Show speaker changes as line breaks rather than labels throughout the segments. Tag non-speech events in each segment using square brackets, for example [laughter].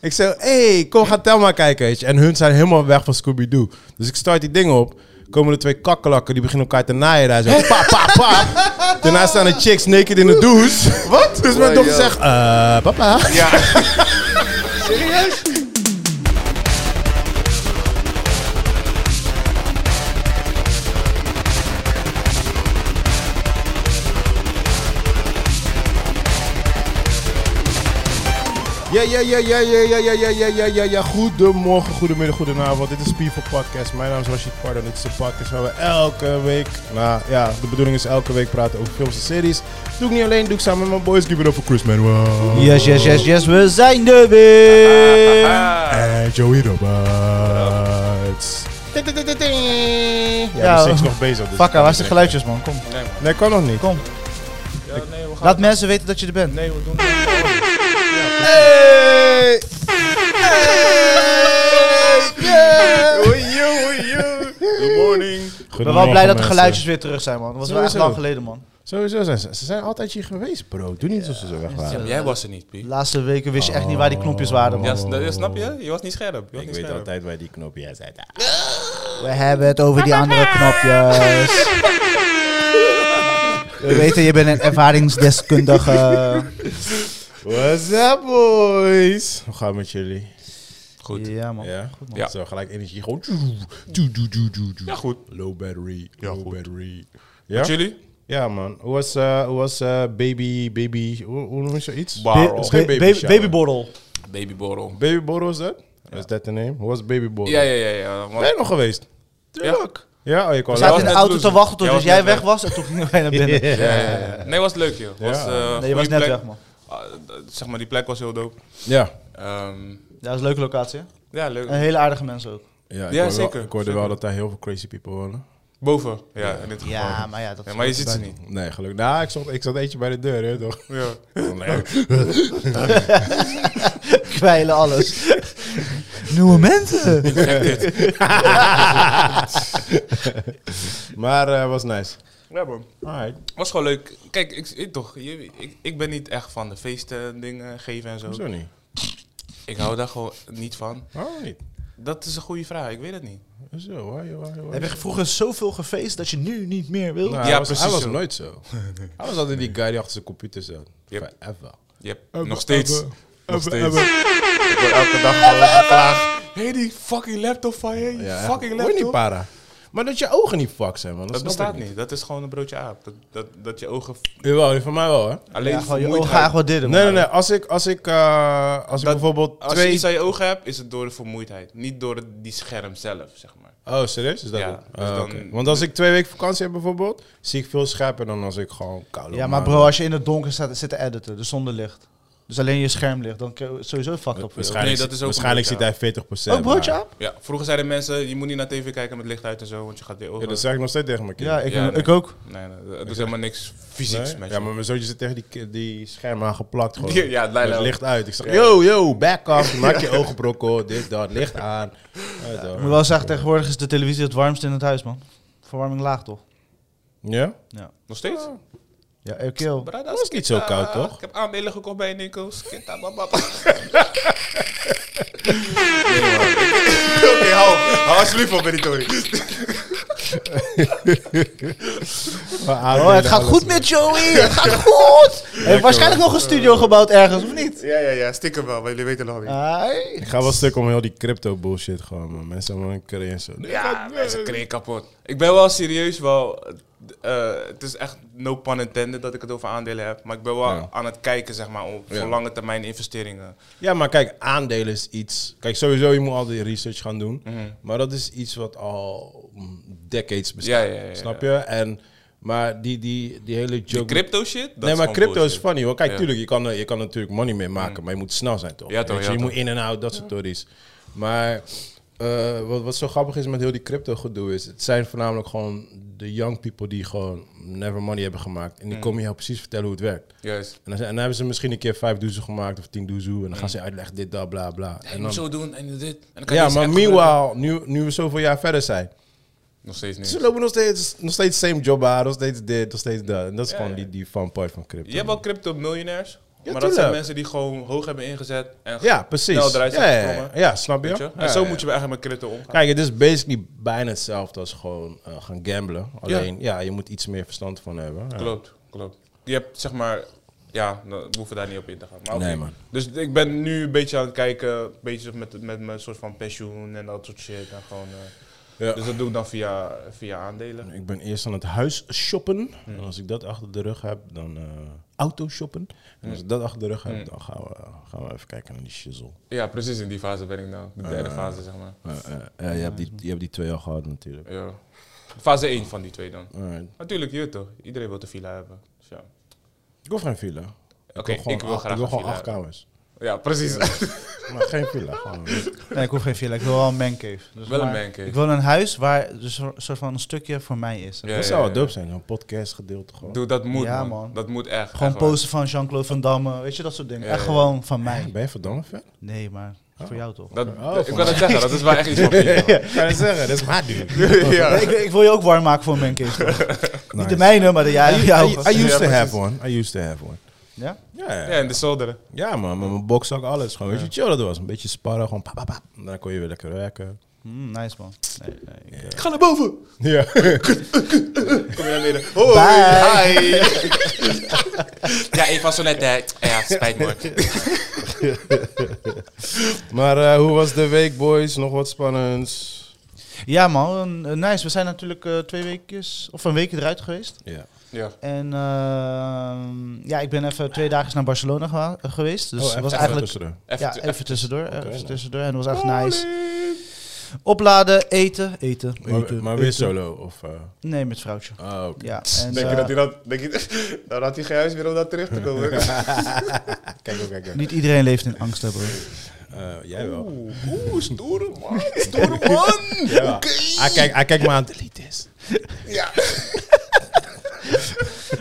Ik zeg, hé, hey, kom, ga Telma kijken, weet je. En hun zijn helemaal weg van Scooby-Doo. Dus ik start die dingen op. Komen er twee kakkelakken, die beginnen elkaar te naaien daar. Zo, pa, pa, pa. Daarna staan de chicks naked in de douche. Wat? [laughs] Dus mijn
Oh,
dochter
joh.
zegt, eh, papa.
Ja. Serieus?
Ja, ja, ja, ja, ja, ja, ja, ja, ja, ja, ja, ja. Goedemorgen, goedemiddag, goedenavond. Dit is People Podcast. Mijn naam is Rashid Pardo en dit is een podcast waar we elke week... Nou ja, de bedoeling is elke week praten over films en series. Doe ik niet alleen, doe ik samen met mijn boys. Give it up for Chris Manuel.
Yes, yes, yes, yes, we zijn er
[laughs]
weer!
En Eh, Joey Roberts. Ja,
Ja,
de is nog bezig. Dus
Fakka, waar zijn de geluidjes, man? Kom,
Nee, man.
Nee, kan nog niet.
kom.
Ja, nee, we gaan...
Laat mensen weten dat je er bent.
Nee, we doen het.
Hey! Hey! Yeah!
Good morning.
Ik ben wel blij dat de geluidjes weer terug zijn, man. Dat was wel echt
Sowieso.
lang geleden, man.
Sowieso zijn ze. Ze zijn altijd hier geweest, bro. Doe niet alsof ze zo weg
Ja,
waren.
maar
Jij was er niet, Pie.
De laatste weken wist je echt niet waar die knopjes waren,
Ja,
man.
s-
Oh.
dat- snap je? Je was niet scherp. Je was niet scherp.
waar die knop jij zei.
We hebben het over die andere
[laughs]
knopjes. We weten, je bent een ervaringsdeskundige.
What's up, boys? Hoe gaat het met jullie?
Goed.
Ja, man.
Ja?
Goed, man.
Ja.
Zo, gelijk energie. Gewoon... Doe, doe, doe, doe, doe.
Ja, goed.
Low battery.
Ja,
low
goed.
battery. Ja?
Jullie?
Ja, man. Hoe was, eh, hoe was eh, baby, baby, hoe, hoe noem je zoiets?
Barrel.
geen baby
Baby-
shower.
Babyborrel.
Babyborrel.
Baby Boro is dat? Is dat de name? Hoe was Baby Boro?
Ja, ja, ja. ja.
Ben
Want,
je nog geweest?
ja.
Ja, oh, je kwam
We
later.
zaten in de
net
auto
loser.
te wachten tot
Jij
dus
was
jij
net
weg
weg.
was en toen gingen wij
[laughs]
naar binnen.
Ja, ja, ja. Nee, was leuk, joh. Was, eh,
Nee, je was net
goede plek.
weg, man.
Ah, d- zeg maar, die plek was heel dope.
Ja.
Ehm,
Ja, dat is een leuke locatie, hè?
ja,
En
leuk.
hele aardige mensen ook.
Ja, ik
Ja,
hoorde
zeker,
Wel, ik hoorde
zeker.
wel dat daar heel veel crazy people wonen.
Boven. Ja, in dit geval.
Ja, maar ja, dat
Ja, maar je ziet ze niet.
Nee, gelukkig. Nou, ik zat, ik zat eentje bij de deur, hè, toch?
Ja.
Nee.
kwijlen alles. [laughs] Nieuwe mensen.
maar eh was nice.
Ja, man.
Alright.
Was gewoon leuk. Kijk, ik, ik toch, je, ik, ik ben niet echt van de feesten en dingen geven en zo.
Hoezo niet?
Ik hou daar gewoon niet van.
Waarom niet?
Dat is een goede vraag, ik weet het niet.
Hoezo? Waar, waar, waar?
[laughs] Heb je vroeger zoveel gefeest dat je nu niet meer wil?
Nou,
Ja,
hij was,
precies
Hij was
zo.
nooit
[laughs]
zo. hij was altijd die guy die achter zijn computer zat.
Yep.
Forever.
Yep.
Ebbe,
nog steeds.
ebbe,
nog
ebbe,
steeds.
ebbe.
Ik word elke dag gewoon geklaagd. Hé, hey, die fucking laptop van je. die
Ja,
fucking
Word je niet
laptop. Dat,
para. Maar dat je ogen niet fuck zijn, man. Dat, snap ik
bestaat niet. Dat is gewoon een broodje aap. Dat, dat, dat je ogen f-
Jawel, die van mij wel, hè?
alleen
Ja,
ja,
gewoon, je ogen gaan gewoon dit doen.
Nee, nee, nee. Als ik, als ik, eh, als ik bijvoorbeeld
Als je
twee...
iets aan je ogen hebt, is het door de vermoeidheid. Niet door het- die scherm zelf, zeg maar.
Oh, serieus? Is dat
Ja,
het?
dus
Ah,
dan-
oké. Want als ik twee weken vakantie heb bijvoorbeeld, zie ik veel scherper dan als ik gewoon koude
Ja, maar
maanden-
bro, als je in het donker staat, zit te editen, dus zonder licht. Dus alleen je schermlicht, dan kun je sowieso fucked op.
Waarschijnlijk,
Nee, dat is ook
waarschijnlijk
een
ziet
broodje
hij 40 procent.
Ook Oh, broodje aan?
Ja, vroeger zeiden mensen, je moet niet naar tv kijken met licht uit en zo, want je gaat weer ogen...
Ja, dat zeg ik nog steeds tegen mijn
Ja,
kinderen.
ik,
Ja, nee.
ik ook.
Nee, nee, dat doet helemaal niks fysieks
Nee?
met
Ja,
je.
maar mijn zoontje zit tegen die, ki- die scherm aan
[laughs]
geplakt gewoon.
Ja, ja,
Met
Leila ook.
licht uit. Ik zeg,
Ja.
yo, yo, back
[laughs]
off. Maak je ogen brokkel, dit, dat, licht aan. Ja?
Ik
toch.
moet wel zeggen, tegenwoordig is de televisie het warmste in het huis, man. Verwarming laag, toch?
Ja?
Ja.
Nog steeds?
Ja, oké. joh.
Brada,
Oh,
Ah,
Dat is niet zo koud, toch?
Ik heb aandelen gekocht bij Nico.
[laughs]
Skitta, bababa. Oké, hou. Hou alsjeblieft op, Benitoni.
Oh, het gaat goed met Joey, het gaat goed! Hij heeft waarschijnlijk nog een studio gebouwd ergens, of niet?
Ja, ja, ja. Stikken wel, want jullie weten nog niet.
Ai.
Ik ga wel stuk om heel die crypto bullshit gewoon, man. Mensen allemaal een carrière zo.
Ja, mensen kregen kapot. Ik ben wel serieus wel... eh, het is echt no pun intended dat ik het over aandelen heb. Maar ik ben wel
Ja.
aan het kijken, zeg maar, om, voor
Ja.
lange termijn investeringen.
Ja, maar kijk, aandelen is iets. Kijk, sowieso, je moet altijd research gaan doen.
Mhm.
Maar dat is iets wat al mm, decades bestaat.
Ja, ja, ja, ja.
Snap je? En, maar die, die, die hele joke.
Die crypto shit? dat
nee,
is
maar
gewoon
crypto is
bullshit.
funny hoor. Kijk,
Ja. Mhm.
tuurlijk, je kan, er- je kan er natuurlijk money mee maken, maar je moet snel zijn toch?
Ja, toch,
Weet je
ja,
je
toch.
moet in en out, dat soort tories. Maar eh, wat, wat zo grappig is met heel die crypto gedoe is, het zijn voornamelijk gewoon de young people die gewoon never money hebben gemaakt. En die
Mhm.
komen je heel precies vertellen hoe het werkt.
Juist.
En dan, en dan hebben ze misschien een keer vijf doezen gemaakt of tien doezoe. En dan
Mm.
gaan ze uitleggen dit, dat, bla, bla.
Je
En
moet
dan,
zo doen en dit. En dan kan je
ja,
dus
maar
echt
meanwhile, nu, nu we zoveel jaar verder zijn.
gebruiken. Nog steeds niet.
Ze lopen nog steeds, nog steeds same job aan, nog steeds dit, nog steeds dat. En dat is
Ja,
gewoon
ja.
Die, die fun part van crypto.
Je hebt wel crypto miljonairs.
Ja,
maar dat zijn
tuurlijk.
mensen die gewoon hoog hebben ingezet en
Ja, precies.
snel eruit
ja,
zijn
ja, ja,
geklommen.
ja, snap je?
Weet je?
Ja,
En zo
ja,
moet je bij eigenlijk met crypto omgaan.
Kijk, het is basically bijna hetzelfde als gewoon eh, gaan gamblen. Alleen, ja. je moet iets meer verstand van hebben. Ja.
Klopt, klopt. Je hebt zeg maar, ja, nou, we hoeven daar niet op in te gaan. Maar oké.
Nee, man.
Dus ik ben nu een beetje aan het kijken, bezig met, met mijn soort van pensioen en dat soort shit. En gewoon, eh,
Ja.
Dus dat doe ik dan via, via aandelen.
Ik ben eerst aan het huis shoppen. En als ik dat achter de rug heb, dan eh auto shoppen. En als ik dat achter de rug heb, dan gaan we, gaan we even kijken naar die shizzle.
Ja, precies in die fase ben ik nou. De derde fase, zeg maar.
Eh, eh, eh, je, hebt die, je hebt die twee al gehad natuurlijk.
Ja. Fase 1 van die twee dan.
Alright.
Natuurlijk, je weet toch. Iedereen wil de villa hebben. Dus ja.
Ik wil geen villa.
Oké,
wil gewoon
ik wil
acht-
graag
Ik wil gewoon
een villa
acht
hebben.
kamers.
Ja, precies.
Maar geen villa. [laughs] Gewoon.
Nee, ik hoef geen villa. Ik wil wel een mancave. Dus
Wel een
maar-
mancave.
Ik wil een huis waar dus een soort van een stukje voor mij is.
Ja,
dat
ja,
zou wel
ja.
dope zijn, een podcast gedeelte gewoon.
Doe, dat moet,
Ja,
man.
man.
Dat moet echt.
Gewoon
echt waar.
posten van Jean-Claude Van Damme. Weet je, dat soort dingen.
Ja,
Echt
ja.
gewoon van mij.
Ben je verdamme [laughs] fan?
Nee, maar voor jou toch.
Dat,
Oh,
ik
van-
kan het zeggen, dat is wel echt iets voor je.
Ja, ik kan zeggen, [laughs] dat is maar duur.
ja.
Nee, ik, ik wil je ook warm maken voor een
[laughs]
mancave. toch? Niet de mijne, maar de
I,
jou-
I,
jouwe.
I used to
Ja,
have one. I used to have one.
Ja?
Ja,
Ja,
[laughs] ja.
en de zolderen.
ja man, met mijn bokszak, alles. Gewoon, weet je, chill dat was. Een beetje sparren, gewoon pa, pa, pa. En Dan kon je weer lekker
[laughs]
werken.
Mm, nice man. Nee, nee, ik-
Ik ga naar boven.
Ja.
Kom je naar beneden. Hoi.
Bye.
ja, ik was zo net... eh, ja, spijt me.
[laughs] maar eh, hoe was de week, boys? Nog wat spannends?
[laughs] Ja man, eh, nice. We zijn natuurlijk eh, twee weekjes, of een weekje eruit geweest.
Ja.
Ja.
En ehm, ja, ik ben even twee dagen naar Barcelona gewa- geweest. Dus
Oh, even
het was
tussen-
eigenlijk...
tussen de-
Even,
ja,
te-
even tussendoor. even
nice.
tussendoor. En dat was echt nice. Opladen, eten, eten.
Maar,
eten,
maar weer
eten.
solo? Of, eh,
Nee, met vrouwtje.
ah, oké.
Ja, en,
Denk
eh,
je dat hij dat... Denk je, nou, dan had hij geen huis meer om daar terug te komen. [laughs]
Kijk, ook, kijk, ook.
niet iedereen leeft in angst hebben.
Eh, jij wel.
Oeh, oeh, stoere man. Stoere man.
Jij wel. Hij kijkt- Hij kijkt me ah, aan. Delete this.
Ja.
[laughs]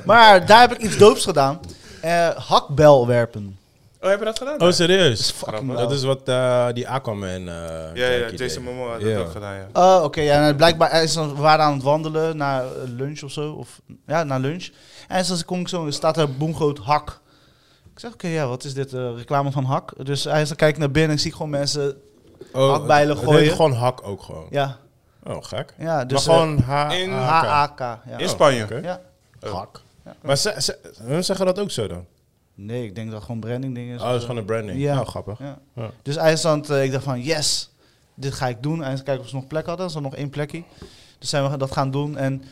Maar daar heb ik iets doops gedaan. Eh, hakbel werpen.
Oh, heb je dat gedaan?
Oh, serieus?
fucking
dat
lauw.
is wat eh, die Aquaman... eh,
ja, ja,
kijk
Jason
idee.
Momoa had
Ja.
dat ook gedaan, ja.
Oh, oké. ja, nou, blijkbaar. hij is dan- we waren aan het wandelen naar eh, lunch of zo. Of, ja, naar lunch. En dan kom ik zo, er staat er boemgroot hak. Ik zeg, oké, ja, wat is dit? eh, reclame van hak? Dus hij is dan kijk ik naar binnen en ik zie gewoon mensen.
Oh,
Hakbijlen
het
gooien.
heet gewoon hak ook gewoon.
Ja,
Oh, gek.
ja dus.
maar gewoon H...
in-
A- K.
H-A-K. Ja.
In Spanje.
Oké.
ja.
Hak. Maar ze, ze, hun zeggen dat ook zo dan?
Nee, ik denk dat het gewoon branding ding is.
Oh, dat is gewoon een branding.
Ja.
Oh, grappig.
Ja.
Ja.
Dus IJsland, eh, ik dacht van yes, dit ga ik doen. En eens kijken of ze nog plek hadden. Er was nog één plekje. Dus zijn we dat gaan doen. En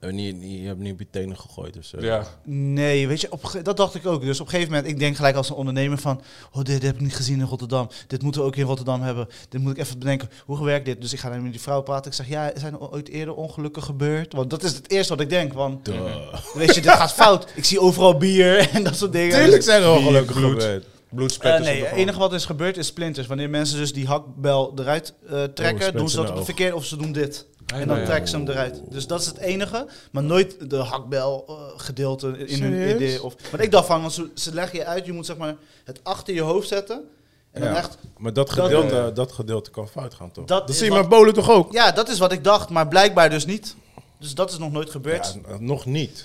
Eh, niet- niet- je hebt niet op je tenen gegooid of zo.
Ja.
nee, weet je, op, ge- dat dacht ik ook. Dus op een gegeven moment, ik denk gelijk als een ondernemer van... Oh, dit heb ik niet gezien in Rotterdam. Dit moeten we ook in Rotterdam hebben. Dit moet ik even bedenken. Hoe werkt dit? Dus ik ga dan met die vrouw praten. Ik zeg, ja, zijn er ooit eerder ongelukken gebeurd? Want dat is het eerste wat ik denk.
Eh,
Want
Duh.
Mhm.
weet je, dit gaat fout. Ik zie overal bier [laughs] en dat soort dingen.
Tuurlijk zijn er
Bier,
ongelukken
bloed.
gebeurd.
Eh,
Bloedspletters.
nee,
op
het
de
enige wat is gebeurd is splinters. Wanneer mensen dus die hakbel eruit
Oh,
eh, trekken,
splinters
doen
in
ze dat
de
op het
oog.
verkeer of ze doen dit.
Ah,
en dan
ja.
trekken ze hem eruit. Dus dat is het enige, maar nooit de hakbel eh, gedeelte in hun
Serieus?
idee. Of, want ik dacht van, want ze, ze leggen je uit, je moet zeg maar het achter je hoofd zetten. En dan
Ja.
echt,
Maar dat gedeelte, dat, gedeelte kan fout gaan, toch?
Dat
Dat,
is
zie je
wat-
met bolen toch ook?
ja, dat is wat ik dacht, maar blijkbaar dus niet. Dus dat is nog nooit gebeurd.
Ja, n- nog niet.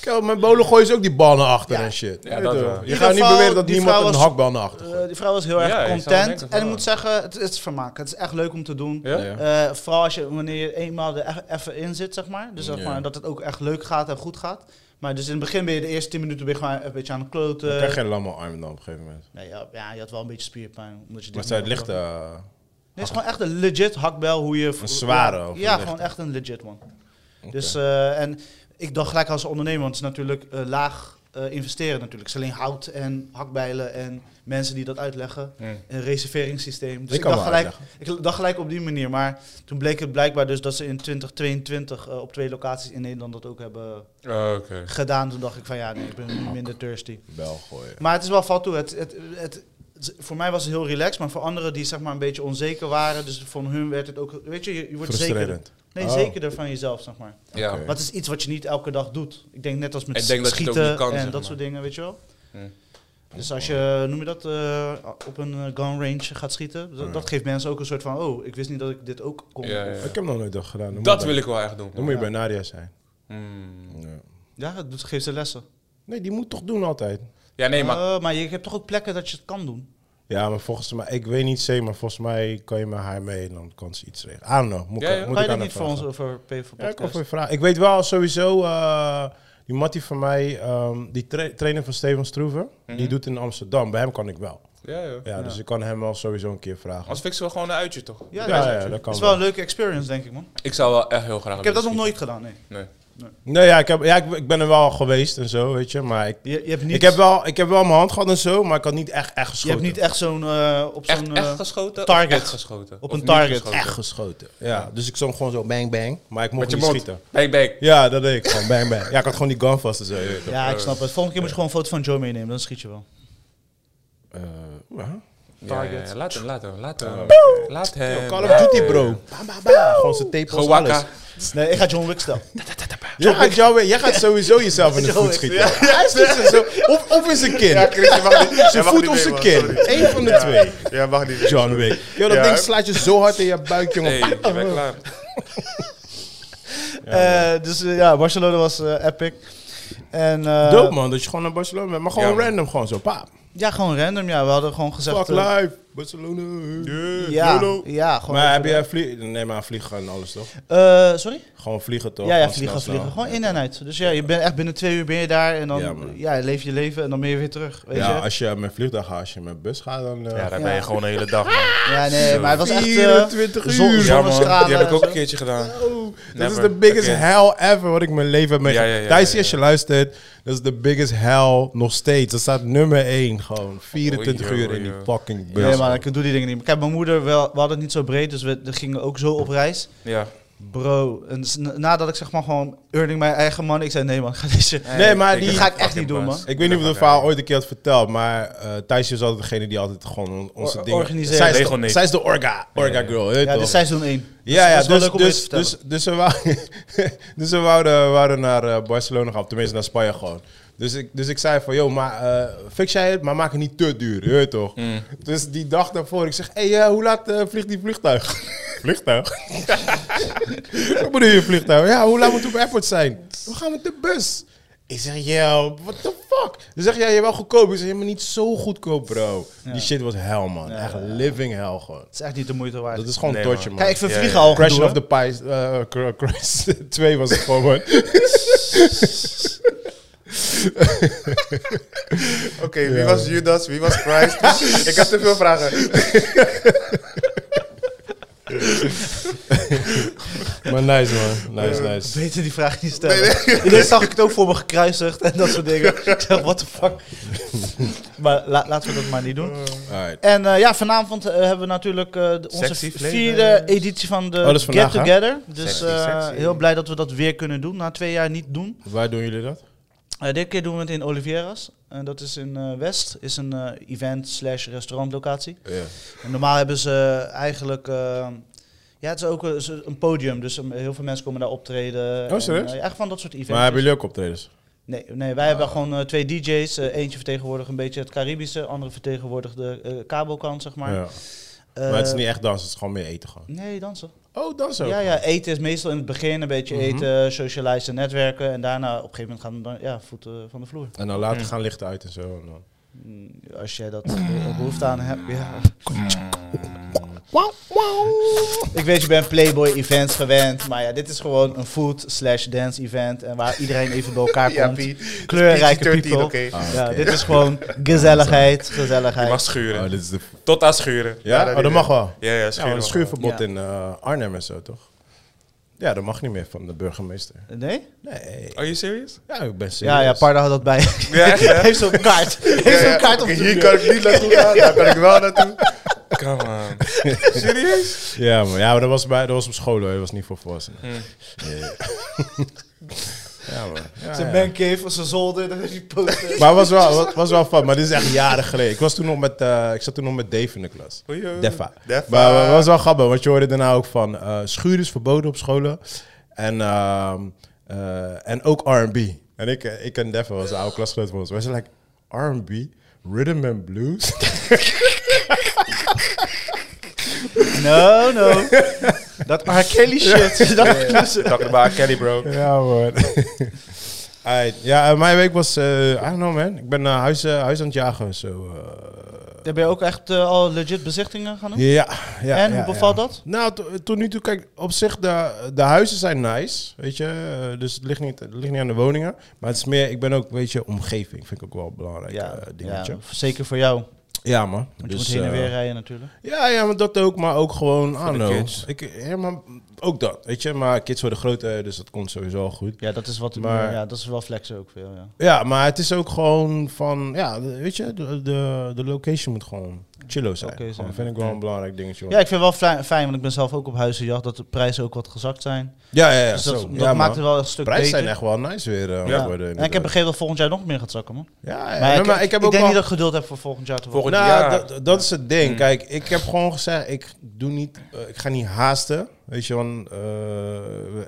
Kijk, met bolen gooien ze ook die bal naar achter
Ja.
en shit.
Ja,
Weet
dat
je
wel.
wel.
In
Je
ieder
gaat niet
geval,
beweren dat
die
niemand
vrouw
een
was-
hakbal naar achter gooit.
Eh, die vrouw was heel
Ja,
erg
ik zou
content.
denken van
En ik
wel.
moet zeggen, het, het is vermaak. Het is echt leuk om te doen.
Ja?
Ja.
Eh, vooral als je, wanneer je eenmaal er e- even in zit, zeg maar. Dus zeg
Ja.
maar, dat het ook echt leuk gaat en goed gaat. Maar dus in het begin ben je de eerste 10 minuten ben je gewoon een beetje aan het
Dan krijg je
kloten.
een lamme arm dan op een gegeven moment.
Nee, ja, ja, je had wel een beetje spierpijn. Omdat je dit
Maar
niet
zij het
had
ligt...
gedaan.
eh,
Dit is gewoon echt een legit hakbel hoe je...
Een zware
Ja,
of een
ja
lichte?
gewoon echt een legit man. Dus, eh, en ik dacht gelijk als ondernemer, want het is natuurlijk eh, laag eh, investeren natuurlijk. Het is alleen hout en hakbijlen en mensen die dat uitleggen.
Hmm.
Een reserveringssysteem. Dus
Ik
ik,
kan
dacht
wel
gelijk, ik dacht gelijk op die manier. Maar toen bleek het blijkbaar dus dat ze in 2022 eh, op twee locaties in Nederland dat ook hebben
grond. Oh, Oké.
gedaan. Toen dacht ik van ja, nee, ik ben nu minder thirsty.
bel gooien.
Maar het is wel valt toe. Het, het, het, het- voor mij was het heel relaxed, maar voor anderen die zeg maar een beetje onzeker waren, dus van hun werd het ook, weet je, je, je wordt zeker,
Frustrerend.
nee,
Oh.
zekerder van jezelf, zeg maar.
Ja.
Oké.
Wat is iets wat je niet elke dag doet? Ik denk net als met
Ik denk dat je het ook
schieten
niet kan,
en
zeg
dat
maar.
soort dingen, weet je wel?
Hmm.
Dus als je, noem je dat, eh, op een eh, gun range gaat schieten, dat, dat geeft mensen ook een soort van, oh, ik wist niet dat ik dit ook kon.
Ja, ja.
Of-
Ik heb nog nooit dat gedaan. Dan
Dat
moet je bij-
wil ik wel echt doen.
Dan moet je bij Nadia zijn.
Hmm.
Ja.
ja, het doet- geeft ze lessen.
Nee, die moet toch doen altijd.
Ja, nee, maar
Eh, maar je hebt toch ook plekken dat je het kan doen?
Ja, maar volgens mij, ik weet niet zeker, maar volgens mij kan je met haar mee en dan kan ze iets regelen. I don't know. Moet,
Ja,
ik-
ja.
moet
kan
ik
je dat
aan
niet
haar
voor ons
vragen.
over P voor
Ja, ik kan
podcast?
voor je vragen. Ik weet wel sowieso, eh, die Mattie van mij, ehm, die tra- trainer van Steven Stroeven, die
Mhm.
doet in Amsterdam. Bij hem kan ik wel.
ja, ja.
Ja, dus ik kan hem wel sowieso een keer vragen.
Anders fixen we gewoon een uitje, toch?
ja,
Ja,
dat
ja,
is-
dat kan
is wel
wel.
een leuke experience, denk ik, man.
Ik zou wel echt heel graag
Ik heb dat nog
willen
nooit gedaan, nee.
schieten. Nee.
Nee, ja, ik, heb, ja ik, ik ben er wel geweest en zo, weet je. Maar ik,
Je, je hebt niet,
ik, heb, wel, ik heb wel mijn hand gehad en zo, maar ik had niet echt, echt
je hebt
geschoten.
niet echt zo'n... eh, op
Echt,
zo'n
echt
eh,
geschoten?
target.
Of echt geschoten?
Op
Of
een
niet
target.
geschoten?
echt geschoten. Ja, dus ik zong gewoon zo bang bang, maar ik mocht
Met je
niet
mond.
schieten.
Bang, bang.
Ja, dat deed ik gewoon, bang bang. Ja, ik had gewoon die gun vast en zo. je weet toch.
ja, ik snap het. Volgende keer moet je gewoon een foto van Joe meenemen, dan schiet je wel.
Eh, ja.
Target. Ja, ja, laat hem, laat hem, laat hem. Laat
Yo,
hem.
Call of Duty, bro. Ba, ba, ba. Gewoon zijn tape
Gewoon
alles.
wakka.
Nee, ik ga John
[laughs]
Wick stellen.
Jij gaat, jou, jij gaat sowieso jezelf in de
Zo
voet
is-
schieten. Hij schiet ze zo. Of, of in zijn kin.
Christian mag niet. jij
zijn
mag
voet
niet
of
mee,
zijn
man.
kin.
Sorry.
Eén van de twee.
Ja, mag niet. mee.
John Wick. Yo, dat
Ja.
ding slaat je zo hard in je buik, jongen.
Hey, je bent klaar.
Eh, dus eh, ja, Barcelona was eh, epic. En, eh,
Dope, man. Dat je gewoon naar Barcelona bent. Maar gewoon
Ja, man.
random, gewoon zo. Paap.
Ja, gewoon random. Ja, we hadden gewoon gezegd...
Fuck
eh,
life. Barcelona.
ja, ja, gewoon
Maar heb
even-
je vliegen? Nee, maar vliegen en alles, toch?
Eh, sorry?
Gewoon vliegen, toch? eh,
Ja, ja,
Gewoon
vliegen,
snel, snel.
vliegen. Gewoon in en uit. Dus ja, je bent echt binnen twee uur ben je daar en dan
Ja,
ja,
man.
leef je leven en dan ben je weer terug. Weet
Ja,
je?
als je met vliegtuig gaat, als je met bus gaat, dan... eh,
Ja, daar ben
Ja.
je gewoon de hele dag. man.
Ja, nee, maar het was echt... eh,
24 uur.
zon-
Ja, man.
zonnestralen
Die heb ik
en
ook
zo.
een keertje gedaan.
Oh, dat is
Never
de biggest
again.
hell ever wat ik in mijn leven heb meegemaakt.
Ja, ja, ja,
Thijs,
ja, ja.
als je luistert, dat is de biggest hell nog steeds. Dat staat nummer 1 gewoon. 24
Oei,
uur
oei,
in die
oei.
fucking bus.
Nee, maar ik doe die dingen niet meer. Kijk, mijn moeder, wel, we hadden het niet zo breed, dus we we gingen ook zo op reis.
Ja.
Bro, en s- na- nadat ik zeg maar gewoon earning mijn eigen man, ik zei nee man, [laughs] ga deze...
Nee, maar
die- ga ik echt niet doen, man.
Ik weet niet of ik dat verhaal ooit een keer had verteld, maar eh Thijs is altijd degene die altijd gewoon on- onze
Or-
dingen...
organiseert.
Zij is, de,
Regelneet.
zij is de orga, orga girl. weet je
Ja, dit
toch?
is seizoen 1.
Ja,
dat
ja,
is wel
dus,
leuk om
dus,
even te
dus, dus, we wouden, [laughs] dus we wouden, we wouden naar eh, Barcelona gaan, of tenminste naar Spanje gewoon. Dus ik, dus ik zei van, joh, maar eh, fix jij het, maar maak het niet te duur, je weet toch?
Mm.
Dus die dag daarvoor, ik zeg, hé, hey, eh, hoe laat eh, vliegt die vliegtuig? [laughs] vliegtuig? Wat bedoel je vliegtuig? Ja, hoe laat moet het op airport zijn? We gaan met de bus. Ik zeg, yo, what the fuck? Dan zeg jij, je wel goedkoop. Ik zeg, ja, maar niet zo goedkoop, bro. Die shit was hell, man. Echt living hell, gewoon.
Het is echt niet de moeite waard.
Dat is gewoon
Nee,
dodje,
man.
man.
Kijk, ik vind
Ja,
vliegen
ja.
al
Crash
gedoe,
of
hè.
the Pies. eh, Cr- Crash [laughs] 2 was het gewoon. man.
Oké, wie was Judas? Wie was
[laughs]
Christ? ik heb te veel vragen.
maar nice, man. Nice, nice.
Beter die vraag niet stellen. [laughs] Ineens zag ik het ook voor me gekruisigd en dat soort
[laughs]
dingen. Ik dacht, what the fuck. maar la- laten we dat maar niet doen.
Alright.
En eh, ja, vanavond eh, hebben we natuurlijk eh, de- onze
Sexy flavors.
vierde editie van de
Oh, dat is vandaag,
Get Together. Dus
Sexy,
eh,
sexy.
heel blij dat we dat weer kunnen doen. Na twee jaar niet doen.
Waar doen jullie dat?
Eh, dit keer doen we het in Oliveras. En dat is in eh, West. Is een eh, event slash restaurantlocatie.
Ja.
En normaal hebben ze eh, eigenlijk... eh, ja, het is ook een- ze- een podium. Dus eh, heel veel mensen komen daar optreden.
Oh, serieus?
En, eh, echt van dat soort events.
Maar hebben jullie ook optredens?
Nee, nee wij hebben gewoon eh, twee DJ's. Eh, eentje vertegenwoordigt een beetje het Caribische, andere vertegenwoordigt de eh kabelkant, zeg maar.
ja.
Eh,
maar het is niet echt dansen, het is gewoon meer eten gewoon.
Nee, dansen.
Oh, dansen ook.
Ja, ja, eten is meestal in het begin een beetje eten, socializen, netwerken. En daarna op een gegeven moment gaan we dan, ja, voeten van de vloer.
En dan later gaan lichten uit en zo. En dan.
Mm, Als jij dat eh, behoefte aan hebt, ja. Ik weet, je bent Playboy events gewend, maar ja, dit is gewoon een food slash dance event. En waar iedereen even bij elkaar
Ja,
komt.
Piet.
Kleurrijke
PG-13,
people.
oké.
Ah,
Ja,
oké.
dit is gewoon gezelligheid,
Je mag
gezelligheid.
schuren.
Oh, dit is de... ja?
Tot aan schuren.
Ja, dat
oh, dat
is-
mag wel.
Ja, ja,
Ja, maar
schuren.
een
mag
schuurverbod
Ja.
in eh, Arnhem en zo, toch? Ja, dat mag niet meer van de burgemeester.
Nee?
Nee.
wel. Are you serious?
Ja, ik ben
Ja,
serieus.
ja, Parda had dat bij. [laughs]
Ja, echt, hè?
Heeft zo'n kaart.
Ja,
Heeft
ja,
zo'n kaart op
oké,
de
Hier
muur.
kan ik niet naartoe gaan, daar kan ik wel naartoe.
Come on. Serieus?
Ja, maar, ja, maar dat, was bij, dat was op school, hoor. Dat was niet voor volwassenen.
Hm.
Nee. [laughs] ja, man. Ja,
Zijn
ja.
bankcave of zijn zolder, dan heeft hij poster.
Maar het was wel, was, was wel fun. Maar dit is echt jaren geleden. Ik, was toen nog met, eh, ik zat toen nog met Dave in de klas.
Oei, oei.
Defa.
Defa.
Maar het was wel grappig, want je hoorde daarna ook van... eh schuur is verboden op scholen. En, ehm, eh, en ook R&B. En ik, eh, ik en Defa was de oude klasgenoot van ons. Wij zijn like, R&B? Rhythm and
[laughs]
blues?
No, no. Dat R. Kelly shit. Dat-
[laughs]
Dag de baan, Kelly, bro.
ja, man. Aight. Ja, eh, mijn week was, eh, I don't know man. Ik ben naar huis, eh, huis aan het jagen. zo. eh.
Heb je ook echt eh, al legit bezichtingen gaan doen?
ja, ja.
Hm? en,
ja,
hoe bevalt
ja.
dat?
Nou, to- tot nu toe, kijk, op zich, de, de huizen zijn nice, weet je. eh, dus het ligt, niet, het ligt niet aan de woningen. Maar het is meer, ik ben ook, weet je, omgeving vind ik ook wel een belangrijk eh, dingetje.
ja, zeker voor jou. Want
Ja, man.
je
Dus,
moet heen en
eh,
weer rijden natuurlijk.
Ja, ja, maar dat ook, maar ook gewoon, I don't
de
know.
kids.
Ik, ja, maar ook dat, weet je. Maar kids worden groter, dus dat komt sowieso al goed.
Ja, dat is, wat,
Maar-
ja, dat is wel flexen ook veel, ja.
Ja, maar het is ook gewoon van, ja, de- weet je, de, de, de location moet gewoon chillo zijn.
Oké
Gewoon,
zijn.
vind ik wel een belangrijk dingetje. hoor.
Ja, ik vind het wel fijn, fijn, want ik ben zelf ook op huizenjacht, dat de prijzen ook wat gezakt zijn.
ja, ja, ja,
dus
zo.
dat,
ja,
dat
man.
maakt het wel een stuk
Prijzen
beter.
zijn echt wel nice weer eh,
Ja.
geworden.
En ik heb
inderdaad.
begrepen dat volgend jaar nog meer gaat zakken, man.
Ja, ja.
Maar,
Nee,
ik,
maar ik heb ook
denk
wel...
niet dat ik geduld heb voor volgend jaar te
Volgend
volgen.
nou,
jaar. Mm.
dat, dat is het ding. Kijk, ik heb gewoon gezegd, ik, doe niet, eh, ik ga niet haasten. Weet je, want eh,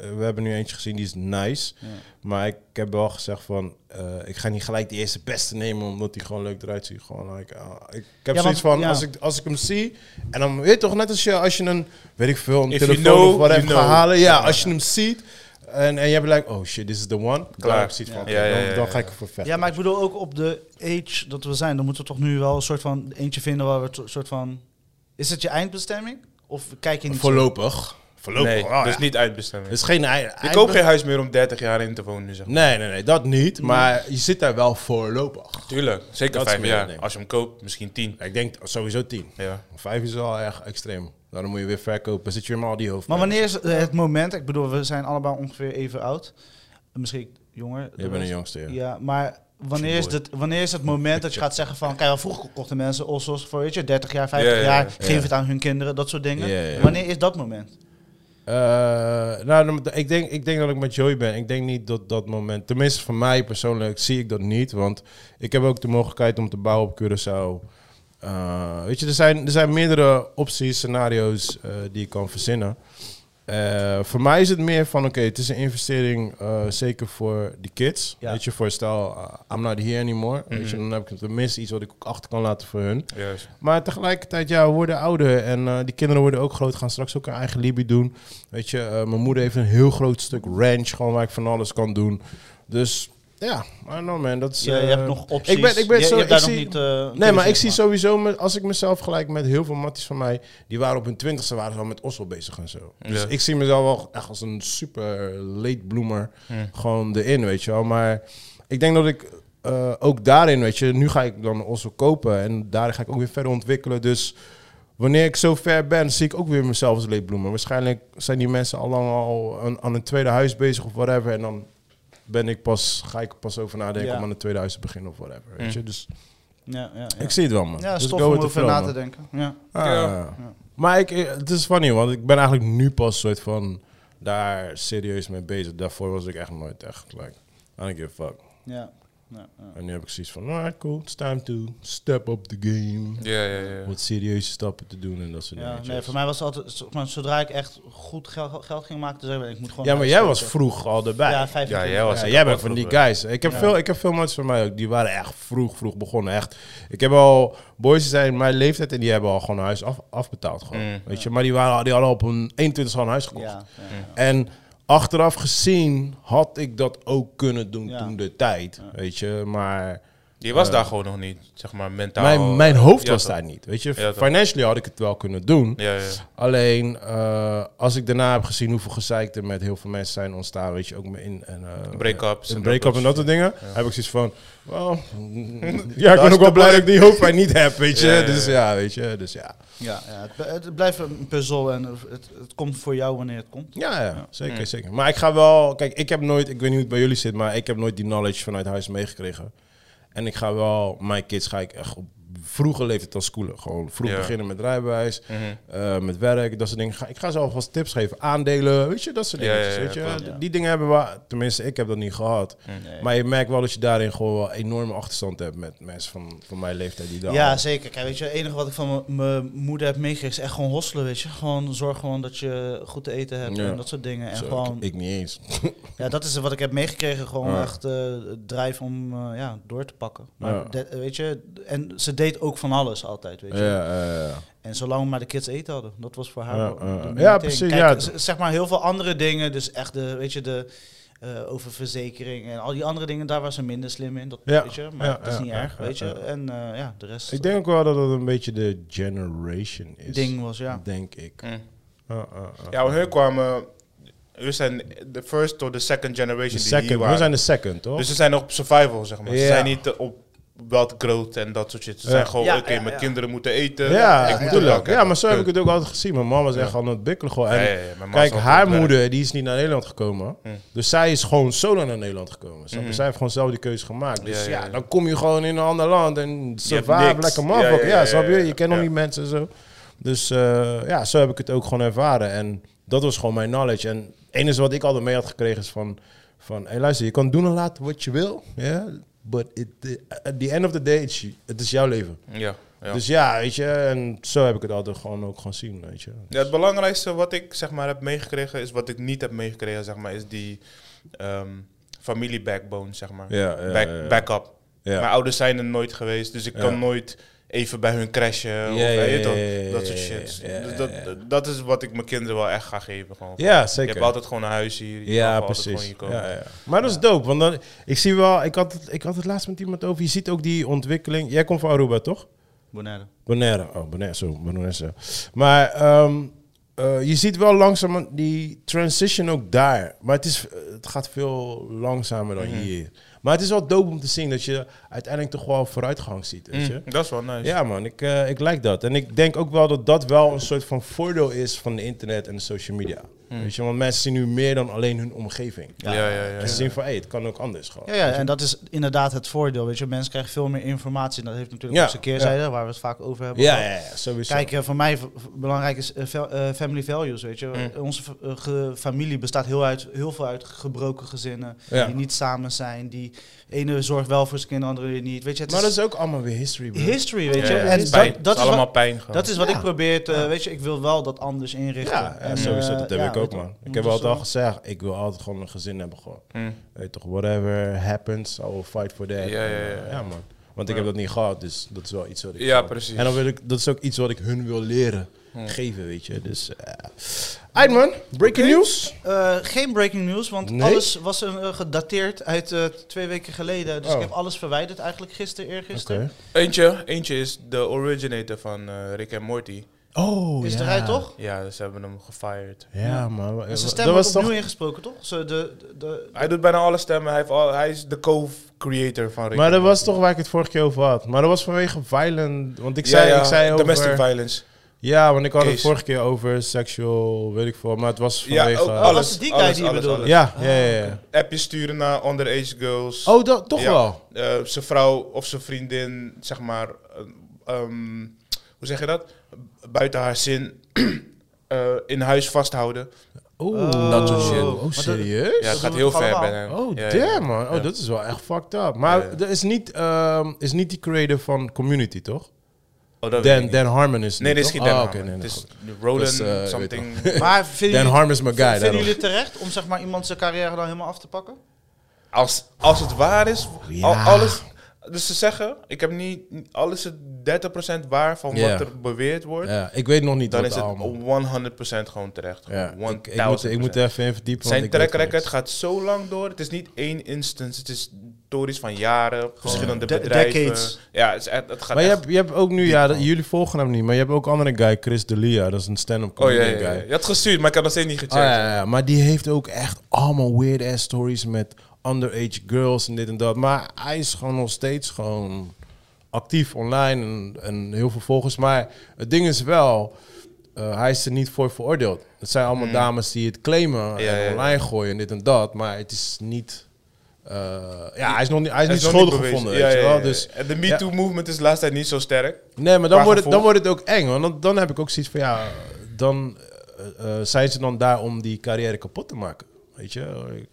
we, we hebben nu eentje gezien, die is nice.
Ja.
Maar ik heb wel gezegd van, eh, ik ga niet gelijk die eerste beste nemen, omdat die gewoon leuk eruit ziet. Gewoon, like, ah, ik, ik heb
Ja,
zoiets
want-
van,
ja.
als, ik, als ik hem zie, en dan weet je toch, net als je, als je een, weet ik veel, een
If you
telefoon
know,
of wat
you
even gaat
know.
halen. Ja, als je hem ziet, en, en jij bent like, oh shit, this is the one.
Klaar.
Dan, ziet van,
Ja.
oké,
Ja, ja, ja,
dan, dan ga
ja.
ik ervoor vechten.
Ja, maar ik bedoel ook op de age dat we zijn, dan moeten we toch nu wel een soort van eentje vinden waar we een soort van... Is het je eindbestemming? Of kijk je niet zo-
Voorlopig. Voorlopig.
Nee,
ah,
dus
ja.
niet uitbestemming.
Het is geen ei-
ik koop
ei-
geen huis meer om 30 jaar in te wonen, zeg maar.
Nee, nee, nee, dat niet. Maar je zit daar wel voorlopig.
Tuurlijk, zeker
Dat is
vijf
meer
jaar.
het ding.
Als je hem koopt, misschien tien.
Ik denk sowieso tien.
Ja.
Vijf is al erg extreem. Daarom moet je weer verkopen. Dan Zit je weer met al die hoofd.
Maar wanneer is eh, het moment? Ik bedoel, we zijn allemaal ongeveer even oud. Misschien jonger.
Je bent een jongste, ja.
Ja, maar wanneer is, dit, wanneer is het moment dat je gaat zeggen van... Kijk, wel, vroeger kochten mensen ossos voor weet je, 30 jaar, 50
Ja, ja, ja.
jaar. Geef het aan hun kinderen, dat soort dingen.
Ja, ja, ja.
Wanneer is dat moment?
Eh, nou, dan- ik denk, ik denk dat ik met Joey ben. Ik denk niet dat dat moment... Tenminste, voor mij persoonlijk zie ik dat niet. Want ik heb ook de mogelijkheid om te bouwen op Curaçao. Eh, weet je, er zijn, er zijn meerdere opties, scenario's eh, die ik kan verzinnen. Eh, voor mij is het meer van, oké, het is een investering eh, zeker voor de kids.
Ja.
Weet je, voor stel, eh, I'm not here anymore. Weet je, dan heb ik tenminste iets wat ik ook achter kan laten voor hun.
Juist.
Maar tegelijkertijd, ja, we worden ouder en eh, die kinderen worden ook groot. Gaan straks ook hun eigen libby doen. Weet je, eh, mijn moeder heeft een heel groot stuk ranch, gewoon waar ik van alles kan doen. Dus ja, I don't know man, dat is...
Je, je
eh,
hebt nog opties.
Ik ben, ik ben
je,
zo,
je hebt daar
ik
nog
zie-
niet... eh,
Nee, maar ik
kennis
zie
van.
sowieso, me- als ik mezelf gelijk met heel veel matties van mij, die waren op hun twintigste, waren ze al met Oslo bezig en zo. Dus
Ja.
ik zie mezelf wel echt als een super late bloomer,
Hmm.
gewoon erin, weet je wel. Maar ik denk dat ik eh, ook daarin, weet je, nu ga ik dan Oslo kopen en daar ga ik ook weer verder ontwikkelen. Dus wanneer ik zo ver ben, zie ik ook weer mezelf als late bloomer. Waarschijnlijk zijn die mensen al lang al aan, aan een tweede huis bezig of whatever en dan ben ik pas, ga ik er pas over nadenken
Ja.
om aan een tweede huis te beginnen of whatever, weet je. Dus...
Ja, ja, ja.
Ik zie het wel, man.
ja,
Dus
stof
go
om
with the
over
flow,
na
man.
te denken. Ja.
Ah,
Ja.
ja. Maar ik, eh, het is funny, want ik ben eigenlijk nu pas soort van daar serieus mee bezig. Daarvoor was ik echt nooit echt, like, I don't give a fuck.
Ja. Ja, ja.
En nu heb ik zoiets van, alright, cool, it's time to step up the game.
Ja, ja, ja.
Wat serieuze stappen te doen en dat soort
Ja,
dingen.
nee, voor mij was het altijd, zo- maar zodra ik echt goed gel- geld ging maken, zei ik, ik moet gewoon...
Ja, maar jij was
uitstoten.
vroeg al erbij.
Ja,
Ja,
25.
Ja, jij was-
jij bent van die guys. Ik heb, veel, ik heb veel mensen van mij ook, die waren echt vroeg, vroeg begonnen. Echt. Ik heb al boys die zijn in mijn leeftijd en die hebben al gewoon een huis af, afbetaald. Gewoon,
Mm.
weet je? Maar die, waren, al- die hadden al op hun 21 al een huis gekocht.
Ja, ja, ja.
En achteraf gezien had ik dat ook kunnen doen
Ja.
toen de tijd, weet je. Maar
Je was daar gewoon nog niet, zeg maar, mentaal.
Eh.
eh,
mijn, mijn hoofd
Ja,
was
toch.
daar niet, weet je.
Ja, toch.
Financially had ik het wel kunnen doen.
Ja, ja.
Alleen eh, als ik daarna heb gezien hoeveel gezeik er met heel veel mensen zijn ontstaan, weet je, ook in en eh,
Break-ups
in
en
break-up en dat
dat
soort dingen, heb ik zoiets van,
[laughs]
well, mm, ja, ik ben ook wel
de
blij dat ik die hoofdpijn niet heb, weet je.
Ja, ja,
Dus
ja.
ja, weet je, dus ja.
Ja, ja het, bl- het blijft een puzzel en het, het komt voor jou wanneer het komt.
Ja, ja zeker, zeker. Maar ik ga wel... Kijk, ik heb nooit... Ik weet niet hoe het bij jullie zit, maar ik heb nooit die knowledge vanuit huis meegekregen. En ik ga wel... Mijn kids ga ik echt op vroege leeftijd al schoolen. Gewoon vroeg
Ja. Mhm.
beginnen met rijbewijs, eh, met werk, dat soort dingen. Ga- Ik ga ze alvast tips geven. Aandelen, weet je, dat soort
Ja,
dingen.
ja, ja,
weet je?
klopt.
Die dingen hebben we... Tenminste, ik heb dat niet gehad. Maar je merkt wel dat je daarin gewoon wel enorme achterstand hebt met mensen van, van mijn leeftijd die daar...
Ja, zeker. Kijk, weet je, het enige wat ik van m- mijn moeder heb meegekregen is echt gewoon hosselen, weet je. Gewoon zorg gewoon dat je goed te eten hebt
Ja.
en dat soort dingen. En
Zo, ik-
gewoon,
ik, niet eens.
ja, dat is wat ik heb meegekregen. Gewoon
Ja.
echt eh drijf om eh, ja, door te pakken. Maar
Ja.
de- weet je, en ze deed ook van alles altijd, weet
Ja,
je.
ja, ja.
En zolang maar de kids eten hadden, dat was voor haar.
Ja,
wel de
ja, ja.
main
Ja,
thing.
precies,
Kijk,
ja.
z- zeg maar heel veel andere dingen, dus echt de, weet je, de eh, over verzekering en al die andere dingen. Daar was ze minder slim in, dat
Ja,
weet je. Maar
ja,
dat is
ja,
niet
ja,
erg,
ja,
weet je.
ja.
En eh, ja, de rest
Ik denk ook wel dat het een beetje de generation is.
ding was, ja.
Denk ik.
Mm.
Ah, ah, ah.
Ja, want hun kwamen... We zijn de first tot de second
De
generation die hier
second. We
waren.
zijn de second, toch?
Dus ze zijn op survival, zeg maar.
Ja.
Ze zijn niet eh, op wat groot en dat soort shit. Ze
Ja.
zijn gewoon,
Ja,
oké,
ja,
mijn
ja.
kinderen moeten eten.
ja,
ik moet
tuurlijk.
het
ja, maar zo heb ik het ook altijd gezien. Mijn mama was echt aan het ontwikkelen. Gewoon. En
Ja, ja, ja, mijn mama
kijk,
is ook Mm.
haar
aan het
moeder die is niet naar Nederland gekomen. Dus zij is gewoon solo naar Nederland gekomen. snap je? Zij heeft gewoon zelf die keuze gemaakt. Dus ja,
Mm. Ja, ja, ja.
dan kom je gewoon in een ander land en survive
niks.
lekker man. Ja, ja,
Ja, ja, ja,
snap je?
ja, ja.
Je kent nog
Ja.
niet mensen en zo. Dus eh, ja, zo heb ik het ook gewoon ervaren. En dat was gewoon mijn knowledge. En het enige wat ik altijd mee had gekregen is van... van hey, luister, je kan doen en laten wat je wil. ja, But it, at the end of the day, it's you- het is jouw leven.
Ja, ja.
Dus ja, weet je, en zo heb ik het altijd gewoon ook gewoon zien, weet je.
Ja, het belangrijkste wat ik zeg maar heb meegekregen is wat ik niet heb meegekregen, zeg maar, is die ehm familie backbone, zeg maar.
Ja, ja,
Back,
ja, ja.
Backup.
Ja.
Mijn ouders zijn er nooit geweest, dus ik kan nooit even bij hun crashen of
ja,
weet je
ja,
toch,
ja, ja,
dat soort
ja,
shit.
ja, ja,
Dus
ja,
dat, dat is wat ik mijn kinderen wel echt ga geven. Gewoon.
Ja,
Je
zeker.
hebt altijd gewoon een huis hier. Je
ja,
mag altijd
precies.
gewoon hier komen.
Ja, ja. Maar dat is dope, want dan, ik zie wel, ik had, het, ik had het laatst met iemand over, je ziet ook die ontwikkeling. Jij komt van Aruba, toch?
Bonaire.
Bonaire, oh Bonaire, zo, Bonaire. zo. Maar ehm, eh, je ziet wel langzaam die transition ook daar. Maar het, is, eh, het gaat veel langzamer dan hier. Maar het is wel dope om te zien dat je uiteindelijk toch wel vooruitgang ziet, weet je.
Mm, dat is wel nice.
Ja, man, ik, eh, ik like dat. En ik denk ook wel dat dat wel een soort van voordeel is van de internet en de social media. Weet je, want mensen zien nu meer dan alleen hun omgeving.
Ja, ja, ja.
En ze zien van, hé, het kan ook anders gewoon.
Ja, ja, en dat is inderdaad het voordeel. Weet je, mensen krijgen veel meer informatie. En dat heeft natuurlijk
Ja,
ook zijn keerzijde, waar we het vaak over hebben.
Ja,
gehad.
ja, ja, sowieso.
Kijk, eh, voor mij v- v- belangrijk is eh, fel- eh, family values, weet je.
Mm.
Onze fa- eh, ge- familie bestaat heel, uit, heel veel uit gebroken gezinnen.
Ja.
Die niet samen zijn. Die ene zorgt wel voor zijn kinderen, andere weer niet. Weet je, het
maar dat
is,
is ook allemaal weer history, bro.
history, weet je.
Ja, ja,
En
het is pijn.
dat, dat,
Het
is
allemaal
wat,
pijn gewoon.
dat is wat
Ja.
ik probeer te... Weet je, ik wil wel dat anders inrichten.
ja, en
En,
sowieso,
eh,
dat heb
ja,
ik ook,
weet je,
man. Ik
moet
heb
dus
altijd al
wel-
gezegd, ik wil altijd gewoon een gezin hebben, gewoon.
Mm.
Weet je toch, whatever happens, I will fight for that.
Ja, ja, ja.
En, eh, man. Want ik heb dat niet gehad, dus dat is wel iets wat ik...
Ja,
wil.
precies.
En dan wil ik, dat is ook iets wat ik hun wil leren geven, weet je. Dus, eh Aight, man, breaking news.
Eh, geen breaking news, want
Nee?
alles was een, eh, gedateerd uit eh, twee weken geleden. Dus
Oh.
ik heb alles verwijderd eigenlijk gisteren, eergisteren.
Oké.
Eentje, eentje is de originator van eh, Rick en Morty.
Oh,
Is
ja.
eruit, toch?
Ja, dus ze hebben hem gefired.
Ja, man.
En zijn
dat
stem wordt
was
opnieuw
toch...
ingesproken, toch? Ze de, de, de-
Hij doet bijna alle stemmen. Hij, heeft al, hij is de co-creator van Rick.
Maar
and
dat was
Morty.
toch waar ik het vorige keer over had. Maar dat was vanwege violent... Want ik
Ja,
zei,
ja,
ik zei over...
domestic violence.
Ja, want ik had het
Case.
vorige keer over seksual, weet ik veel. Maar het was
Ja,
vanwege...
ook
Ja,
alles.
was het die guy
alles,
die je
alles,
bedoelde?
alles.
ja, ja, ja.
Appjes sturen naar underage girls.
Oh, dat, toch
Ja.
wel?
Eh, zijn vrouw of zijn vriendin, zeg maar. eh, ehm, hoe zeg je dat? Buiten haar zin. [clears throat] eh, in huis vasthouden.
Oeh.
Oh. Dat soort shit.
Oh,
Maar dat-
serieus?
Ja,
Dat
het gaat
doen
heel
we toch
ver bij
allemaal?
hem.
Oh,
Ja, ja, ja.
damn, man. Oh, dat is wel echt fucked up. Maar
Ja, ja.
dat is niet, ehm, is niet die creator van Community, toch?
Oh, dat weet ik
Dan,
niet.
Dan Harmon is
Nee, dit is
toch?
geen Dan.
Ah,
Harmon.
oké, nee,
het
nee,
is
goed.
Roland
Dat is, eh, weet
something.
[laughs]
Maar vinden
Dan
jullie,
Harmon is mijn guy.
vinden
daarom.
jullie terecht om zeg maar iemand zijn carrière dan helemaal af te pakken?
Als, als het waar is,
Oh, ja.
al, alles. Dus ze zeggen, ik heb niet. Alles is 30% waar van
Ja.
wat er beweerd wordt.
Ja, ik weet nog niet
Dan
wat
is het
allemaal.
100% gewoon terecht.
Ja,
Gewoon
ik, ik, moet, ik moet er
1000%.
even in verdiepen. want
Zijn
ik
track
weet niks.
record gaat zo lang door. Het is niet één instance. Het is stories van jaren, verschillende
de-
bedrijven.
decades.
Ja, het, is echt, het gaat
Maar je
echt-
hebt, je hebt ook nu, ja, dat- jullie volgen hem niet, maar je hebt ook een andere guy, Chris D'Elia. Dat is een stand-up
Oh
comedy
ja, ja, ja.
guy.
je had gestuurd, maar ik heb nog steeds niet
Ah,
gecheckt.
ja, ja, ja. Maar die heeft ook echt allemaal weird-ass stories met underage girls en dit en dat. Maar hij is gewoon nog steeds gewoon actief online en, en heel veel volgers. Maar het ding is wel, eh, hij is er niet voor veroordeeld. Het zijn allemaal dames die het claimen
Hmm. Ja,
en
ja, ja.
online gooien en dit en dat. Maar het is niet... eh, ja, hij is nog niet, hij is
Het
niet
nog
schuldig
bewezen.
gevonden,
Ja,
weet je
ja,
wel.
ja,
Dus
ja. En de MeToo-movement is de laatste tijd niet zo sterk.
Nee, maar dan
Qua
wordt, het, dan
gevoel.
wordt het ook eng. Want dan, dan heb ik ook zoiets van ja, dan eh, eh, zijn ze dan daar om die carrière kapot te maken. Weet je?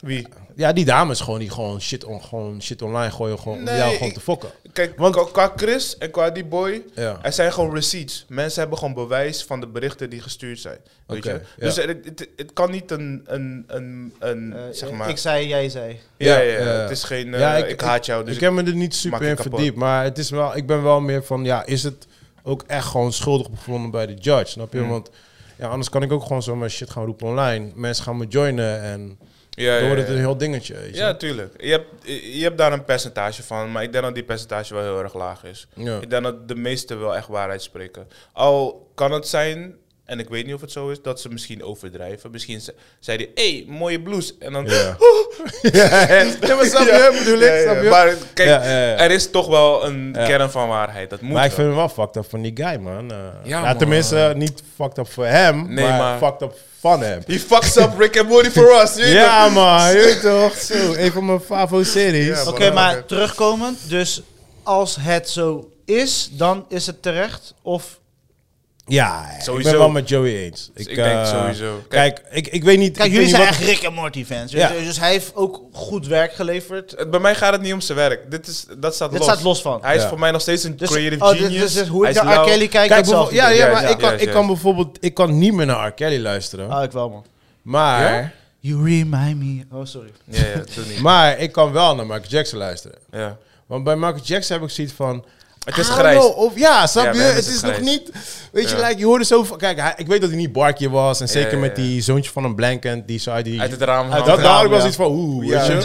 Wie?
Ja, die dames gewoon die gewoon shit, on, gewoon shit online gooien gewoon, om
Nee,
jou gewoon
ik- Oh,
te fokken.
Kijk,
Want-
qua- qua Chris en qua die boy,
Ja.
er zijn gewoon receipts. Mensen hebben gewoon bewijs van de berichten die gestuurd zijn. Weet
Oké,
je?
ja.
Dus het, het, het kan niet een, een, een, een
Eh,
zeg
eh,
maar...
Ik zei, jij zei.
ja, ja,
Ja,
ja,
ja.
het is geen... eh,
Ja,
ik, haat jou, dus
ik
ik-
heb me er niet super
maak je
in
kapot.
verdiept, maar het is wel, ik ben wel meer van ja, is het ook echt gewoon schuldig bevonden bij de
Mm.
judge? Snap je? Want ja, anders kan ik ook gewoon zo mijn shit gaan roepen online. Mensen gaan me joinen en
Ja,
Dan
ja,
wordt het
ja.
een heel dingetje. weet je.
Ja, tuurlijk. Je hebt, je hebt daar een percentage van, maar ik denk dat die percentage wel heel erg laag is.
Ja.
Ik denk dat de meesten wel echt waarheid spreken. Al kan het zijn, en ik weet niet of het zo is, dat ze misschien overdrijven. Misschien ze- zei die, hey, mooie blouse. En dan... [laughs]
Ja. [laughs]
Ja, maar snap je,
Ja,
bedoel ik?
ja,
snap je?
ja.
Maar kijk,
Ja, ja, ja.
er is toch wel een kern van waarheid. Dat moet
Maar ik
wel.
vind hem wel fucked up van die guy, man. Eh,
Ja,
nou,
man.
Tenminste, eh, niet fucked up voor hem,
Nee,
maar,
maar-
fucked up van hem.
He fucks up Rick and Morty for us. weet je
Ja, man. Je weet toch? Zo, een van mijn favo-series.
Ja,
Oké,
Oké.
maar terugkomend. Dus als het zo is, dan is het terecht. Of
Ja, ik
Sowieso.
ben wel met Joey eens. Ik,
ik denk
eh,
sowieso.
Kijk, ik, ik weet niet... ik weet
kijk, jullie
niet
zijn
wat-
echt Rick en Morty fans. weet
Ja.
je, Dus hij heeft ook goed werk geleverd.
Het- Bij mij gaat het niet om zijn werk. Dit, is, dat staat
Dit
los.
staat los van.
Hij
Ja.
is voor mij nog steeds een
Dus,
creative
oh, dit-
genius.
dit is hoe
Hij
ik
is
naar R.
lauw.
Kelly kijk,
Kijk,
ik zelf
bijvoorbeeld- ja,
niet.
ja,
Juist,
maar ik
juist,
kan, ik
juist.
kan bijvoorbeeld... Ik kan niet meer naar R. Kelly luisteren.
Ah, ik wel, man.
Maar...
You remind me. Oh, sorry.
Ja, ja, doe
[laughs]
niet.
Maar ik kan wel naar Michael Jackson luisteren.
Ja.
Want bij Michael Jackson heb ik zoiets van...
Het is
Ah,
I don't
grijs.
know, of, ja, snap
Ja,
je?
bij hem
Het
is
is,
het
nog
grijs.
niet... Weet je,
Ja.
like, je hoorde zo... van- Kijk, hij- ik weet dat hij niet Barkje was. En zeker
ja,
met
ja.
die zoontje van een blankend. Die zei die...
Uit het raam.
Ah, Dat, nou.
hangen.
daar had ik wel
ja.
iets van, oeh,
Ja.
weet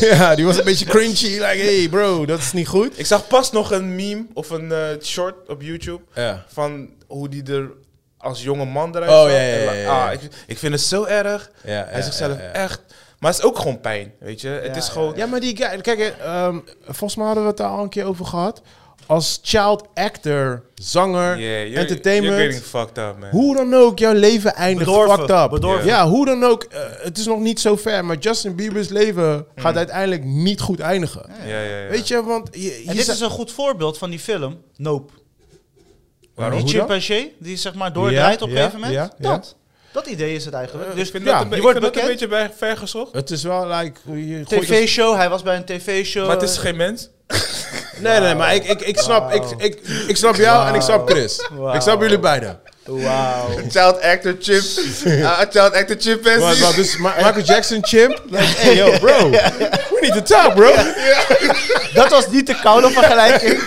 je? [laughs] ja, die was een beetje cringy. Like, hey bro, dat is niet goed.
Ik zag pas nog een meme of een eh, short op YouTube
Ja.
van hoe die er als jonge man eruit
Oh,
zag.
ja, ja,
En la-
ja, ja,
ah,
ja.
ik, ik vind het zo erg.
Ja,
Hij
ja,
is zichzelf
ja, ja.
echt... Maar het is ook gewoon pijn, weet je. het is gewoon...
Ja, maar die guy, kijk, eh, ehm, volgens mij hadden we het daar al een keer over gehad. Als child actor, zanger,
Yeah, you're-
entertainment.
You're getting fucked up, man.
hoe dan ook, jouw leven eindigt
Bedorven,
fucked up.
bedorven.
Ja, hoe dan ook, eh, het is nog niet zo ver, maar Justin Bieber's leven gaat
Hmm.
uiteindelijk niet goed eindigen.
Ja, ja, ja.
Weet je, want je, je
En dit
zei-
is een goed voorbeeld van die film, Nope.
Waarom?
Die
Hoe dan?
chimpansee, die zeg maar doordraait
Ja,
op een
ja,
gegeven moment.
ja, ja.
dat. Dat idee is het eigenlijk.
Dus
dus
ik vind
ja,
dat, een, be-
je
ik
wordt
vind dat een
bekend.
beetje bij, ver gezocht.
het is wel like... je gooit het-
tv-show, hij was bij een tv-show.
Maar het is geen mens.
Nee, nee, maar ik, ik, ik snap, ik, ik, ik snap jou en ik snap Chris.
Wauw.
Ik snap jullie beiden.
Wauw.
Child actor [laughs] chip. Ah, child actor chip
Maar, maar dus Ma- Michael Jackson chimp? Like, hey yo, bro. We need to talk, bro.
dat was niet de koude vergelijking.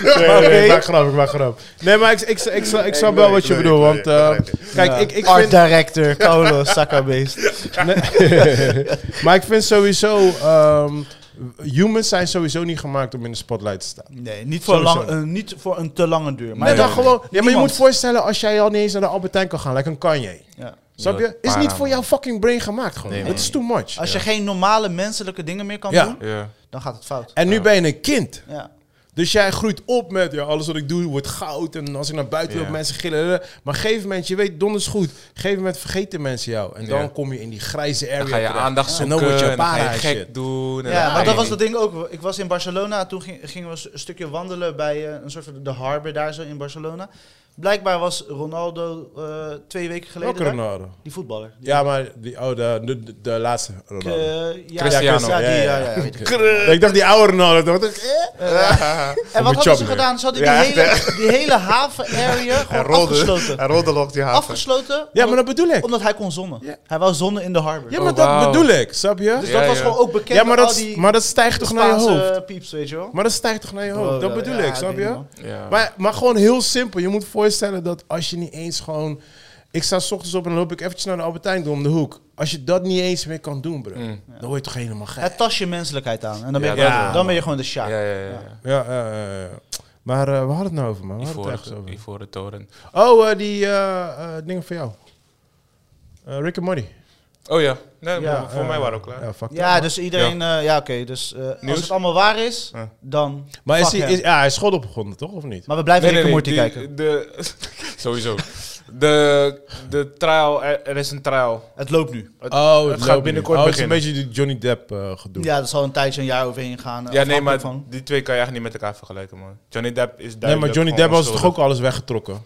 [laughs] Nee, nee, nee, ik maak grap, ik maak grap. Nee, maar ik, ik, ik, ik, ik snap wel wat je bedoelt, want... eh, kijk, ik, ik
Art
vind...
director, Carlos Sakkerbeest.
Nee. maar ik vind sowieso... ehm, humans zijn sowieso niet gemaakt om in de spotlight te staan.
Nee, niet voor, lang,
Sowieso.
eh, niet voor een te lange duur.
Maar dan gewoon... Ja, maar je
Niemand.
moet voorstellen als jij al niet eens naar de Albertijn kan gaan, like een Kanye.
Ja.
Snap je? Is niet voor jouw fucking brain gemaakt gewoon. Het is too much.
Als je geen normale menselijke dingen meer kan
Ja.
doen,
Ja.
dan gaat het fout.
En nu ben je een kind.
Ja.
Dus jij groeit op met, ja, alles wat ik doe wordt goud. En als ik naar buiten
Ja.
wil, mensen gillen. Maar op een gegeven moment, je weet donders goed. Op een gegeven moment vergeten mensen jou. En dan
Ja.
kom je in die grijze area
Dan ga je
terecht.
aandacht
En
zoeken
dan word je
en dan ga
para
je
en
gek
shit.
doen. en dan
Ja,
ga
maar
je
dat was
niet.
dat ding ook. Ik was in Barcelona, toen ging- gingen we een stukje wandelen bij eh, een soort van de harbor daar zo in Barcelona. Blijkbaar was Ronaldo eh, twee weken geleden
Welke
daar.
Ronaldo?
Die voetballer.
Ja, maar die, oh, de, de, de laatste Ronaldo.
Eh, ja,
Cristiano.
Ja, die, ja, ja, ja, weet ik.
Oké. Ik dacht die oude Ronaldo. Ik dacht, eh?
En
Moet
wat hadden ze
chop,
gedaan? Ze hadden
Ja,
die, hele, die hele haven-area gewoon afgesloten.
Hij rolde nog die haven.
Afgesloten
Ja, maar
omdat,
dat bedoel ik.
omdat hij kon zonnen. Hij wou zonnen in de harbor.
Ja, maar
Oh,
dat
wauw.
bedoel ik. Snap je?
Dus
Ja,
Ja,
dat was
ja.
gewoon ook bekend
maar,
door
dat,
al die
maar dat stijgt toch naar je
Spaanse
hoofd?
pieps, weet je wel.
Maar dat stijgt toch naar je hoofd?
Oh,
Dat
ja,
bedoel
ja,
ik, snap
weet
je?
man.
Ja.
Maar, maar gewoon heel simpel. Je moet voorstellen dat als je niet eens gewoon... Ik sta 's ochtends op en dan loop ik eventjes naar de Albertijn door om de hoek. Als je dat niet eens meer kan doen, bro. Dan word je toch helemaal gek.
Het tast je menselijkheid aan. En dan ben je,
Ja,
gewoon-
dat-
dan ben je gewoon de Sjaak.
Ja, ja, ja, ja.
Ja, ja, ja, ja. Maar eh, we hadden het nou over, man. We hadden het ergens
Ivoren,
over.
Ivoren toren.
Oh, eh, die eh, eh, dingen voor jou. Eh, Rick en Morty.
Oh ja. Nee,
Ja,
maar voor
eh,
mij waren we ook klaar.
Ja, fuck
Ja,
that,
dus iedereen... Ja, ja oké. dus eh, als
Nieuws?
het allemaal waar is, dan...
man. Maar is
fuck
hij,
hem.
is, ja, hij is schot opgevonden, toch? Of niet?
Maar we blijven Rick en Morty
die-
kijken.
De, [laughs] sowieso. De, de trial, er, er is een trial.
Het loopt nu.
oh,
het gaat
loopt
binnenkort
niet. oh, het is een
beginnen.
beetje die Johnny Depp eh, gedoe.
Ja, dat zal een tijdje, een jaar overheen gaan. eh,
Ja, nee, maar
afhankelijk van.
die twee kan je echt niet met elkaar vergelijken, man. Johnny Depp is duidelijk
nee, maar Johnny Depp
gewoon
was toch ook
onschuldig.
alles weggetrokken?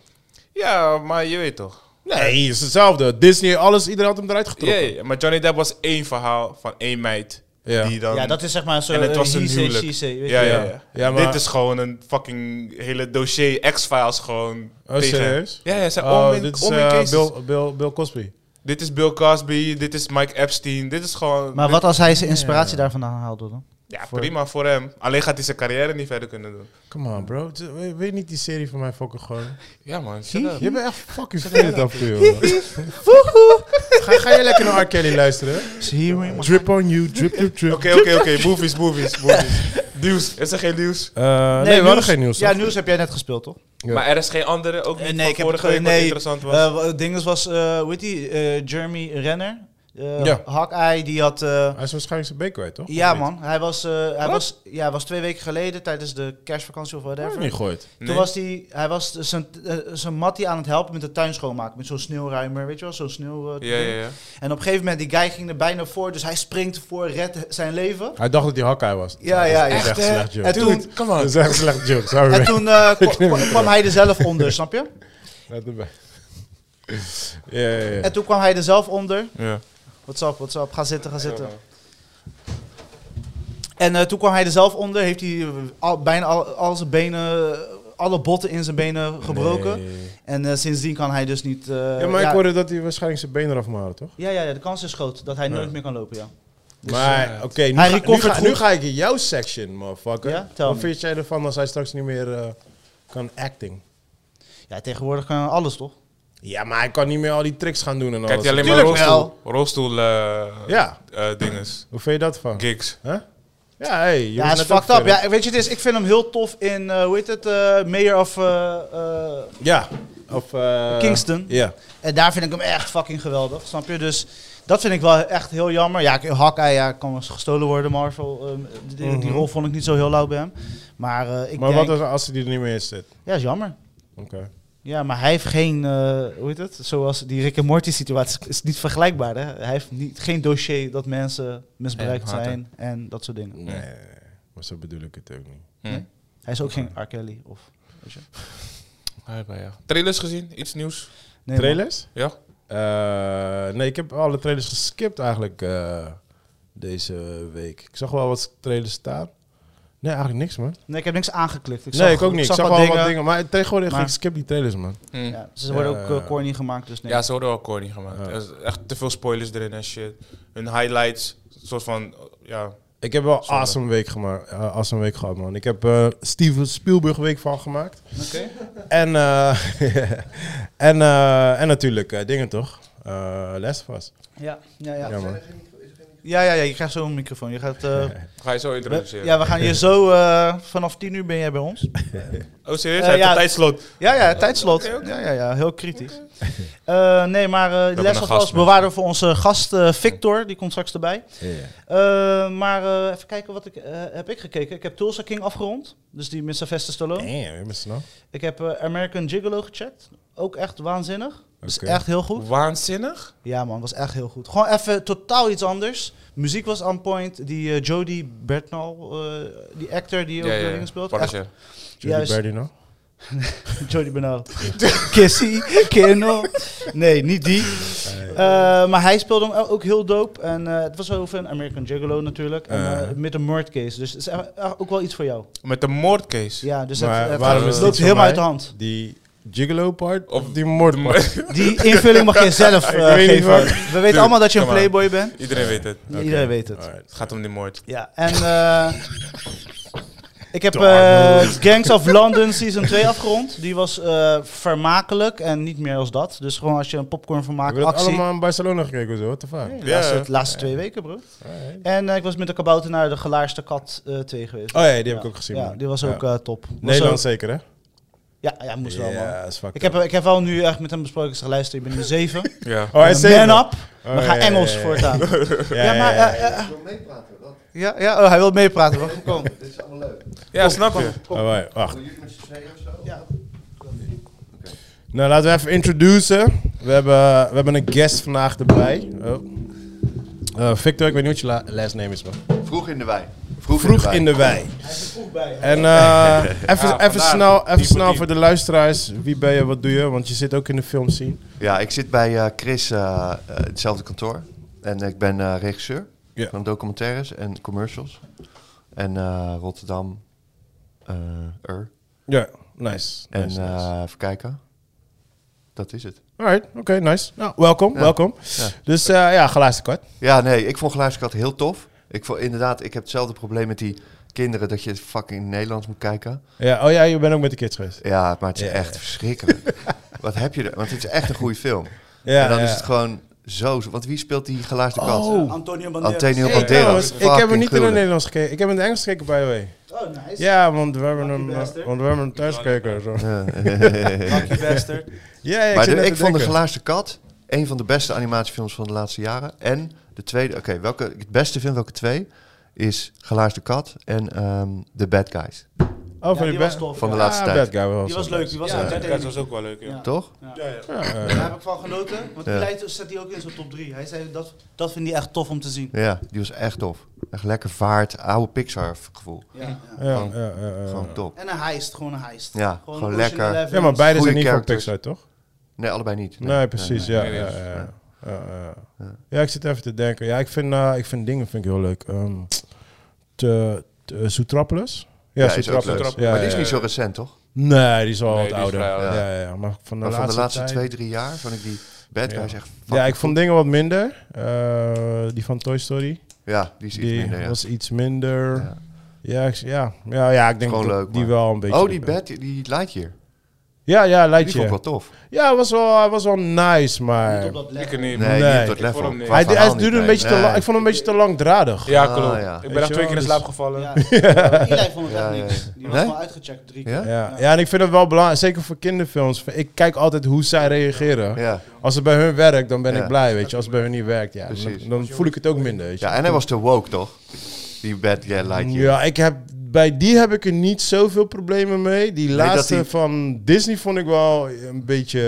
Ja, maar je weet toch.
Nee, het is hetzelfde. Disney, alles, iedereen had hem eruit getrokken.
Ja, ja, maar Johnny Depp was één verhaal van één meid.
Ja.
Die dan...
Ja, dat is zeg maar zo...
en het
eh,
was
he
een
say,
huwelijk.
she say, weet
ja,
je.
ja,
Ja.
ja.
Ja, maar-
Dit is gewoon een fucking hele dossier X-Files gewoon
Oh,
tegen...
serieus?
Ja, ja, zijn
Oh,
om in,
dit is
om in
eh,
cases.
Bill, Bill, Bill Cosby.
Dit is Bill Cosby, dit is Mike Epstein, dit is gewoon...
Maar
dit-
wat als hij zijn inspiratie daarvandaan haalde dan?
Ja,
Voor-
prima voor hem. Alleen gaat hij zijn carrière niet verder kunnen doen.
Come on, bro. Z- Wil wil je niet die serie van mij fokken gewoon?
Ja, man. shut up.
Je bent echt fucking vervelend af en toe, joh. [laughs] Ga, ga je lekker naar R. Kelly luisteren?
Zie je me?
Drip on you, drip, drip, drip. Eh,
Oké, oké, oké. Movies,
[laughs]
movies, movies. nieuws. Is er geen nieuws?
Eh, nee, we hadden geen nieuws.
Ja,
toch?
nieuws heb jij net gespeeld, toch?
Ja.
Maar er is geen andere, ook niet
Eh,
van vorige week
het ge-
wat interessant was.
eh, wat- ding is, was, eh hoe heet die, eh, Jeremy Renner? Eh
Ja.
Hawkeye, die had... eh,
Hij is waarschijnlijk zijn been kwijt, toch?
ja,
Of niet?
man. Hij was, eh, hij, was, ja, hij was twee weken geleden tijdens de kerstvakantie of
Hij
whatever.
heeft Oh, niet gegooid.
Nee.
Toen was die, hij was zijn, eh, zijn mattie aan het helpen met de tuin schoonmaken. Met zo'n sneeuwruimer, weet je wel? Zo'n sneeuw... eh,
Ja, ja,
Oh,
ja.
En op een gegeven moment, die guy ging er bijna voor. Dus hij springt voor, redt zijn leven.
Hij dacht dat hij Hawkeye was.
Ja, ja, ja.
Dat is echt
Echt, hè?
slecht joke.
En toen-
come on. Dat is echt slecht joke, sorry.
En toen eh,
[laughs]
kwa- kwa- kwam hij er zelf onder, snap je?
Laat erbij. Ja, ja, ja.
En toen kwam hij er zelf onder.
ja.
What's up, what's up? Ga zitten, ga zitten. En eh, toen kwam hij er zelf onder. Heeft hij eh, al, bijna al, al zijn benen, alle botten in zijn benen gebroken.
Nee.
En eh, sindsdien kan hij dus niet... eh,
Ja, maar ik hoorde dat hij waarschijnlijk zijn been eraf moet halen, toch?
ja, ja, ja, de kans is groot dat hij
Ja.
nooit meer kan lopen, ja.
maar oké, nu,
Dus, eh, Hij
ga- nu,
recovert
ga- nu
goed.
ga ik in jouw section, motherfucker.
Ja, tell
Wat
me.
vind jij ervan als hij straks niet meer eh, kan acting?
Ja, tegenwoordig kan alles, toch?
Ja, maar hij kan niet meer al die tricks gaan doen en
Kijk
alles.
je alleen maar
Tuurlijk
rolstoel, rolstoel eh,
Ja,
eh, dinges,
hoe vind je dat van?
gigs.
Huh? Ja, hey, je
Ja,
was
hij is
net ook
fucked up.
verder.
Ja, weet je, het is, ik vind hem heel tof in, eh, hoe heet het, eh, Mayor of... eh, eh,
Ja, of... eh,
Kingston.
Ja.
en daar vind ik hem echt fucking geweldig, snap je? Dus dat vind ik wel echt heel jammer. Ja, ik- Hawkeye ja, kan wel eens gestolen worden, Marvel. ehm, die, die
Mhm.
rol vond ik niet zo heel lauw bij hem. Maar eh, ik
Maar
denk...
wat als, als hij er niet meer in zit?
Ja, is jammer.
Oké.
Ja, maar hij heeft geen, eh, hoe heet het? Zoals die Rick en Morty situatie is niet vergelijkbaar. Hè? Hij heeft niet, geen dossier dat mensen misbruikt
En haten.
zijn en dat soort dingen.
Nee, nee, nee. maar zo bedoel ik het ook niet.
Hm.
Hij is ook geen R. Kelly of. weet je.
Ja, ja, ja. Trailers gezien? Iets nieuws?
Nee,
Trailers?
Ja?
Eh, nee, ik heb alle trailers geskipt eigenlijk eh, deze week. Ik zag wel wat trailers staan. Nee, eigenlijk niks, man.
man. Nee, ik heb niks aangeklikt. Ik
nee,
zag,
ik ook niet. Ik zag, wel wat dingen. Maar tegenwoordig,
Maar-
ik skip die trailers, man.
Hm. Ja.
Ja, ze worden
Ja,
ook
ja,
eh,
ja.
corny gemaakt, dus nee.
ze worden wel corny gemaakt.
Ja.
Er is echt te veel spoilers erin en shit. Hun highlights, een soort van, ja,
Ik heb wel
Zonde.
awesome week, gemaakt, eh, awesome week gehad, man. Ik heb eh Steven Spielberg week van gemaakt.
Oké.
En, eh, [laughs] en, eh, en natuurlijk eh, dingen, toch? Eh Les was.
Ja, ja, ja.
Ja,
Ja,
man.
ja, ja, je krijgt zo'n microfoon. Je
[laughs]
gaat, eh,
ga je zo
we,
introduceren.
ja, we gaan je zo... eh, vanaf 10 uur ben jij bij ons.
[laughs]
Oh, serieus?
Eh,
Hij heeft
ja.
een tijdslot.
Ja, ja, tijdslot.
Oké, oké.
Ja, ja, ja, heel kritisch. [laughs] Eh, nee, maar eh de
hebben
les
een
was
gast,
als bewaarder voor onze gast eh, Victor. Die komt straks erbij. Eh, maar eh, even kijken, wat ik, eh, heb ik gekeken? Ik heb Tulsa King afgerond. Dus die met Sylvester Stallone.
Damn, je bent snel.
Ik heb eh, American Gigolo gecheckt. Ook echt waanzinnig. Dus
Oké.
echt heel goed.
Waanzinnig?
Ja man, was echt heel goed. Gewoon even totaal iets anders. Muziek was on point. Die eh, Jodie Bertnal, eh, die actor die ook eh, dingen speelt. Echt-
Parasje.
Judy
Juist.
Berdino.
[laughs] Jody Bernal. Kissy, Keno. Nee, niet die. Eh, maar hij speelde hem ook heel dope. En eh, het was over een American Gigolo natuurlijk. En, eh,
Eh.
met een murdcase. Dus het is echt- echt ook wel iets voor jou.
Met de moordcase.
Ja, dus
Maar
het, eh,
waarom
het
is het
loopt
niet voor
helemaal
mij?
uit de hand.
Die gigolo part of
Of-
die moord part?
Die invulling mag je zelf eh,
weet niet
geven.
waar-
We weten allemaal dat je een
come on.
playboy bent.
Iedereen weet het.
Iedereen weet het.
Alright.
Het gaat om die moord.
Ja, en eh, ik heb eh, Gangs of London Season 2 afgerond. Die was eh, vermakelijk en niet meer als dat. Dus gewoon als je een popcorn vermaakt,
Hebben we dat
actie.
allemaal in Barcelona gekeken of zo? What the fuck?
Nee, de
Ja.
laatste, de laatste twee weken, bro.
Alright.
En eh, ik was met de kabouter naar de gelaarste kat eh 2 geweest.
Oh ja, die heb ik ook gezien,
Ja,
man.
die was
Ja.
ook eh, top. Was
Nederland zeker, hè?
ook- ja, ja, moest wel, man.
Ja, is fuck.
Ik heb, ik heb wel nu echt met hem besproken. Ik zeg, luister, ik ben nu 7.
Ja.
Oh, hij is zeven.
Man up.
Oh,
We
ja,
gaan
ja,
Engels
ja, ja.
voortaan.
Ja,
Ja, maar...
ja,
eh,
ja.
eh,
wil meepraten, dat.
ja, ja, oh, hij wil meepraten. Welkom, [laughs] kom.
Dit is allemaal leuk.
Ja, snap je?
Oh, wacht, wacht.
Wil jullie met z'n tweeën of zo?
Ja.
Nou, laten we even introduceren. We hebben, we hebben een guest vandaag erbij. Oh. Eh, Victor, ik weet niet wat je la- last name is, man.
Vroeg in de wei. Vroeg,
Vroeg in de wei.
Hij is er vroeg bij.
[laughs]
En eh, even,
Ja, vandaar.
even snel, even
Diepe,
snel
diepe.
voor de luisteraars. Wie ben je, wat doe je? Want je zit ook in de filmscene.
Ja, ik zit bij eh, Chris, eh, eh, hetzelfde kantoor. En ik ben eh, regisseur
Ja.
van documentaires en commercials. En eh, Rotterdam, eh, Er.
Ja, nice.
En
nice, nice.
eh, even kijken. Dat is het.
Alright, oké, nice. Nou, welkom,
Ja.
welkom.
Ja.
Dus eh, ja, glazen kwart.
Ja, nee, ik vond Geluidskat heel tof. Ik vond inderdaad, ik heb hetzelfde probleem met die kinderen dat je fucking in Nederlands moet kijken.
Ja, oh ja, je bent ook met de kids geweest.
Ja, maar het is
Ja.
echt verschrikkelijk. Wat heb je er? Want het is echt een goede film.
[laughs] Ja,
en dan
ja. Oh,
is het gewoon zo. Want wie speelt die gelaarsde kant?
Antonio
Antonio
Hey,
Banderas.
trouwens, ik heb hem
Fucking
niet in het
gruwelijk.
Nederlands gekeken. Ik heb hem in het Engels gekeken, by the way.
Oh, nice.
Ja, want we hebben
Lucky
hem, eh,
bastard.
want we hebben hem thuis gekeken. zo.
[laughs]
Fuck you, bastard.
Ja, ja, ik,
maar
zit
de-
net
ik
te
vond De
denken.
Gelaarste Kat een van de beste animatiefilms van de laatste jaren. En de tweede, oké, welke het beste vind, welke twee, is Gelaarste Kat en ehm The Bad Guys.
Oh,
Ja,
van
die
die
was
best.
tof.
Van de
ja.
laatste
Ah,
tijd.
Bad Guy was
Die was
wel.
leuk, die was
Ja,
entertaining.
dat was ook wel leuk, ja.
Ja.
Toch?
Ja,
Daar
eh,
heb ik van genoten. Want
Ja.
die leidt, staat hij ook in zo'n top 3. Hij zei, dat, dat vind hij echt tof om te zien.
Ja, die was echt tof. Echt lekker vaart, oude Pixar gevoel.
Ja. ja.
ja,
Gewoon-
ja, ja, ja.
Gewoon top.
En een heist, gewoon een heist.
Ja, gewoon lekker.
Ja, maar
bij
beide zijn
Goeie
niet van
characters.
Pixar, toch?
Nee, allebei niet.
Nee, precies, ja.
Nee, nee,
ja,
nee.
ja, ja. Ja, ja. Ja, ik zit even te denken. Ja, ik vind, eh, ik vind dingen vind ik heel leuk. Ehm te, te, Zootropolis? Ja,
Ja, is ook
Zootropolis.
leuk.
Ja,
maar die is
ja,
niet zo recent, toch?
ja. Nee, die is al
Nee,
wat
die is
ouder.
vrij
Ja,
oud.
ja, ja. Maar van de
Maar
laatste,
van de laatste
tijd-
twee, drie jaar vond ik die Bad
Ja.
Guys echt
Ja, ik
fucking
vond dingen wat minder. Eh, die van Toy Story.
goed. Ja, die is iets
Die
minder, ja.
was iets minder.
Ja.
Ja, ik, ja, ja, ja, ik denk dat
Gewoon leuk,
die
maar-
wel een beetje...
Oh, die Bad, die Lightyear.
Ja, ja,
Die vond ik
Lightyear.
wel tof.
Ja, was wel, was wel nice, maar...
Niet op dat
Ik er
level.
niet.
Nee,
Nee.
niet op dat
Ik
level.
vond hem niet.
Qua
Hij, hij
verhaal
duurde
niet,
een beetje te
nee.
lang. Ik vond hem een beetje te langdradig.
Ja,
Ah,
klopt.
ja.
Weet
Ik ben
je
daar twee
wel,
keer in
dus-
slaap
[laughs]
gevallen.
Ja. Eli vond het
Ja, ja,
echt
ja.
niks. Die was
Nee?
gewoon uitgecheckt drie keer.
Ja?
Ja. ja, en ik vind het wel belangrijk, zeker voor kinderfilms. Ik kijk altijd hoe zij reageren.
Ja.
Als het bij hun werkt, dan ben
Ja.
ik blij, weet je. Als het bij hun niet werkt, ja, dan,
Precies.
dan voel ik het ook minder, weet je.
ja, en hij was te woke, toch? Die Bad Guy Lightyear.
Mm, Ja, ik heb, bij die heb ik er niet zoveel problemen mee. Die
dat
laatste
die-
van Disney vond ik wel een beetje...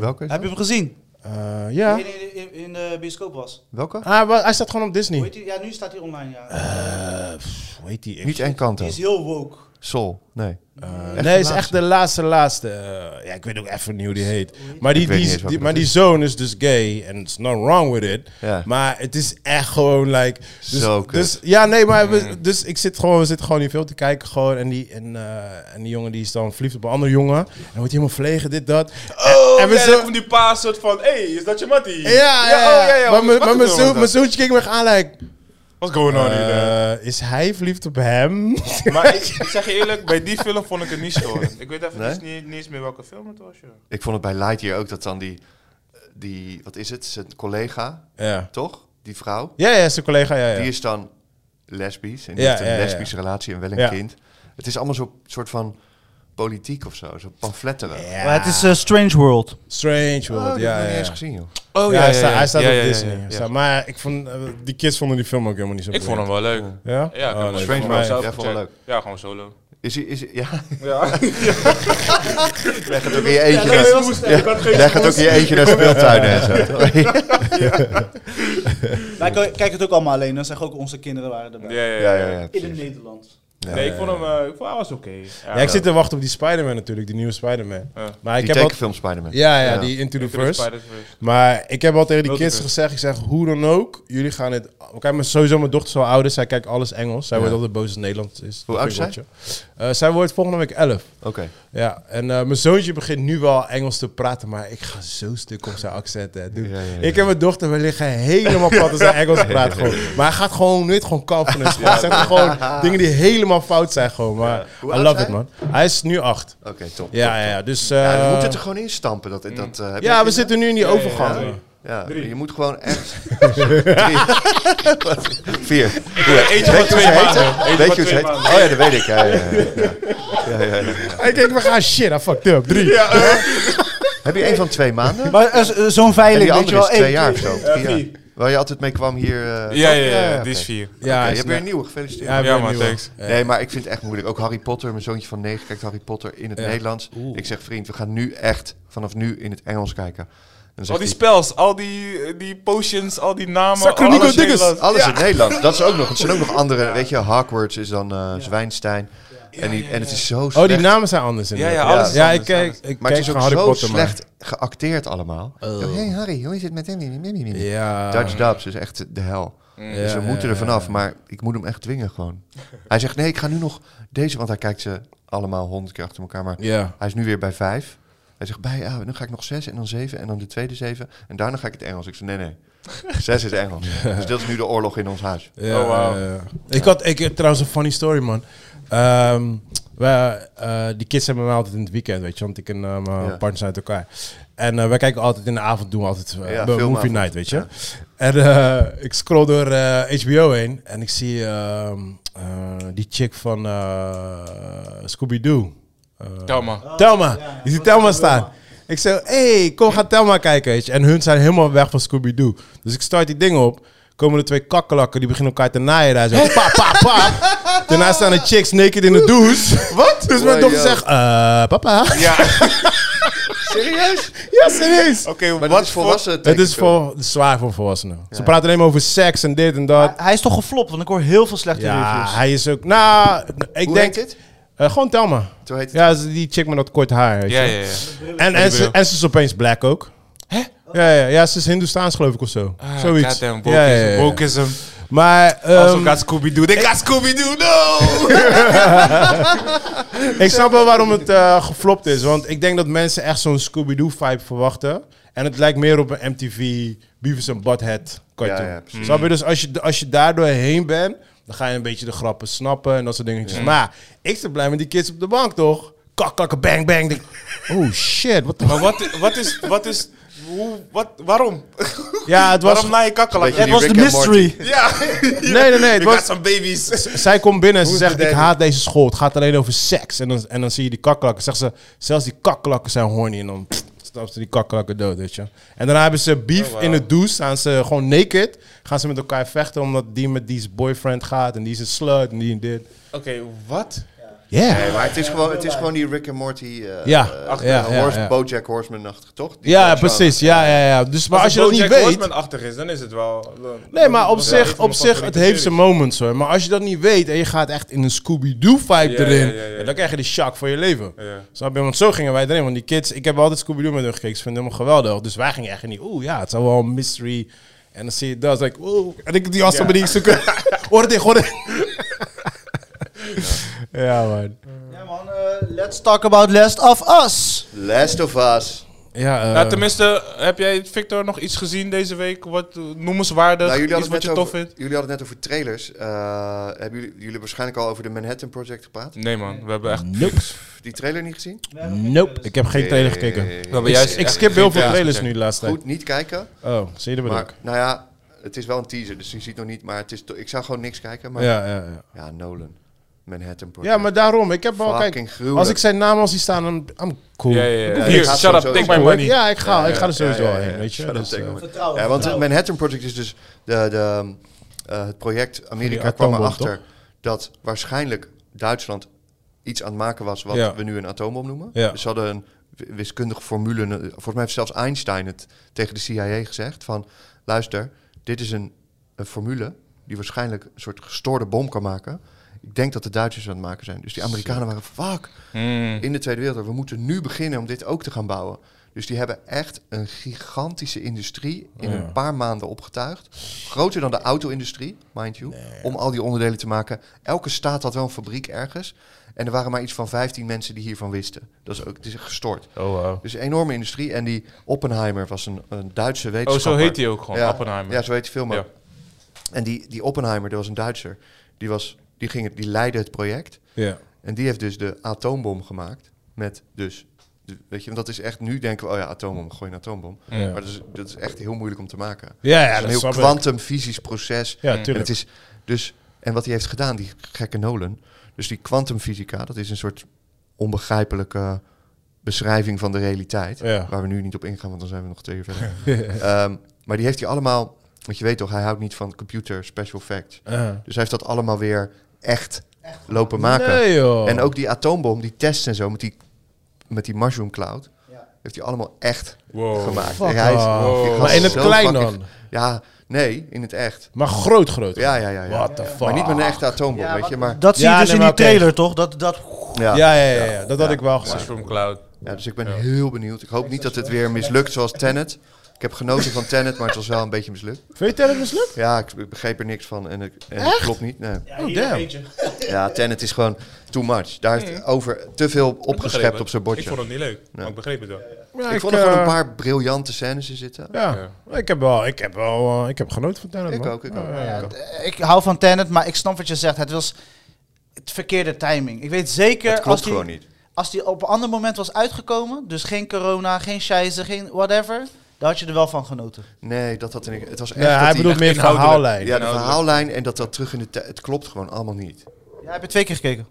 Welke? is
Heb je
dat?
hem gezien?
eh,
Ja.
ja.
Die in, in, in de bioscoop was.
Welke?
Ah, wa- hij staat gewoon op
Hoe
Disney.
heet die? Ja, nu staat hij online, ja.
Eh, pff, hoe heet die? Ik-
Niet Encanto.
die is heel woke.
Sol. Nee.
Eh,
Echt
nee,
de
is echt
laatste?
de laatste, laatste. Eh, ja, ik weet ook even niet hoe die heet. Maar die,
Ik
die,
weet niet eens welke
die-
dat
maar die
is.
zoon is dus gay. En it's not wrong with it.
Ja.
Maar het is echt gewoon like... Dus,
Zo kut.
dus Ja, nee, maar we, dus ik zit gewoon, we zitten gewoon niet veel te kijken. Gewoon, en, die, en, eh, en die jongen die is dan verliefd op een andere jongen. En wordt helemaal verlegen, dit, dat.
Oh,
En we
ja,
zo-
dan komt die pa soort van, hé, hey, is dat je mattie?
Ja, ja, ja.
oh, ja, ja,
maar
wat-
mijn-
wat
maar mijn
doen we
zoon-
dan?
mijn zoontje keek me echt aan, like...
What's going on here?
eh, is hij verliefd op hem?
Maar ik, ik zeg je eerlijk, bij die film vond ik het niet storend. Ik weet even
Nee?
niet, niet eens meer welke film het was, joh.
Ik vond het bij Lightyear ook dat dan die... die wat is het? Zijn collega,
ja.
toch? Die vrouw.
Ja, ja, zijn collega, ja, ja.
Die is dan lesbisch. En die
Ja,
heeft een
ja, ja.
lesbische relatie en wel een
Ja.
kind. Het is allemaal zo'n soort van politiek of zo. Zo pamfletteren.
Ja.
Maar het is eh, Strange World.
Strange
Oh,
World,
dat heb ik
ja,
nog
ja,
niet
ja.
eens gezien, joh.
Oh
ja, hij, sta- hij staat op Disney. Hij staat- Maar ik vond, eh, die kids vonden die film ook helemaal niet zo
Ik vond hem
boeiend.
wel leuk.
Ja?
Ja, ik
Oh,
heb
nee,
hem
Strange
voor
World
mij-
zelf.
zelf
Ja, vond ik
gecheckt. Ja, gewoon solo.
Is hij... Is, hij- ja,
Ja.
leg het ook in je eentje.
Ja,
naar-
dat was-
Ja, leg het ook in je eentje naar speeltuinen en zo.
[laughs]
Wij k- kijken het ook allemaal alleen. Dan zeggen ook onze kinderen waren erbij.
Ja, ja,
Ja, ja, ja.
In het
precies.
Nederlands.
Nee, ik vond hem, eh, ik vond, hij was oké.
Ja, ik zit te wachten op die Spider-Man natuurlijk, die nieuwe Spider-Man.
Ja.
Maar ik
Die
heb al...
tekenfilm Spider-Man.
Ja, ja,
Ja.
die Into the
Into the
Verse.
Spider-Verse.
Maar ik heb al tegen die kids
Multiverse.
gezegd, ik zeg, hoe dan ook, jullie gaan het... Kijk, maar sowieso, mijn dochter is al ouder, zij kijkt alles Engels. Zij
Ja.
wordt altijd boos als Nederland is.
Hoe oud is zij?
Eh, zij wordt volgende week 11.
Oké.
Ja, en eh, mijn zoontje begint nu wel Engels te praten, maar ik ga zo stuk op zijn accent. Hè, dude.
Ja, ja, ja.
Ik en mijn dochter, we liggen helemaal plat als
[laughs]
hij Engels praat. Gewoon. Maar hij gaat gewoon niet gewoon confidence. Hij zegt gewoon dingen die helemaal fout zijn gewoon. Maar
Hoe
I
oud
love
is
it, man. Hij is nu acht.
Oké, top.
Ja, ja, ja. Dus eh,
Ja,
ja,
je moet het er gewoon instampen. Dat,
mm.
dat, eh, heb je
we
kinderen?
zitten nu in die overgang.
Ja, je moet
[laughs]
gewoon echt... [laughs] Drie. Vier. Weet
Eentje van
je hoe
twee
ze
maanden.
heet? Weet je hoe ze
Eentje van twee
heet?
maanden.
Oh ja, dat weet ik. Ja, ja, ja,
[laughs]
ja. Ja, ja, ja.
Ik denk, we gaan shit, I fucked up. Drie.
Heb je een van twee maanden?
Maar eh, z- zo'n
En
veiling,
die
weet je
andere is
wel. eh,
twee
één-
jaar of zo.
eh,
Drie jaar. Waar je altijd mee kwam hier. eh,
Ja, ja,
toch?
ja,
oké.
die is vier.
Oké,
hij
je
is
hebt weer een
net-
nieuwe. Gefeliciteerd.
hij heeft
Ja,
weer
man,
nieuwe.
thanks.
Ja.
Nee, maar ik vind het echt moeilijk. Ook Harry Potter, mijn zoontje van 9 kijkt Harry Potter in het
Ja.
Nederlands. Ik zeg, vriend, we gaan nu echt vanaf nu in het Engels kijken. En dan
Al
zegt
die
hij,
spels, al die, eh, die potions, al die namen.
Sacronico
alles
dinges.
Nederlands.
alles in het Nederlands. Dat is ook nog. Het zijn ook nog andere. Weet je, Hogwarts is dan eh, Zwijnstein. En, die, en het is zo
Oh,
slecht.
die namen zijn anders
ja,
inderdaad.
alles is
ja, ik
anders,
kijk,
alles.
ik
Maar
kijk
het is ook
gewoon Harry
zo
Potter, man.
slecht geacteerd allemaal. Hé hey Harry, hoe is het met hem?
Oh. Ja. Mm.
Dutch Dubs is echt de hel. dus we
Ja,
moeten
ja,
er vanaf, maar ik moet hem echt dwingen
[laughs]
gewoon. Hij zegt, nee, ik ga nu nog deze, want hij kijkt ze allemaal honderd keer achter elkaar. Maar
Ja.
hij is nu weer bij vijf. Hij zegt, bij, ah, dan ga ik nog zes en dan zeven en dan de tweede zeven. En daarna ga ik het Engels. Ik zeg, nee,
[laughs]
nee. Zes is Engels. Dus dat is nu de oorlog in ons huis.
Ja,
Oh, wauw.
ja, ja. Ik had ik, trouwens een funny story, man. Ehm, wij, eh, die kids hebben me altijd in het weekend, weet je, want ik en eh, mijn
Ja.
partners uit elkaar. En eh, wij kijken altijd in de avond, doen we altijd eh,
Ja,
een movie
filmavond.
night, weet je. En eh, ik scroll door eh, HBO heen en ik zie ehm, eh, die chick van eh, Scooby-Doo. Eh,
Thelma.
Telma.
ja.
Je ziet Telma staan. Ik zeg, hé, hey, kom, ga Telma kijken. Weet je. En hun zijn helemaal weg van Scooby-Doo. Dus ik start die dingen op. Komen er twee kakkelakken, die beginnen elkaar te naaien daar zo. [laughs] Pa, pa, pa. Daarna staan de chicks naked in de douche. Wat? Dus mijn
Oh,
dochter
yo.
zegt, eh, papa.
Ja. Serieus?
Ja, serieus.
Oké,
Maar dat
wat
is
voor...
volwassen
Het is
tekenfilm.
voor, zwaar voor volwassenen. Ze praten alleen maar over seks en dit en dat.
Hij- Hij is toch geflopt, want ik hoor heel veel slechte
Ja,
reviews.
hij is ook... Nou, ik
Hoe
denk...
heet dit?
eh, gewoon Telma.
Zo heet het.
Ja, ze- die chick met dat kort haar. Weet
Ja,
je.
ja, ja.
En, en, ze,
bril.
en ze is opeens black ook. Hè? Ja, ja, ja, ze is Hindoestaans geloof ik of zo.
Ah,
Zoiets.
goddamn,
ja, ja, ja, ja.
wokeism. Wokeism.
Maar
Also,
ehm,
gaat Scooby-Doo. Ik ga Scooby-Doo, no!
ik snap wel waarom het eh, geflopt is. Want ik denk dat mensen echt zo'n Scooby-Doo-vibe verwachten. En het lijkt meer op een MTV Beavis and Butthead cartoon.
Ja, ja, precies.
Snap je? Dus als je, als je daardoor heen bent, dan ga je een beetje de grappen snappen en dat soort dingetjes. Maar ik zit blij met die kids op de bank, toch? Kak, kak, bang, bang. Denk, oh shit, wat de...
Maar wat, wat is... Wat is hoe, wat, waarom?
Ja, het was...
waarom na je kakkelak?
Beetje
Het was de
Rick and Morty.
mystery.
Ja.
Nee, nee, nee. Het
Ik
was,
had zo'n baby's.
Zij komt binnen en ze
Hoe is
zegt,
de
ik
derde?
haat deze school. Het gaat alleen over seks. En dan, en dan zie je die kakkelakken. Zegt ze, zelfs die kakkelakken zijn horny. En dan stapt ze die kakkelakken dood, weet je. En daarna hebben ze beef
Oh,
in de douche. Staan ze gewoon naked. Gaan ze met elkaar vechten omdat die met die zijn boyfriend gaat. En die is een slut en die en dit.
Oké, wat?
Ja.
Nee, maar het is gewoon, het is gewoon die Rick en Morty... eh,
Ja,
eh,
achter- ja, ja,
Horse-
ja.
Bojack Horseman-achtig, toch? Die
Ja,
persoon.
precies. Ja, ja, ja. Dus, maar als, je dat niet weet...
achtig is, dan is het wel... dan-
Nee, maar op
Ja, een
zich,
van
op
mijn
zich het
favoriete
heeft zijn
series.
moments hoor. Maar als je dat niet weet en je gaat echt in een Scooby-Doo-vibe
Ja,
erin,
ja, ja, ja.
dan krijg je de shock voor je leven.
Ja.
Snap je? Want zo gingen wij erin. Want die kids, ik heb altijd Scooby-Doo met hun gekeken. Ze vinden hem geweldig. Dus wij gingen echt niet, oeh ja, het zou wel een mystery. En dan zie je dat, like, oeh. En ik die jas op die zoeken. [laughs] Hoor dit, hoor dit. Ja, man.
Ja, man, eh, let's talk about Last of Us.
Last of Us.
Ja, eh,
Nou, tenminste, heb jij, Victor, nog iets gezien deze week? Wat eh, noemenswaardig?
Nou, jullie
iets
hadden, het
wat je
net
tof
over,
vindt?
jullie hadden het net over trailers. Eh, hebben jullie, jullie hebben waarschijnlijk al over de Manhattan Project gepraat?
Nee, man. We hebben echt...
nope.
Die trailer niet gezien?
Nope. Ik heb geen trailer gekeken.
Eh,
hebben
Ik,
juist
ik
echt
skip heel
geen
veel
trailers
trailers nu
gekeken.
de laatste tijd.
Goed, niet kijken.
Oh, zie je dat bedoel
Maar,
ik?
nou ja, het is wel een teaser, dus je ziet nog niet. Maar het is to- ik zou gewoon niks kijken. Maar ja,
Ja, ja, ja.
Nolan. Manhattan Project.
Ja, maar daarom. Ik heb wel, kijk,
Fucking gruwelijk.
Als ik zijn naam al zie staan, dan I'm cool.
Ja, ja, ja.
Ja,
Hier,
ik ga
shut
sowieso-
up, take
ik
my
hoor-
money.
Ja, ik ga, ik ga er sowieso
Ja, ja,
wel
ja,
heen,
ja.
weet je.
Shut up,
Dus,
take
eh,
my money.
Vertrouwen,
Ja, want het
vertrouwen.
Manhattan Project is dus de, de, eh, het project Amerika
Die
kwam
atoombom,
erachter dat waarschijnlijk Duitsland iets aan het maken was wat
Ja.
we nu een atoombom noemen.
Ja.
Dus ze hadden een w- wiskundige formule. een- Volgens mij heeft zelfs Einstein het tegen de CIA gezegd van luister, dit is een, een formule die waarschijnlijk een soort gestoorde bom kan maken. Ik denk dat de Duitsers aan het maken zijn. Dus die Amerikanen waren fuck
Mm.
in de Tweede Wereldoorlog. We moeten nu beginnen om dit ook te gaan bouwen. Dus die hebben echt een gigantische industrie in
Ja.
een paar maanden opgetuigd. Groter dan de auto-industrie, mind you. Om al die onderdelen te maken. Elke staat had wel een fabriek ergens. En er waren maar iets van 15 mensen die hiervan wisten. Dat is ook, het is echt gestoord.
Oh, wow.
Dus een enorme industrie. En die Oppenheimer was een, een Duitse
Oh,
wetenschapper.
zo heet hij ook gewoon,
Ja,
Oppenheimer.
Ja, zo heet die film ook.
Ja.
En die, die Oppenheimer, dat was een Duitser. Die, was, die, ging, het- die leidde het project.
Ja.
En die heeft dus de atoombom gemaakt. Met dus, de- weet je, want dat is echt, nu denken we, oh ja, atoombom, gooi een atoombom.
Ja.
Maar dat is, dat is echt heel moeilijk om te maken.
Ja, ja,
Het is
dat
een heel
snap ik.
kwantumfysisch proces.
Ja,
en het
tuurlijk.
is dus, en wat hij heeft gedaan, die gekke Nolan, dus die kwantumfysica, dat is een soort onbegrijpelijke beschrijving van de realiteit,
Ja.
waar we nu niet op ingaan, want dan zijn we nog twee uur verder.
[laughs]
Ehm, maar die heeft hij allemaal, want je weet toch, hij houdt niet van computer special facts.
Eh.
Dus hij heeft dat allemaal weer echt, lopen maken.
Nee, joh.
En ook die atoombom, die tests en zo met die, met die mushroom cloud, heeft hij allemaal echt
Wow.
gemaakt.
Fuck
En hij is-
off.
die gast
Maar in
is
het
zo
klein
fucking-
dan?
Ja, nee, in het echt.
Maar groot, groot.
Ja, ja, ja. ja.
What the fuck?
Maar niet met een echte atoombom,
Ja,
weet je. Maar,
Dat zie
Ja,
je dus
nee,
in
maar
die
oké.
trailer, toch? Dat, dat,
ja. Ja.
Ja, ja, ja, ja. Dat had ik wel gezien.
Mushroom Cloud.
dus ik ben heel benieuwd. Ik hoop niet dat het weer mislukt zoals Tenet. Ik heb genoten van Tenet, maar het was wel een beetje mislukt.
Vind je Tenet mislukt?
Ja, ik ik begreep er niks van en, ik, en het klopt niet. Nee.
Ja, hier
damn.
nog eentje.
Ja, Tenet is gewoon too much. Daar heeft over te veel opgeschept
Begrepen.
op zijn
Ik
bordje.
vond het niet leuk,
Ja.
maar ik begreep het wel.
Ja,
ik vond er gewoon
eh,
een paar briljante scènes in zitten.
Ja, ik heb wel, ik heb wel, eh, ik heb genoten van Tenet,
Ik
man.
ook, ik ook.
Ja, ja, ja.
Ik hou van Tenet, maar ik snap wat je zegt. Het was het verkeerde timing. Ik weet zeker...
Het
als
klopt
die,
gewoon niet.
Als die op een ander moment was uitgekomen, dus geen corona, geen scheisse, geen whatever, dan had je er wel van genoten.
Nee, dat had er niet. Het was echt.
Nee,
dat
hij
die-
bedoelt meer
inhoudelijk.
verhaallijn.
Ja, de
inhoudelijk.
verhaallijn en Nou, dat dat terug in de tijd. Het klopt gewoon allemaal niet.
Ja, heb je twee keer gekeken?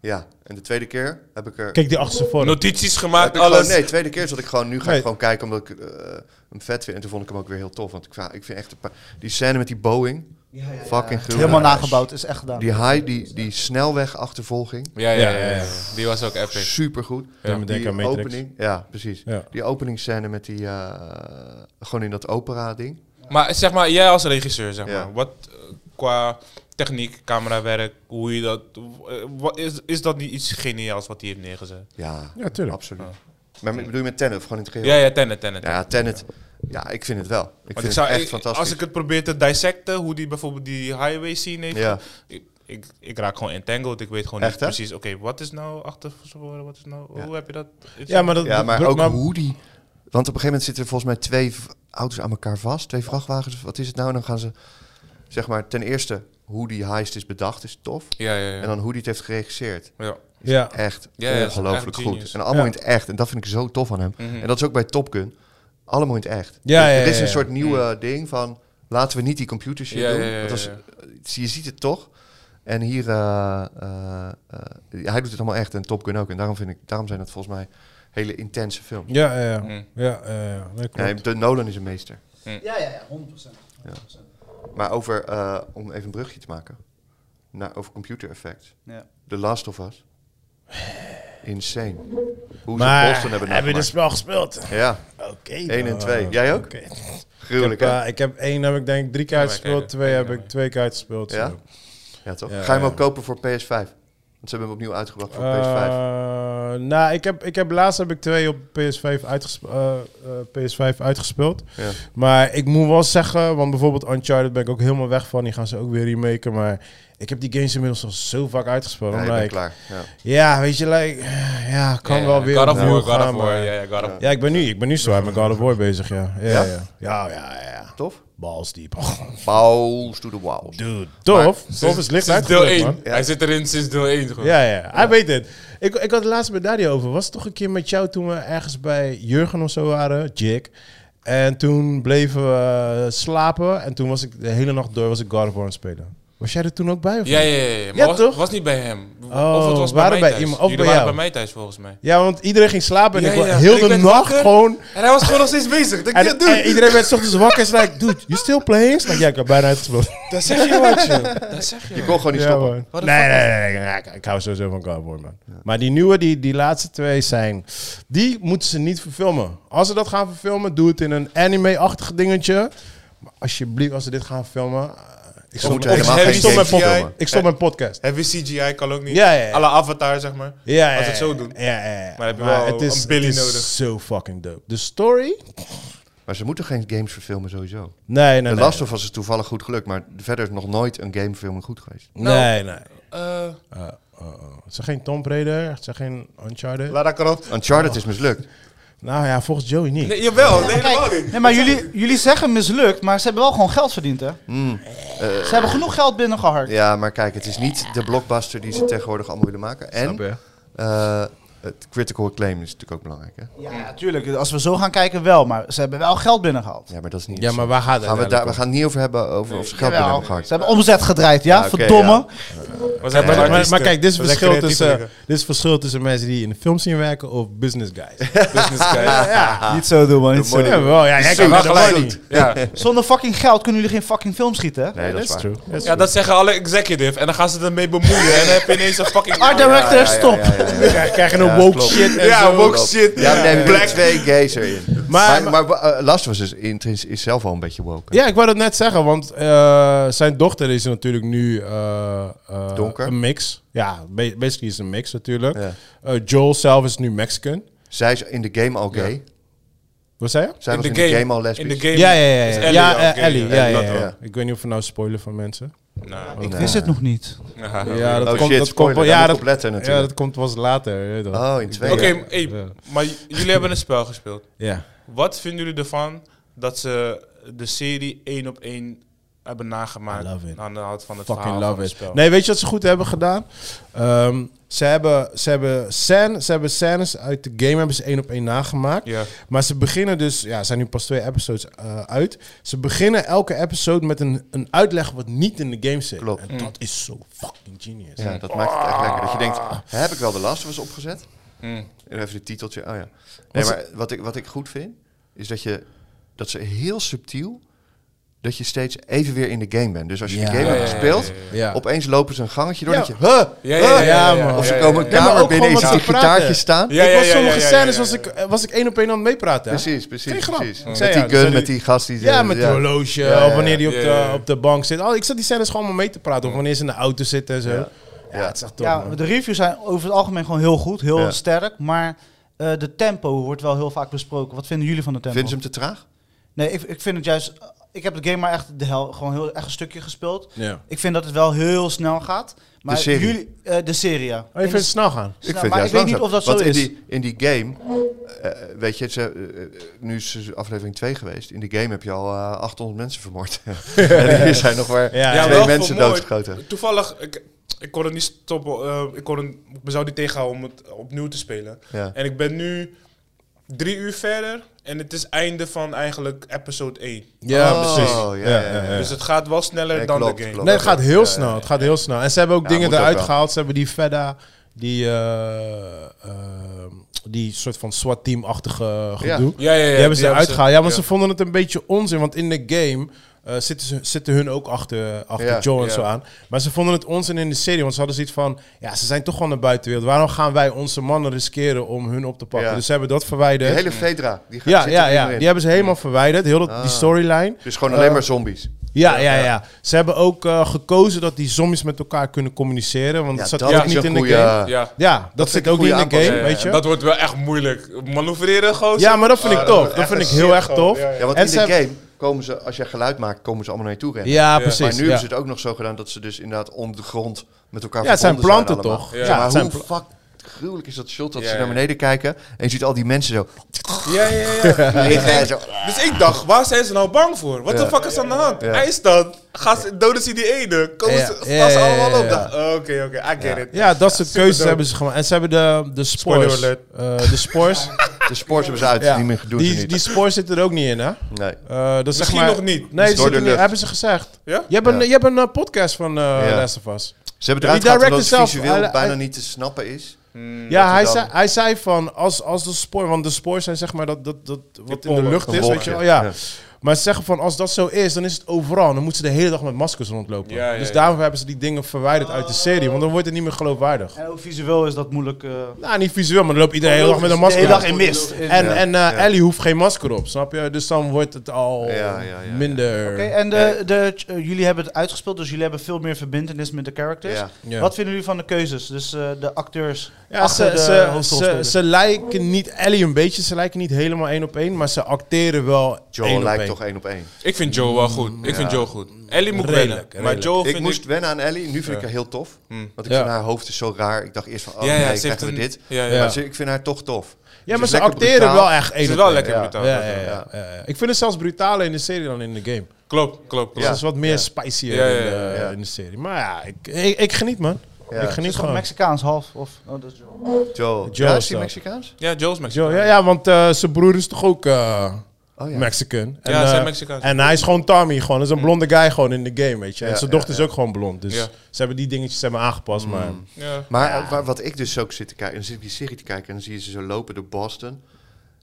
Ja, en de tweede keer heb ik er.
Kijk die achterste voor.
Notities
heb
gemaakt,
ik gewoon,
alles.
nee, tweede keer zat ik gewoon. Nu ga
Nee.
ik gewoon kijken omdat ik eh, hem vet vind. En toen vond ik hem ook weer heel tof. Want ik, va- ik vind echt. een paar- Die scène met die Boeing. Fucking gruwelijk.
Helemaal nagebouwd, is echt gedaan.
Die high, die, die snelwegachtervolging.
Ja, ja,
Ja,
ja,
ja, ja.
ja. Die was ook epic.
Supergoed.
Ja, maar denk
die
aan Matrix.
opening. Ja, precies.
Ja.
Die openingsscène met die. eh, gewoon in dat opera-ding.
Maar zeg maar, jij als regisseur, zeg
Ja.
maar, wat eh, qua techniek, camerawerk, hoe je dat, eh, wat, is, is dat niet iets geniaals wat hij heeft neergezet?
Ja,
Ja, tuurlijk.
absoluut. Maar bedoel je met Tenet of gewoon in het geheel?
Ja, ja, tenet, tenet.
Ja, Tenet. Ja, ik vind het wel. Ik vind
Want ik
het
zou,
echt
ik-
fantastisch.
Als ik het probeer te dissecten, hoe die bijvoorbeeld die highway scene heeft.
Ja.
ge- Ik, ik, ik raak gewoon entangled. Ik weet gewoon
Echt,
niet
hè?
precies. Oké, wat is nou achter verzoren? Wat is nou?
Ja.
Hoe heb je dat?
Ja, maar, dat,
ja, maar
dat-
ook hoe die... Want op een gegeven moment zitten er volgens mij twee v- auto's aan elkaar vast. Twee vrachtwagens. of Wat is het nou? En dan gaan ze... Zeg maar, ten eerste, hoe die heist is bedacht is tof.
Ja, ja, ja.
En dan hoe die het heeft geregisseerd.
ja.
Ja.
Echt
Ja, ja, dat is
ongelooflijk
echt
goed.
genius.
En allemaal
Ja.
in het echt. En dat vind ik zo tof aan hem.
Mhm.
En dat is ook bij Top Gun. Allemaal in het echt.
Ja,
Er-
ja,
er is
ja,
een
ja.
soort nieuwe ding van... Laten we niet die computer shit
Mhm. Ja,
doen.
ja, ja,
want dat is-
ja,
Je ziet het toch. En hier... eh, eh, eh, hij doet het allemaal echt. En Top Gun ook. En daarom, vind ik, daarom zijn het volgens mij hele intense films.
Ja, ja, ja.
Hm.
Ja, ja, ja. Nee, klopt.
Nee, de Nolan is een meester.
Ja, ja, ja, 100%.
Maar over, eh, om even een brugje te maken. Naar, over computer effects.
Ja.
The Last of Us. Insane. Hoe ze
maar dus
Boston hebben
heb je dit
nagemaakt.
spel gespeeld?
Ja,
Oké.
en
dan.
twee. Jij ook?
Oké. Ik
gruwelijk
heb,
hè?
eh, ik heb één, heb ik denk ik drie keer
Ja,
uitgespeeld.
kijk,
Twee
kijk
heb
naar
ik twee keer uitgespeeld.
Ja?
zo.
Ja, toch?
Ja,
Ga je hem
ja.
ook kopen voor PS5? Want ze hebben hem opnieuw uitgebracht voor PS5.
Eh, nou, ik heb, ik heb laatst heb ik twee op PS5, uitgespe- eh, eh, PS5 uitgespeeld.
Ja.
Maar ik moet wel zeggen, want bijvoorbeeld Uncharted ben ik ook helemaal weg van. Die gaan ze ook weer remaken. Maar ik heb die games inmiddels al zo vaak uitgespeeld.
Ja,
Ja,
ik ben klaar. Ja.
ja weet je, like, eh, ja, kan wel weer.
God of
opnieuw
War, God
gaan,
of War.
maar-
Ja, ja, God of
Ja, ik ben nu, ik ben nu zwaar met God of War bezig, ja. Ja, ja,
Ja?
ja. ja, ja, ja.
Tof?
Balls deep. [laughs]
Bows to the walls.
Dude, tof. tof is licht
Sinds deel
uitgedrukt,
1.
man.
Hij zit erin sinds deel 1 gewoon.
Ja, ja, hij weet het. Ik, ik had het laatst met Dario over. Was het toch een keer met jou toen we ergens bij Jurgen of zo waren? Jik. En toen bleven we eh, slapen. En toen was ik de hele nacht door was ik God of War aan het spelen. Was jij er toen ook bij? Of
Ja,
niet?
ja, ja. ja. Maar
Ja,
was,
toch?
was niet bij hem.
Oh,
of het was bij
waren
mij
bij
thuis.
iemand- of
Jullie
bij
waren
jou.
bij mij thuis volgens mij.
Ja, want iedereen ging slapen. En
Ja,
ik was
ja.
heel
Ik
de
werd
nacht
wakker.
gewoon...
En hij was gewoon nog steeds bezig. Dat
En, en iedereen werd 's ochtends wakker en zei like, dude, you still playing? Like, ja, ik heb bijna uitgespeeld.
Dat zeg je wat, joh. Dat zeg je.
Je kon gewoon niet
Ja,
stoppen.
man.
Wat de
Nee,
fuck
nee, nee, nee, nee, Ik, ik hou sowieso van God of War, man. Maar die nieuwe, die, die laatste twee zijn... Die moeten ze niet verfilmen. Als ze dat gaan verfilmen, doe het in een anime-achtig dingetje. Maar alsjeblieft, als ze dit gaan verfilmen... eh, Ik stop,
moeten
ik,
helemaal
ik
geen
stop mijn
games
podcast.
filmen.
Ik stop mijn podcast.
Heavy CGI kan ook niet.
Ja, ja, ja.
Alle avatar, zeg maar.
Ja, ja,
Eh, Als het
ja,
zo doen.
Ja, ja, ja.
Maar heb je wel een Billy
het is
nodig.
zo fucking dope. De story?
Maar ze moeten geen games verfilmen sowieso.
Nee, nee, nee.
De Last of Us is toevallig goed gelukt, maar verder is nog nooit een gamefilm goed geweest.
Nee, nee.
Eh,
Eh, oh, oh. Het zijn geen Tomb Raider, het zijn geen Uncharted.
Lara Croft.
Uncharted is mislukt.
Nou ja, volgens Joey niet.
Nee, jawel, nee, helemaal niet.
Nee, maar jullie, jullie zeggen mislukt, maar ze hebben wel gewoon geld verdiend, hè?
Mm.
ze hebben genoeg geld binnengehard.
Ja, maar kijk, het is niet de blockbuster die ze tegenwoordig allemaal willen maken. En eh, het critical acclaim is natuurlijk ook belangrijk. Hè?
Ja, tuurlijk. Als we zo gaan kijken, wel. Maar ze hebben wel geld binnengehaald.
Ja, maar dat is niet.
Ja, maar waar gaat het
gaan we, daar,
eigenlijk
we gaan het niet over hebben over of ze geld binnen
Jawel.
hebben
Ze
gehad.
hebben omzet gedraaid, ja?
Ja, oké,
Verdomme.
We
Maar,
zijn bijna
maar, maar
artiesten.
kijk, dit is,
We zijn
verschil tussen,
creatievelingen.
eh, dit is verschil tussen mensen die in de film zien werken of business guys. [laughs] ja,
Business [laughs] guy.
Ah.
ja,
Niet zo doen, man. Niet zo doen.
wel, ja, jij kan wel gelijk.
Gelijk. Ja.
Zonder fucking geld kunnen jullie geen fucking film schieten, hè?
Nee, dat is waar.
ja, dat zeggen alle executive. En dan gaan ze ermee bemoeien. En dan heb je ineens een fucking...
Ah,
Art
Ja,
director,
ja, ja,
stop.
ja, ja, ja.
Krijg krijg je een woke
klopt.
shit en
Ja,
zo.
woke shit.
Ja, maar nee, we
Black-
hebben twee gays erin.
Maar-
Maar, maar, eh, Last of Us is, is, is zelf al een beetje woke. hè?
Ja, ik wou dat net zeggen, want eh, zijn dochter is natuurlijk nu eh, eh,
Donker.
een mix. Ja, ba- basically is een mix natuurlijk.
Ja.
Eh, Joel zelf is nu Mexican.
Zij is in de game al gay.
Wat zei je?
Zij
In
was in
de
de game,
game.
al
In de
lesbisch.
game.
Ja, ja, ja.
is
Ja,
Ellie
ja,
ook,
eh,
oké,
Ellie.
ja,
Ja, ja,
dat
ja,
wel.
ja. Ik weet niet of we nou spoilen van mensen.
Nou,
Ik
Nee.
wist het nog niet.
Ja, dat
Oh
komt,
shit,
dat
spoiler,
komt,
daar
ja,
moet
dat,
ik op letten
ja,
natuurlijk.
dat komt pas later. je weet wel.
Oh, in twee
Oké,
jaar.
maar, hey,
Ja.
maar j- jullie hebben een spel gespeeld.
Ja.
Wat vinden jullie ervan dat ze de serie één op één hebben nagemaakt?
I love it.
Aan de hand van het
Fucking
verhaal
love
van het
it.
spel.
Nee, weet je wat ze goed hebben gedaan? Ehm, ze, hebben, ze, hebben scène, ze hebben scènes uit de game hebben ze één op één nagemaakt.
Ja.
Maar ze beginnen dus, ja, zijn nu pas twee episodes eh, uit. Ze beginnen elke episode met een, een uitleg wat niet in de game zit.
Klopt.
En dat is zo fucking genius.
Ja, dat maakt het echt lekker. Dat je
Ah.
denkt, "Ah, heb ik wel de Last of Us opgezet?
Mm.
Even het titeltje, oh ja. Nee,
ze-
maar wat ik, wat ik goed vind, is dat, je, dat ze heel subtiel... dat je steeds even weer in de game bent. Dus als je
Ja.
de game
Ja,
hebt gespeeld...
Ja.
opeens lopen ze een gangetje door...
Ja.
dat je, huh,
Ja,
huh.
ja, ja, ja,
Ja,
man.
man.
Of ze
Ja, ja,
komen
ja,
een
Ja, maar
kamer
ook
binnen en
gewoon
je
wat
ziet die
ze praten.
gitaartjes staan.
Ja,
ik
ja,
was
ja,
sommige
ja, ja,
scènes
ja, ja,
was ik, eh, was ik één op één aan het meepraten. hè?
Precies, precies,
Geen grap.
precies.
Ik
Met
zei ja,
die
zei
gun,
die-
met die gast die...
Ja, met het horloge.
Ja, ja,
Of wanneer die op,
ja,
de,
ja.
op de bank zit. Oh, ik zat die scènes gewoon maar mee te praten. Of wanneer ze in de auto zitten en zo. Ja,
Ja.
het is echt top,
Ja,
man.
de reviews zijn over het algemeen gewoon heel goed, heel
Ja.
sterk. Maar eh, de tempo wordt wel heel vaak besproken. Wat vinden jullie van de tempo?
Vinden ze hem te traag?
Nee, ik, ik vind het juist. Ik heb de game maar echt de hel, gewoon heel echt een stukje gespeeld.
Ja.
Ik vind dat het wel heel snel gaat. Maar
De serie.
jullie, eh, de serie. ja.
Oh, je vindt het snel gaan?
Ik
Nou,
vind
maar
het juist
ik weet niet
langzaam.
of dat
Want
zo
in
is.
Die, in die game, eh, weet je, ze, eh, nu is ze aflevering 2 geweest. In die game heb je al eh, 800 mensen
[laughs]
vermoord. [laughs] en hier zijn nog maar
Ja,
twee
wel
mensen
vermoord.
doodgeschoten.
Toevallig, ik, ik kon het niet stoppen. eh, ik kon het, ik me zou niet tegenhouden om het opnieuw te spelen.
Ja.
En ik ben nu drie uur verder. En het is einde van eigenlijk episode 1.
Ja,
Oh,
precies.
ja, ja, ja.
Dus het gaat wel sneller
Ja,
dan
klopt,
de game.
klopt.
Nee, het gaat heel
Ja,
snel. Het gaat heel snel. En ze hebben ook
Ja,
dingen
moet ook
eruit
wel.
gehaald. Ze hebben die Fedda, die, eh, ehm, die soort van SWAT-team-achtige gedoe.
Ja, ja, ja.
die hebben ze eruit
uitgehaald.
gehaald. Ja, maar ze vonden het een beetje onzin. Want in de game eh, zitten, ze, zitten hun ook achter, achter
Ja,
Joe en
ja.
zo aan. Maar ze vonden het onzin in de serie. Want ze hadden zoiets van... Ja, ze zijn toch gewoon naar buitenwereld. Waarom gaan wij onze mannen riskeren om hun op te pakken?
Ja.
Dus ze hebben dat
De
verwijderd.
hele Fedra, die gaat,
ja,
zit er
ja,
niet
ja.
meer in.
die hebben ze helemaal verwijderd. Heel dat, die storyline.
Dus gewoon
Eh,
alleen maar zombies.
Ja, ja, ja, Ze hebben ook eh, gekozen dat die zombies met elkaar kunnen communiceren. Want
Ja,
dat zat
dat
ook
is
niet
een
in de
goeie-
game.
Ja.
Ja, dat,
vind
zit
ik
ook
een
niet in
goeie
de game,
aanpak.
weet je.
Dat wordt wel echt moeilijk. Manoeuvreren, gozer.
ja, maar dat vind ik
Ah, dat
tof.
wordt
Dat
echt
vind ik
een
heel erg tof.
Ja,
Ja, want
En
in
ze
de
hebben-
game komen ze, als je geluid maakt, komen ze allemaal naar je toe rennen.
Ja,
maar
precies.
nu
ja.
hebben ze het ook nog zo gedaan dat ze dus inderdaad onder de grond met elkaar
Ja, het zijn
verbonden
planten
allemaal.
toch?
Ja.
Zeg maar
het zijn
hoe fuck gruwelijk is dat shot dat
Ja,
ze
ja.
naar beneden kijken en je ziet al die
[laughs]
mensen zo...
Ja, ja, ja.
Ja, zo.
Dus ik dacht, waar zijn ze nou bang voor? Wat de
Ja.
fuck is aan de hand?
Ja.
IJs dan? Gaan ze, doden ze die ene? Komen
Ja.
ze, staan
Ja,
ze
ja, ja,
allemaal
ja.
op? Dacht, oh, Oké, oké, I get it.
Ja, dat soort keuzes
dope.
hebben ze gemaakt. En ze hebben de, de
Spoiler
spores.
alert.
eh, de spores.
De sport hebben ze uit,
ja.
niet meer gedoe.
die,
niet.
die spores zitten er ook niet in, hè?
nee.
Eh, dat is zeg
Misschien
maar-
nog niet.
Nee, ze
Door de
zitten niet,
lucht.
hebben ze gezegd.
Ja?
Je hebt een,
Ja.
je hebt een eh, podcast van eh Last of Us.
Ze hebben
Ja, die
eruit gehaald omdat het
director zelf,
visueel
hij-
bijna
hij-
niet te snappen is.
Mm,
Ja, hij
dan-
zei, hij zei van als, als de spoor, want de spoor zijn zeg maar dat, dat, dat wat in de
pollen.
lucht
Een
is, weet je
wolkje.
wel. Ja.
Ja.
Maar ze zeggen van als dat zo is, dan is het overal. Dan moeten ze de hele dag met maskers rondlopen.
Ja, ja,
dus
ja.
daarvoor hebben ze die dingen verwijderd uit de serie, want dan wordt het niet meer geloofwaardig.
En ook visueel is dat moeilijk. eh,
Nou, niet visueel, maar dan loopt iedereen de hele dag met een
Oh, de
masker.
hele dag
op.
in mist.
En, en eh, Ellie hoeft geen masker op, snap je? Dus dan wordt het al
Ja, ja, ja, ja.
minder.
Oké, en de, de, eh, jullie hebben het uitgespeeld, dus jullie hebben veel meer verbindenis met de characters.
Ja.
Ja.
Wat vinden jullie van de keuzes? Dus eh, de acteurs.
Ja,
achter
ze,
de
ze, ze,
hoofdrolspelers.
ze lijken niet, Ellie een beetje, ze lijken niet helemaal één op één, maar ze acteren wel één
Joel
op
lijkt
één.
toch één op één.
Ik vind Joe wel goed. Ik vind Joe goed. Ellie moet
Redelijk,
wennen. Maar
redelijk.
Joe
Ik
vind
moest
ik...
wennen aan Ellie. Nu vind ik haar heel tof. Want ik
Hmm. Ja.
vind haar hoofd is zo raar. Ik dacht eerst van, oh
Ja, ja,
nee,
ze heeft
krijgen we
een-
dit.
ja, ja.
Maar ze- ik vind haar toch tof.
Ja,
is
maar ze
lekker
acteren
brutaal.
wel echt één
Ze is
op
wel
één.
lekker
Ja.
brutaal.
Ja, ja, ja, ja, ja. Ik vind het zelfs brutaler in de serie dan in de game.
Klopt, klopt, klopt.
Dus het is wat meer spicier
Ja, ja,
in, de,
ja,
ja.
in de serie. Maar ja, ik, ik, ik geniet, man.
Ja.
Ik geniet
Is het gewoon
gewoon.
Mexicaans half? Of, oh, dat is
Joel.
Joel
Ja,
is
is die
dat.
Mexicaans?
Ja, Joe is Mexico.
Zo, ja, ja, want eh, zijn broer is toch ook eh,
Oh ja.
Mexican. En,
Ja, ze zijn
eh,
Mexicaans. Mm.
En hij is gewoon Tommy, gewoon. Dat is een blonde guy gewoon in de game, weet je. En
Ja,
zijn
ja, Mm.
dochter is ook gewoon blond. Dus
Ja.
ze hebben die dingetjes ze hebben aangepast, maar...
Ja.
Maar eh, wa- wat ik dus ook zit te kijken, en dan zit ik die serie te kijken en dan zie je ze zo lopen door Boston.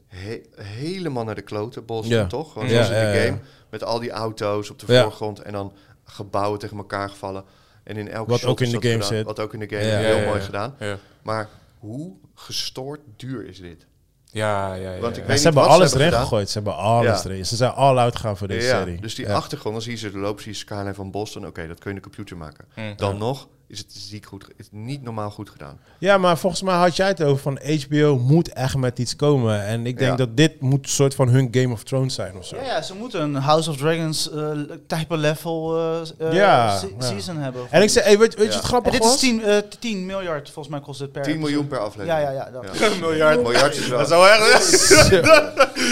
He- helemaal naar de kloten, Boston
Ja.
toch? Want
Ja,
zoals in
ja,
de
ja.
game, met al die auto's op de
Ja.
voorgrond en dan gebouwen tegen elkaar gevallen. En in elke
Wat
shot
ook in
is
de
dat
game
gedaan,
zit.
Wat ook in de game,
Ja.
heel
Ja, ja,
mooi
ja.
gedaan.
Ja.
Maar hoe gestoord duur is dit?
Ja, ja,
Want
ja.
Ja,
ik weet
ze
niet
hebben
wat
alles
ze
erin
hebben gedaan.
gegooid. Ze hebben alles
Ja.
erin. Ze zijn all out gaan voor deze
Ja,
serie.
dus die
Ja.
achtergrond, dan zie je ze er lopen, zie je skyline van Boston. Oké, dat kun je in de computer maken. Dan nog is het ziek goed, ge- is niet normaal goed gedaan.
Ja, maar volgens mij had jij het over van HBO moet echt met iets komen. En ik denk
Ja.
dat dit moet een soort van hun Game of Thrones zijn of zo.
Ja, ja, ze moeten een House of Dragons eh, type level eh, eh,
Ja,
se-
ja.
season hebben.
En ik zei, hey, weet, weet je het
En
grappig
dit is
was?
10, eh, 10 miljard, volgens mij kost het per
10 miljoen per
Ja,
aflevering.
ja, ja. dat-
Een miljard. miljard is wel.
Dat zou echt...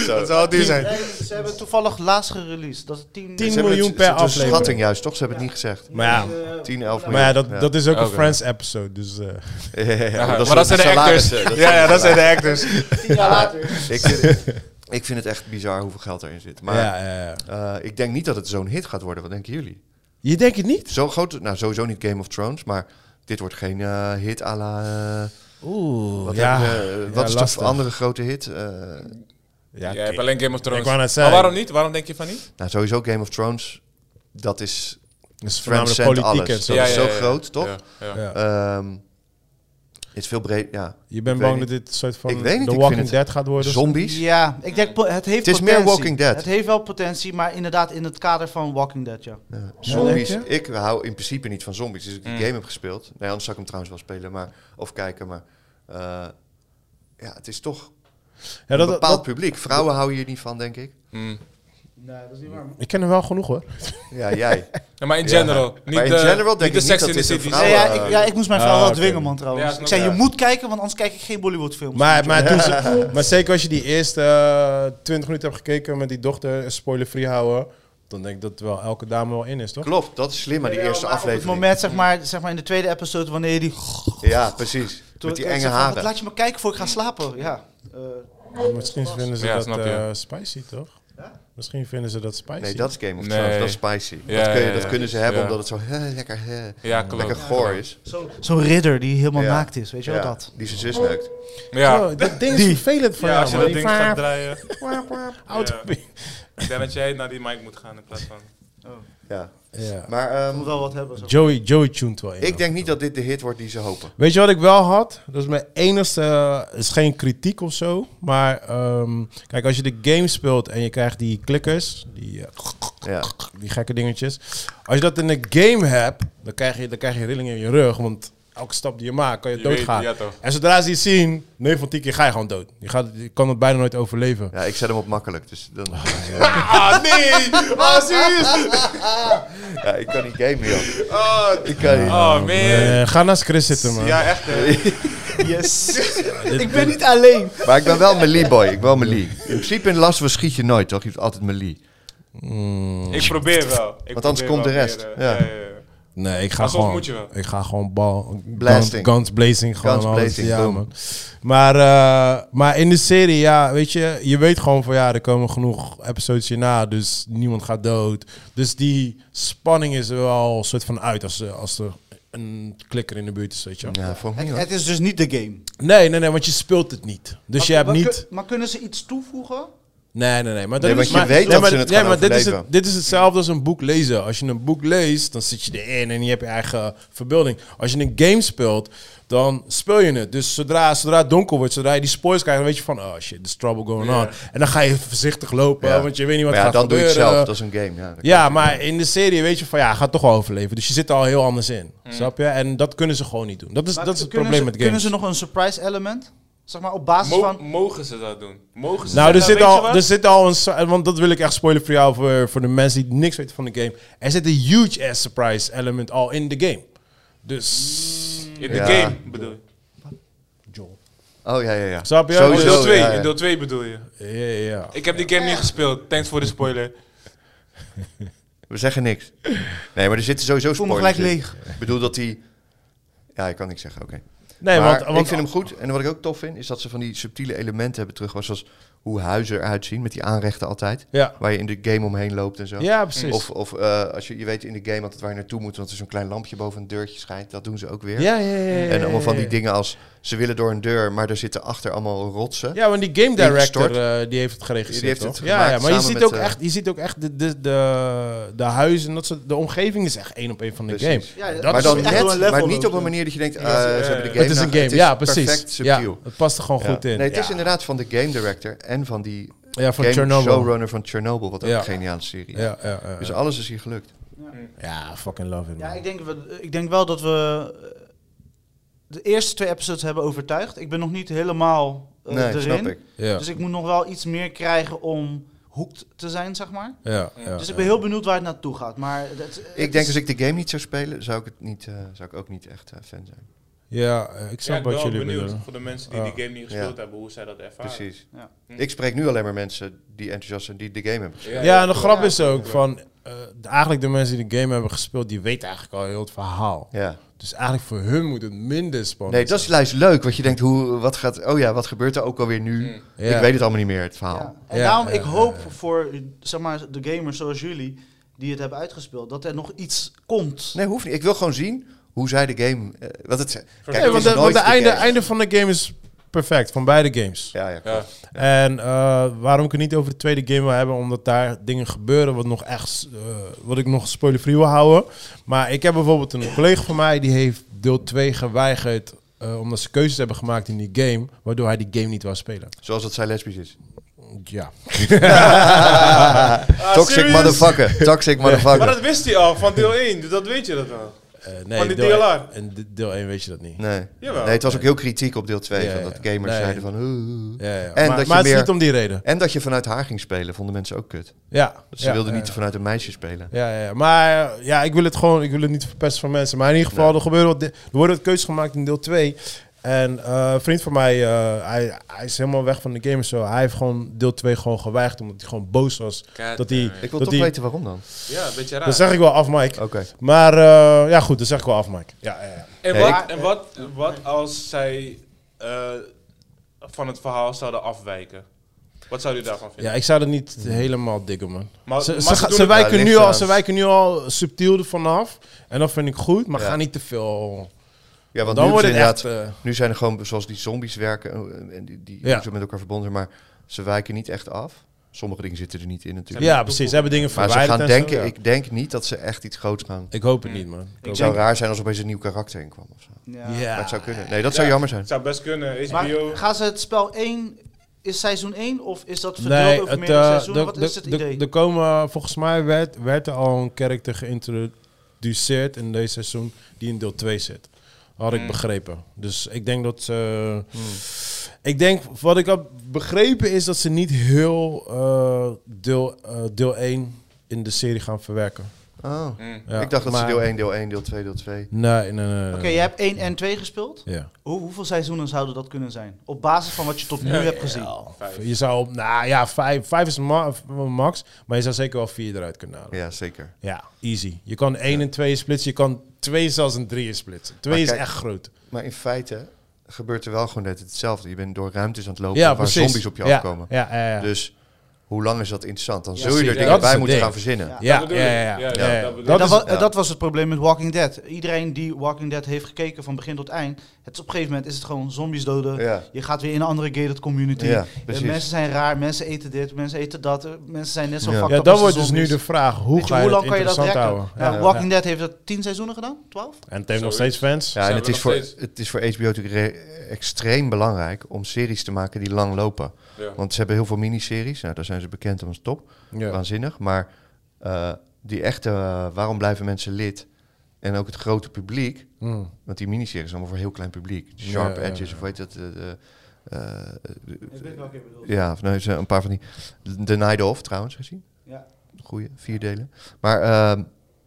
Zo.
Dat zou duur zijn.
Eh, Ze hebben toevallig laatst gereleased. Dat is 10,
10
Ze hebben
miljoen
het-
per
het is een
aflevering.
schatting juist, toch? Ze hebben het niet gezegd.
Maar ja,
Eh,
10, 11
maar ja, dat,
Ja.
dat is ook een
Oké.
Friends episode, dus... eh.
Ja, ja, ja,
maar
is
dat zijn de actors.
salarissen, dat
Ja, ja, dat zijn de actors.
10 jaar later.
Ik vind, ik vind het echt bizar hoeveel geld erin zit. Maar
ja, ja, ja.
eh, ik denk niet dat het zo'n hit gaat worden. Wat denken jullie?
Je denkt het niet?
Zo groot, nou sowieso niet Game of Thrones, maar dit wordt geen eh, hit à la... eh,
Oeh,
wat
ja.
hebben we, eh,
Ja,
wat is
lastig.
de andere grote hit? Eh,
Ja,
Jij
oké.
hebt alleen Game of Thrones.
Ik wou net
Maar
zeggen.
waarom niet? Waarom denk je van niet?
nou, sowieso Game of Thrones. Dat is,
Het is voornamelijk
transcend
politiek
alles.
en zo.
Dat is zo groot, toch?
Ja, ja.
Ja.
ehm, is veel breed, ja.
Je
Ik
bent
weet
bang
niet.
dat dit een soort van
Ik weet niet,
The
ik
Walking
vind het-
Dead gaat worden.
Zombies?
Ja, ik denk po- het heeft
Het is meer
potentie.
Walking Dead.
Het heeft wel potentie, maar inderdaad in het kader van Walking Dead, ja.
Ja, Eh, zombies.
denk
ik hou in principe niet van zombies. Dus ik die
Mm.
game heb gespeeld. Nee, anders zou ik hem trouwens wel spelen. Maar, of kijken. Maar eh, ja, het is toch
Ja,
een
dat,
bepaald
dat,
publiek. Vrouwen houden hier niet van, denk ik.
Mm.
Nee, dat is niet waar.
ik ken er wel genoeg hoor.
Ja, jij.
Ja, maar in
Ja.
general.
Maar
Niet
in
de,
general denk
niet
ik
de
niet
Sex
dat
in the
dit een
City.
vrouw-
Nee, Nou, ja,
eh,
ik, ja, ik moest mijn vrouw
ah,
wel
oké.
dwingen, man,
Ja,
trouwens.
snap
ik zei,
ik.
je moet kijken, want anders kijk ik geen Bollywood-films.
Maar, maar, toen ze- maar zeker als je die eerste eh, 20 minuten hebt gekeken met die dochter, eh, spoiler-free houden, dan denk ik dat wel elke dame wel in is, toch?
Klopt, dat is slim aan die
Jawel,
eerste
maar
aflevering.
Op het moment, zeg maar, zeg maar in de tweede episode, wanneer je die...
Ja, precies.
Toen
Met die
ik
enge
zei van, wat
haren.
Laat je me kijken voor ik ga slapen. Ja. Eh,
Misschien vinden ze
Ja,
dat
snap je.
eh, spicy, toch? Misschien vinden ze dat spicy.
Nee, dat is Game of
Nee.
Thrones. Dat is spicy.
Ja,
dat, kun je-
ja,
dat
ja.
kunnen ze hebben
Ja.
omdat het zo hè, lekker, hè,
Ja, klopt.
lekker goor is.
zo- Zo'n ridder die helemaal
Ja.
naakt is, weet je
Ja,
wel dat?
Die zijn zus neukt.
Ja.
Zo, Oh, dat ding is vervelend voor
Ja,
jou,
als je
man.
dat
Die
ding gaat
vaar-
draaien.
oud-
Ja. Ik denk dat jij naar die mic moet gaan in plaats van...
Ja.
Ja.
Maar
Dat
ehm,
moet wel wat hebben. Zo.
Joey, Joey tuned wel in.
ik denk niet dat dit de hit wordt die ze hopen.
Weet je wat ik wel had? Dat is mijn enigste. eh, is geen kritiek of zo. Maar ehm, kijk, als je de game speelt en je krijgt die klikkers. Die, eh,
Ja.
die gekke dingetjes. Als je dat in een game hebt. Dan krijg, je, dan krijg je rillingen in je rug. Want elke stap die je maakt. kan je,
Je
doodgaan.
weet- ja, toch.
en zodra ze je zien. 9 van 10 keer ga je gewoon dood. Je, gaat, je kan het bijna nooit overleven.
Ja, ik zet hem op makkelijk. Dus dan,
Ah, nee! Oh, serieus?
[laughs] ja, ik kan niet gamen, joh. ik kan niet.
Oh, man.
Eh, ga naast Chris zitten, man.
Ja, echt. hè.
Yes. ik ben niet alleen.
Maar ik ben wel melee boy. Ik ben wel melee. In principe in Last was schiet je nooit, toch? Je hebt altijd melee.
Mm.
Ik probeer wel. Ik
Want anders
probeer
komt
wel
de rest.
weer, eh,
Ja.
ja.
Nee, ik ga
Maar soms
gewoon.
moet je wel.
Ik ga gewoon bal.
Blasting.
Guns, guns blazing gewoon.
Guns
alles.
blazing,
ja,
boom.
man. Maar, eh, maar in de serie, ja, weet je, je weet gewoon van ja, er komen genoeg episodes hierna, dus niemand gaat dood. Dus die spanning is er wel een soort van uit als, er- als er een klikker in de buurt is, weet je. wel.
Ja, voor mij
Het,
hoor.
het is dus niet de game.
Nee, nee, nee, want je speelt het niet. Dus je hebt
Maar kun-
niet.
Maar kunnen ze iets toevoegen?
Nee, nee, nee. Maar dat
Nee,
is,
want je
maar-
weet
nee,
dat
maar-
ze het
nee,
gaan
maar dit is, het,
overleven.
dit is hetzelfde als een boek lezen. Als je een boek leest, dan zit je erin en je hebt je eigen verbeelding. Als je een game speelt, dan speel je het. Dus zodra, zodra het donker wordt, zodra je die spoilers krijgt, dan weet je van, oh shit, there's trouble going on. En dan ga je voorzichtig lopen,
Ja.
want je weet niet wat
Maar
er
ja,
gaat
dan doe je het
gebeuren. eh.
zelf. Dat is een game. Ja,
Ja, maar in de serie weet je van, ja, gaat toch wel overleven. Dus je zit er al heel anders in, snap je? En dat kunnen ze gewoon niet doen. Dat is,
Mm. Maar
dat is het
kunnen
probleem
ze,
met games.
Kunnen ze nog een surprise element? Zeg maar op basis
Mo-
Dus van...
mogen ze dat doen? Mogen ze
Nou, er
zeggen,
zit,
weet je
al,
wat?
er zit al een... su- Want dat wil ik echt spoilen voor jou, voor, voor de mensen die niks weten van de game. Er zit een huge ass surprise element al in de game. Dus...
In de
Ja.
game, bedoel je?
Joel.
Oh ja, ja, ja.
Snap je?
Oh, in
Sowieso,
deel 2,
ja, ja.
in deel 2 bedoel je.
Ja, ja, ja.
Ik heb die game niet gespeeld, thanks voor de spoiler.
We zeggen niks. Nee, maar er zitten sowieso
voel me
spoilers
gelijk
in. Ik bedoel dat die... Ja, ik kan niks zeggen, oké.
Nee,
maar
want... want
ik vind hem goed. En wat ik ook tof vind, is dat ze van die subtiele elementen hebben terug. Zoals hoe huizen eruit zien, met die aanrechten altijd.
Ja.
Waar je in de game omheen loopt en zo.
Ja, precies.
Of, of eh, als je, je weet in de game altijd waar je naartoe moet, want er zo'n klein lampje boven een deurtje schijnt. Dat doen ze ook weer.
ja, ja, ja, ja, ja,
En allemaal van die
ja.
dingen als ze willen door een deur, maar er zitten achter allemaal rotsen.
Ja, want die game
Die
director,
gestort.
eh, die heeft het geregisseerd,
Die heeft het
toch? ja, ja,
gemaakt
maar je
samen
ziet,
met,
ook
eh,
echt, je ziet ook echt de, de, de, de huizen en dat soort... De omgeving is echt één op één van de
Precies.
game.
Ja,
Dat
maar
is
dan
echt
net,
door een level
maar niet
lopen.
op een manier dat je denkt, eh,
Ja, ja,
ze hebben de
ja.
game.
het is een
nou,
game, ja,
Perfect
precies. Ja,
subtiel.
het past er gewoon
Ja.
goed in.
Nee, het is
Ja.
inderdaad van de game director en van die
Ja, van
game
Chernobyl.
showrunner van Chernobyl, wat ook
Ja.
een geniale serie is.
Ja, ja, ja, ja.
Dus alles is hier gelukt.
Ja, fucking love it, man.
Ja, ik denk, we- ik denk wel dat we eh, de eerste twee episodes hebben overtuigd. Ik ben nog niet helemaal eh,
nee,
erin.
snap ik.
ja,
Dus ik moet nog wel iets meer krijgen om hoekt te zijn, zeg maar.
ja, ja,
dus ik
ja.
ben heel benieuwd waar het naartoe gaat. Maar het- het
Ik
is-
denk als ik de game niet zou spelen, zou ik, het niet, eh, zou ik ook niet echt eh, fan zijn.
Ja, eh, ik
Ja,
snap
ik ben wel
wat jullie
benieuwd
bedoelen.
voor de mensen die
Ja.
die game niet gespeeld hebben, hoe zij dat ervaren.
Precies. Hm.
Ja.
Ik spreek nu alleen maar mensen die enthousiast zijn, die de game hebben gespeeld.
Ja, en de grap is ook van... eh, de- eigenlijk de mensen die de game hebben gespeeld, die weten eigenlijk al heel het verhaal.
Ja.
Dus eigenlijk voor hun moet het minder spannend
Nee, dat is juist leuk, want je denkt, hoe, wat gaat, oh ja, wat gebeurt er ook alweer nu?
Ja.
Ik weet het allemaal niet meer, het verhaal.
Ja.
Hm.
En
Ja,
daarom,
ja,
ik
ja,
hoop voor zeg maar, de gamers zoals jullie, die het hebben uitgespeeld, dat er nog iets komt.
Nee, hoeft niet. Ik wil gewoon zien hoe zij de game... eh, wat het, kijk,
Nee,
het
want
is
de, want
nooit
de einde,
game.
einde van de game is perfect, van beide games.
Ja, ja, klopt.
Ja.
En eh, waarom ik het niet over de tweede game wil hebben, omdat daar dingen gebeuren wat, nog echt, eh, wat ik nog spoilerfree wil houden. Maar ik heb bijvoorbeeld een collega van mij, die heeft deel 2 geweigerd, eh, omdat ze keuzes hebben gemaakt in die game, waardoor hij die game niet wou spelen.
Zoals dat zij lesbisch is.
Ja. Ah,
Toxic
serious?
[laughs]
motherfucker. Toxic
Maar
motherfucker.
dat wist hij al van deel 1, dus dat weet je dat al.
Eh, nee,
Van die
deel
DLR.
één- En de- deel 1 weet je dat niet.
Nee.
Jawel.
nee, het was ook heel kritiek op deel 2.
Ja,
van
ja.
dat gamers
Nee.
zeiden van... "Oeh."
Ja, ja.
En
maar
dat je
maar het is
meer-
niet om die reden.
En dat je vanuit haar ging spelen, vonden mensen ook kut.
Ja.
Dat Dus ze
ja,
wilden
ja.
niet vanuit een meisje spelen.
Ja, ja, ja. maar eh, ja, ik wil het gewoon, ik wil het niet verpesten van mensen. Maar in ieder geval, er, gebeuren wat, di- er worden wat keuzes gemaakt in deel 2. En eh, een vriend van mij, eh, hij, hij is helemaal weg van de game en zo. Hij heeft gewoon deel 2 gewoon geweigerd, omdat hij gewoon boos was.
Kijk,
Dat die,
Ik wil
dat
toch
die,
weten Oh. waarom dan.
Ja, een beetje raar.
dat zeg ik wel af, Mike.
Oké.
Maar eh, ja, goed, dat zeg ik wel af, Mike. Ja, ja, ja.
En,
Nee,
wat, en wat, wat als zij eh, van het verhaal zouden afwijken? Wat zou u daarvan vinden?
ja ik zou dat niet helemaal dikken, man.
Maar-
Ze,
maar
ze,
ze
ga-
doen
ze
het-
wijken
Ja,
nu
ligt
al,
eraan.
ze wijken nu al subtiel ervan af. En dat vind ik goed, maar
Ja.
ga niet te veel.
Ja, want
Dan
nu,
wordt
wordt
het echt... eh,
nu zijn er gewoon, zoals die zombies werken, eh, en die, die
Ja.
hoe ze met elkaar verbonden zijn, maar ze wijken niet echt af. Sommige dingen zitten er niet in natuurlijk.
ja, precies. Ze hebben dingen
Maar ze
verwijderd
gaan
en zo,
denken,
ja.
ik denk niet dat ze echt iets groots gaan.
Ik hoop het niet, man. Ik
Het
hoop
zou
het
raar zijn als opeens een nieuw karakter in kwam of zo.
Ja.
niet. Ja.
Dat zou kunnen. Nee, dat zou jammer zijn.
Het zou best kunnen.
Maar
HBO.
gaan ze het spel 1, is seizoen 1 of is dat verdeeld
Nee,
over
het,
meerdere
eh,
seizoenen?
de-
Wat
de-
is het
de-
idee?
Er komen, volgens mij werd, werd er al een karakter geïntroduceerd in deze seizoen die in deel 2 zit. Had
Hmm.
ik begrepen. Dus ik denk dat ze... Ik denk, wat ik heb begrepen is dat ze niet heel eh, deel, eh, deel 1 in de serie gaan verwerken.
Oh.
Ja,
ik dacht dat ze
maar-
deel 1, deel 1, deel 2, deel 2.
Nee, nee, nee. nee, nee.
Oké, je hebt 1 en 2 gespeeld.
Ja.
Hoe, hoeveel seizoenen zouden dat kunnen zijn? Op basis van wat je tot nu hebt gezien.
Vijf.
Je zou, nou ja, vijf, vijf is ma- max, maar je zou zeker wel vier eruit kunnen halen.
Ja, zeker.
Ja, easy. Je kan 1 en 2 splitsen. Je kan 2 zelfs en 3 splitsen. 2
Maar
is
kijk-
echt groot.
Maar in feite gebeurt er wel gewoon net hetzelfde. Je bent door ruimtes aan het lopen
Ja,
waar
precies.
zombies op je
ja,
afkomen.
Ja, ja, ja.
Dus hoe lang is dat interessant? Dan
Ja,
zul je er
precies.
dingen
Dat is
bij
het
moeten
ding.
gaan verzinnen.
Ja.
dat
ja, ja,
bedoel ik.
ja, ja,
Ja,
ja,
ja,
ja.
dat bedoel
Dat
ik.
dat,
is-
was, eh, dat was het probleem met Walking Dead. Iedereen die Walking Dead heeft gekeken van begin tot eind, het is op een gegeven moment is het gewoon zombies doden.
Ja.
Je gaat weer in een andere gated community.
Ja,
Eh,
precies.
mensen zijn raar, mensen eten dit, mensen eten dat. eh, mensen zijn net zo
Ja.
fucked
ja,
up
dat
als
wordt dus
zombies.
nu de vraag. Hoe
Weet je,
ga je
hoe
dat
lang kan je dat
interessant
rekken?
houden?
Nou,
Ja,
Walking Dead heeft dat tien seizoenen gedaan? Twaalf?
ja. En het heeft nog steeds
Zoiets.
fans.
Ja, en
Zijn
het
we
is,
nog
voor,
steeds?
het is voor HBO natuurlijk re- extreem belangrijk om series te maken die lang lopen.
Ja.
Want ze hebben heel veel miniseries. Nou, daar zijn ze bekend om als top.
Ja.
Waanzinnig. Maar eh, die echte, eh, waarom blijven mensen lid? En ook het grote publiek.
Mm.
Want die miniseries zijn allemaal voor heel klein publiek. De
Ja,
Sharp
ja,
Edges,
ja.
of weet dat? eh, eh, eh,
Ik weet welke je bedoelt.
ja, of nee, ze- een paar van die. The Night Of trouwens gezien.
Ja.
Goeie, vier delen. Maar ehm,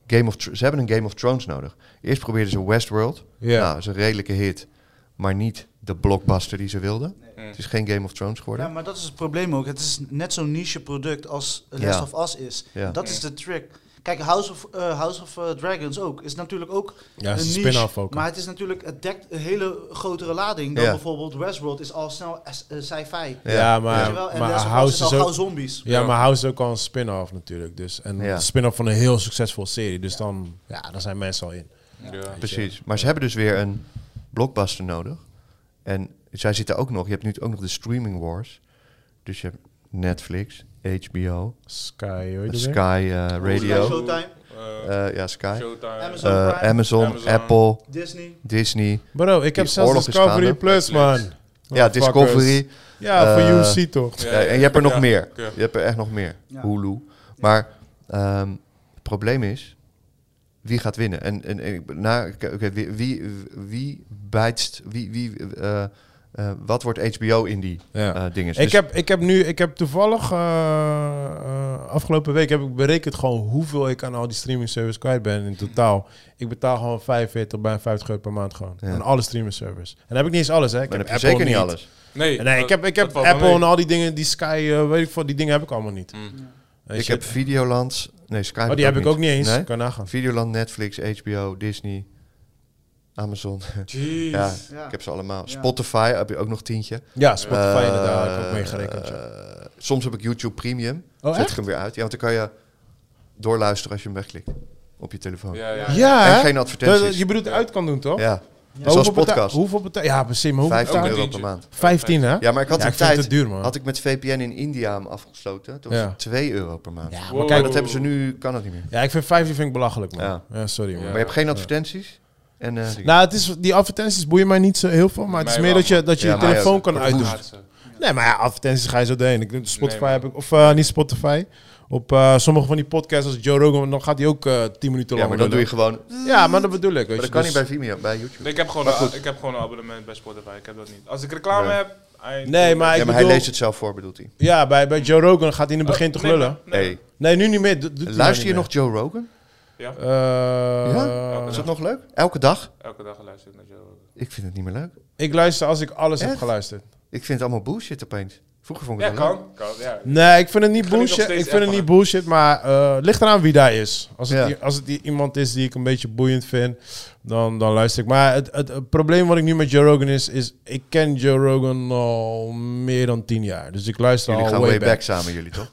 Game of Thr- ze hebben een Game of Thrones nodig. Eerst probeerden ze Westworld.
Ja.
Nou, dat is een redelijke hit. Maar niet de blockbuster die ze wilden. Het is geen Game of Thrones geworden.
Ja, maar dat is het probleem ook. Het is net zo'n niche product als Last
Ja.
of Us is.
Ja.
Dat is de trick. Kijk, House of, eh, House of eh, Dragons ook. Is natuurlijk ook
Ja, het
een
is een
niche,
spin-off ook.
Maar het is natuurlijk, het dekt een hele grotere lading dan
Ja.
bijvoorbeeld Westworld is al snel s- eh, sci-fi.
Ja,
Ja,
Weet
maar,
je wel? En
maar
Last of Us is
House
al
is
gauw
ook...
zombies.
Ja, maar House is ook al een spin-off natuurlijk. Dus. En
Ja.
een spin-off van een heel succesvolle serie. Dus dan, ja, daar zijn mensen al in.
Ja.
Precies. Maar ze hebben dus weer een blockbuster nodig. En zij zitten ook nog. Je hebt nu ook nog de streaming wars. Dus je hebt Netflix, HBO,
Sky, hoe heet het weer?
Sky eh, Radio.
Showtime,
Eh,
eh, ja, Sky.
Showtime.
Amazon.
Eh,
Prime.
Amazon,
Amazon.
Apple,
Disney.
Disney.
Bro, ik heb
Die
zelfs
oorlog is
Discovery
gaande.
Plus, man.
Ja, Discovery.
Ja,
Eh,
voor UC toch?
Ja,
Ja,
ja,
en je hebt er nog
ja,
meer.
ja.
Je hebt er echt nog meer.
Ja.
Hulu. Maar ehm, het probleem is, wie gaat winnen. En, en, en ik ben- na, oké, oké, wie, wie, wie bijtst, wie, wie, eh, eh, wat wordt HBO in die
Ja.
eh, dingen?
Ik, heb, ik heb nu, ik heb toevallig eh, eh, afgelopen week heb ik berekend gewoon hoeveel ik aan al die streaming service kwijt ben in totaal. Ik betaal gewoon 45, bijna 50 euro per maand gewoon.
Ja.
Aan alle streaming service. En dan heb ik niet eens alles, hè? Ik
maar
heb
dan heb je
Apple
zeker niet alles.
Nee,
Nee, ik heb, ik heb Apple en al die dingen, die Sky, eh, weet ik veel, die dingen heb ik allemaal niet.
Mm.
Weet
ik
je?
heb Videoland. Nee, Sky.
oh, die heb ik ook niet eens.
Nee?
Kan nagaan.
Videoland, Netflix, HBO, Disney, Amazon.
Jeez.
ja,
Ja.
ik heb ze allemaal.
Ja.
Spotify heb je ook nog tientje.
Ja, Spotify
Eh,
inderdaad, heb ik ook meegerekend. ja.
eh, soms heb ik YouTube Premium.
Oh,
Zet
echt?
ik hem weer uit. Ja, want dan kan je doorluisteren als je hem wegklikt op je telefoon.
Ja, ja.
Ja,
En
hè?
geen advertenties.
Dat- je bedoelt uit kan doen, toch?
Ja,
Maar
zoals
hoeveel beta-
podcast.
Hoeveel betaal Ja, precies. Maar hoeveel
15
betaal
euro per
tientje.
maand.
15, hè?
Ja, maar ik had
Ja,
een
ik vind
tijd,
het te duur, man.
had ik met VPN in India hem afgesloten. Toen was
Ja.
het 2 euro per maand.
Ja,
Wow.
maar kijk,
Dat hebben ze nu, kan het niet meer.
Ja, ik vind 15 vind ik belachelijk, man.
Ja.
Ja, sorry, man.
Maar je hebt geen advertenties. En, eh,
Nou, het is, die advertenties boeien mij niet zo heel veel, maar het is
Mij
meer
wel,
dat je, dat je
Ja,
je
mij
telefoon
ook.
kan
Wordt
uitdoen.
Laatste.
Nee, maar ja, advertenties ga je zo doorheen. Ik, doe- Spotify
Nee, maar-
heb ik, of eh, niet Spotify. Op eh, sommige van die podcasts als Joe Rogan, dan gaat hij ook eh 10 minuten
ja,
lang.
maar dan doe je gewoon... Maar
Ja, maar dat bedoel ik. Weet je,
dat kan
dus-
niet bij Vimeo, bij YouTube.
Nee, ik, heb gewoon een, ik heb gewoon een abonnement bij Spotify. Ik heb dat niet. Als ik reclame
Nee.
heb... I-
Nee, maar, ik
ja,
bedoel-
maar hij leest het zelf voor, bedoelt hij.
Ja, bij, bij Joe Rogan gaat hij in het begin toch
Oh, nee,
lullen.
maar- nee.
Hey,
Nee, nu niet meer. Doet- doet hij
luister je
nou niet
nog Joe Rogan?
Ja,
meer. Eh,
Ja? Oh, Is
Ja.
dat nog leuk? Elke dag?
elke dag luister ik naar Joe Rogan.
Ik vind het niet meer leuk.
Ik luister als ik alles heb
Echt?
geluisterd.
Ik vind het allemaal bullshit opeens. Vroeger vond ik
Ja,
het wel leuk.
kan. kan ja.
Nee, ik vind het niet
Geniet nog
bullshit.
steeds
Ik vind het
ervan.
niet bullshit, maar eh ligt eraan wie daar is. Als het,
Ja.
i- als het i- iemand is die ik een beetje boeiend vind, dan, dan luister ik. Maar het, het, het probleem wat ik nu met Joe Rogan is, is ik ken Joe Rogan al meer dan tien jaar. Dus ik luister
Jullie
al
gaan
way,
way
back.
back samen, jullie toch?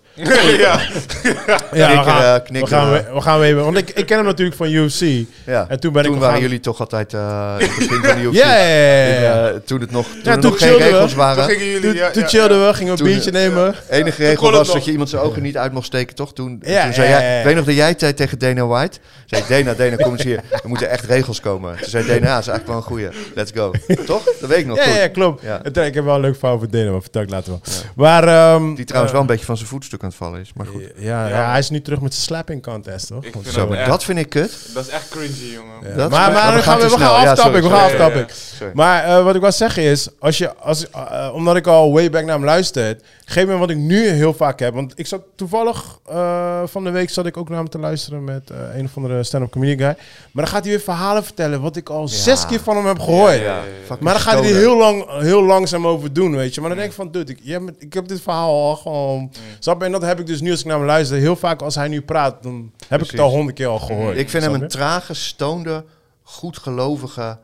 Ja, we
Knikken,
gaan,
eh,
we
knikken.
gaan, way- we gaan way back. Want ik, ik ken hem natuurlijk van UFC.
[laughs] Ja.
En toen ben ik
toen
hem
waren
gaan-
jullie toch altijd eh in het
[laughs]
begin van die UFC.
Ja, ja, ja, ja,
In,
ja.
eh, toen het nog, toen er
toen
nog geen
chillden we.
regels waren.
Gingen jullie,
Toen,
ja,
toen
ja.
chillden we, gingen we een
Toen- eh,
biertje nemen.
enige
kon
regel
het
was
nog.
dat je iemand zijn ogen niet uit mocht steken, toch? Toen,
Ja,
toen zei
ja,
jij,
ja, ja.
ik weet nog dat jij tijd tegen Dana White zei, Dana, Dana, kom eens hier. Er moeten echt regels komen. Toen zei Dana, "Ah, is eigenlijk wel een goeie. Let's go. Toch? Dat weet ik nog
Ja,
goed.
ja, klopt.
Ja.
En toen- Ik heb wel een leuk verhaal voor Denen, maar vertel ik later wel. Maar, ehm,
Die trouwens
eh,
wel een beetje van zijn voetstuk aan het vallen is. Maar goed.
Ja, ja, hij is nu terug met zijn slapping contest, toch?
Ik vind
Zo, maar
dat,
dat
echt,
vind ik kut.
dat is echt cringy, jongen.
Ja.
Dat-
maar
maar
maar
we
we
gaan
gaan, we
te snel.
gaan
Ja,
aftappen.
sorry,
we gaan
sorry. Ja,
aftappen.
Sorry.
Maar eh, wat ik wil zeggen is, als je, als, eh, eh, omdat ik al way back naar hem luisterde, geef me wat ik nu heel vaak heb. Want ik zat toevallig eh, van de week zat ik ook naar hem te luisteren met eh, een of andere stand-up comedy guy. Maar dan gaat hij weer verhalen vertellen wat ik al zes keer van hem heb gehoord.
Fucking
Maar dan gaat hij er
stoner.
heel, lang, heel langzaam over doen, weet je. Maar dan denk ik van, dude, ik, jij bent- ik heb dit verhaal al gewoon...
Mm.
Snap je? En dat heb ik dus nu als ik naar hem luister. Heel vaak als hij nu praat, dan heb ik het al honderd keer al gehoord.
Ik vind
Snap
hem
je?
een trage, stoonde, goedgelovige,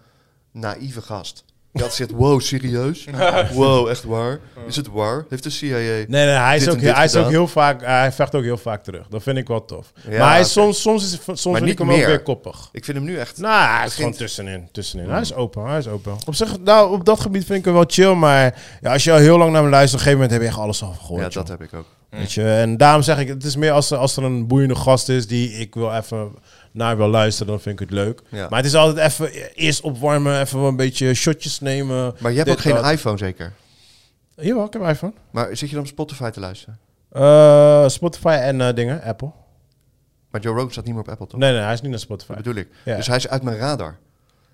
naïeve gast. Dat zegt, wow,
[laughs]
serieus? Wow, echt waar? Is het waar? Heeft de CIA...
Nee, nee, hij is,
dit
ook,
en dit
hij is ook
gedaan.
heel vaak... Hij vecht ook heel vaak terug. Dat vind ik wel tof.
Ja,
maar hij
oké.
is soms, soms, is, soms vind
niet
ik hem ook
meer.
weer koppig.
Ik vind hem nu echt...
Nou, hij is gewoon tussenin. tussenin. Hij is open, hij is open. Op, zich, nou, op dat gebied vind ik hem wel chill, maar ja, als je al heel lang naar hem luistert, op een gegeven moment heb je echt alles al gehoord.
Ja,
joh.
dat heb ik ook.
Weet je, en daarom zeg ik, het is meer als, er- als er een boeiende gast is die ik wil even naar wil luisteren, dan vind ik het leuk.
Ja.
Maar het is altijd even eh, eerst opwarmen, even wel een beetje shotjes nemen.
Maar je hebt
dit,
ook geen
dat.
iPhone zeker?
Jawel, ik heb een iPhone.
Maar zit je dan op Spotify te luisteren?
Eh, Spotify en eh, dingen, Apple.
Maar Joe Rogan staat niet meer op Apple, toch?
Nee, nee, hij is niet naar
Dat
Spotify.
bedoel ik.
Ja.
Dus hij is uit mijn radar.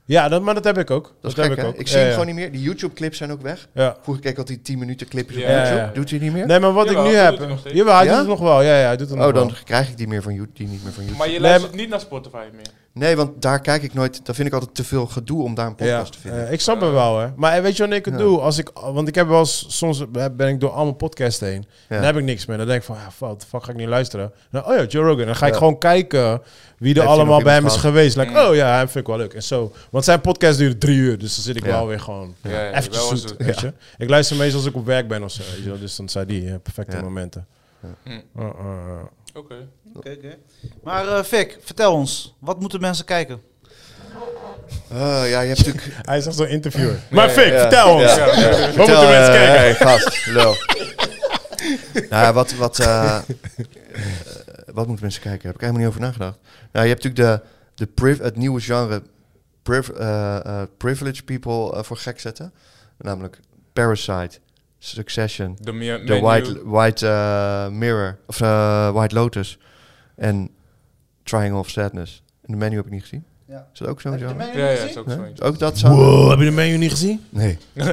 Ja, dat, maar dat heb ik ook. Dat,
Dat is
heb
gek,
ik
hè?
ook.
Ik
Ja,
zie hem
ja.
gewoon niet meer. Die YouTube-clips zijn ook weg.
Ja.
Vroeger keek ik altijd die 10 minuten clipjes op
Ja,
YouTube.
ja, ja.
Doet hij niet meer?
Nee, maar wat
Jawel,
ik nu
dat
heb...
doet hij nog steeds.
Jawel, hij
Ja?
doet het nog wel. Ja, ja, hij doet het nog
Oh,
wel.
dan krijg ik die, meer van, You- die niet meer van YouTube.
Maar je
Nee,
luistert
maar-
niet naar Spotify meer.
Nee, want daar kijk ik nooit... Daar vind ik altijd te veel gedoe om daar een podcast te vinden.
eh, ik snap het wel, hè. Maar eh, weet je wanneer ik het
Ja.
doe? Als ik, want ik heb wel eens, soms ben ik door al mijn podcasts heen.
Ja.
Dan heb ik niks meer. Dan denk ik van, ja, fuck, the fuck ga ik niet luisteren. Nou, oh ja, Joe Rogan. Dan ga ik
Ja.
gewoon kijken wie er
nog
allemaal bij hem is
iemand gehad?
geweest. Like, Oh ja, hem vind ik wel leuk. En zo. Want zijn podcast duurt drie uur, dus dan zit ik
Ja.
wel weer gewoon
Ja, ja,
eventjes
wel
zoet,
was het.
weet je. Ik luister meestal als ik op werk ben of zo. weet je wel. Dus dan zijn die eh, perfecte
Ja.
momenten.
Hm.
Uh, uh, uh.
Oké.
Oké, oké. Maar eh Vic, vertel ons, wat moeten mensen kijken?
Eh, ja, je
[laughs]
hebt natuurlijk...
Hij is echt zo'n interviewer. maar Fik,
ja.
vertel ons.
Ja.
Hoe moeten mensen
eh,
kijken?
hey, [laughs] gast, lul. nou, ja, wat, wat, eh, eh, wat moeten mensen kijken? Heb ik helemaal niet over nagedacht. Nou, je hebt natuurlijk de, de priv- het nieuwe genre priv- eh, eh, privileged people eh, voor gek zetten. Namelijk Parasite, Succession,
De, meer,
The White, white eh, Mirror, of eh, White Lotus en Triangle of Sadness. En de menu heb ik niet gezien.
Ja.
Is dat ook sowieso?
Heb je de menu
Ja, ja,
gezien?
is ook zo
Nee?
eentje.
Ook dat zou...
Wow, Oh, heb je de menu niet gezien?
Nee. Dat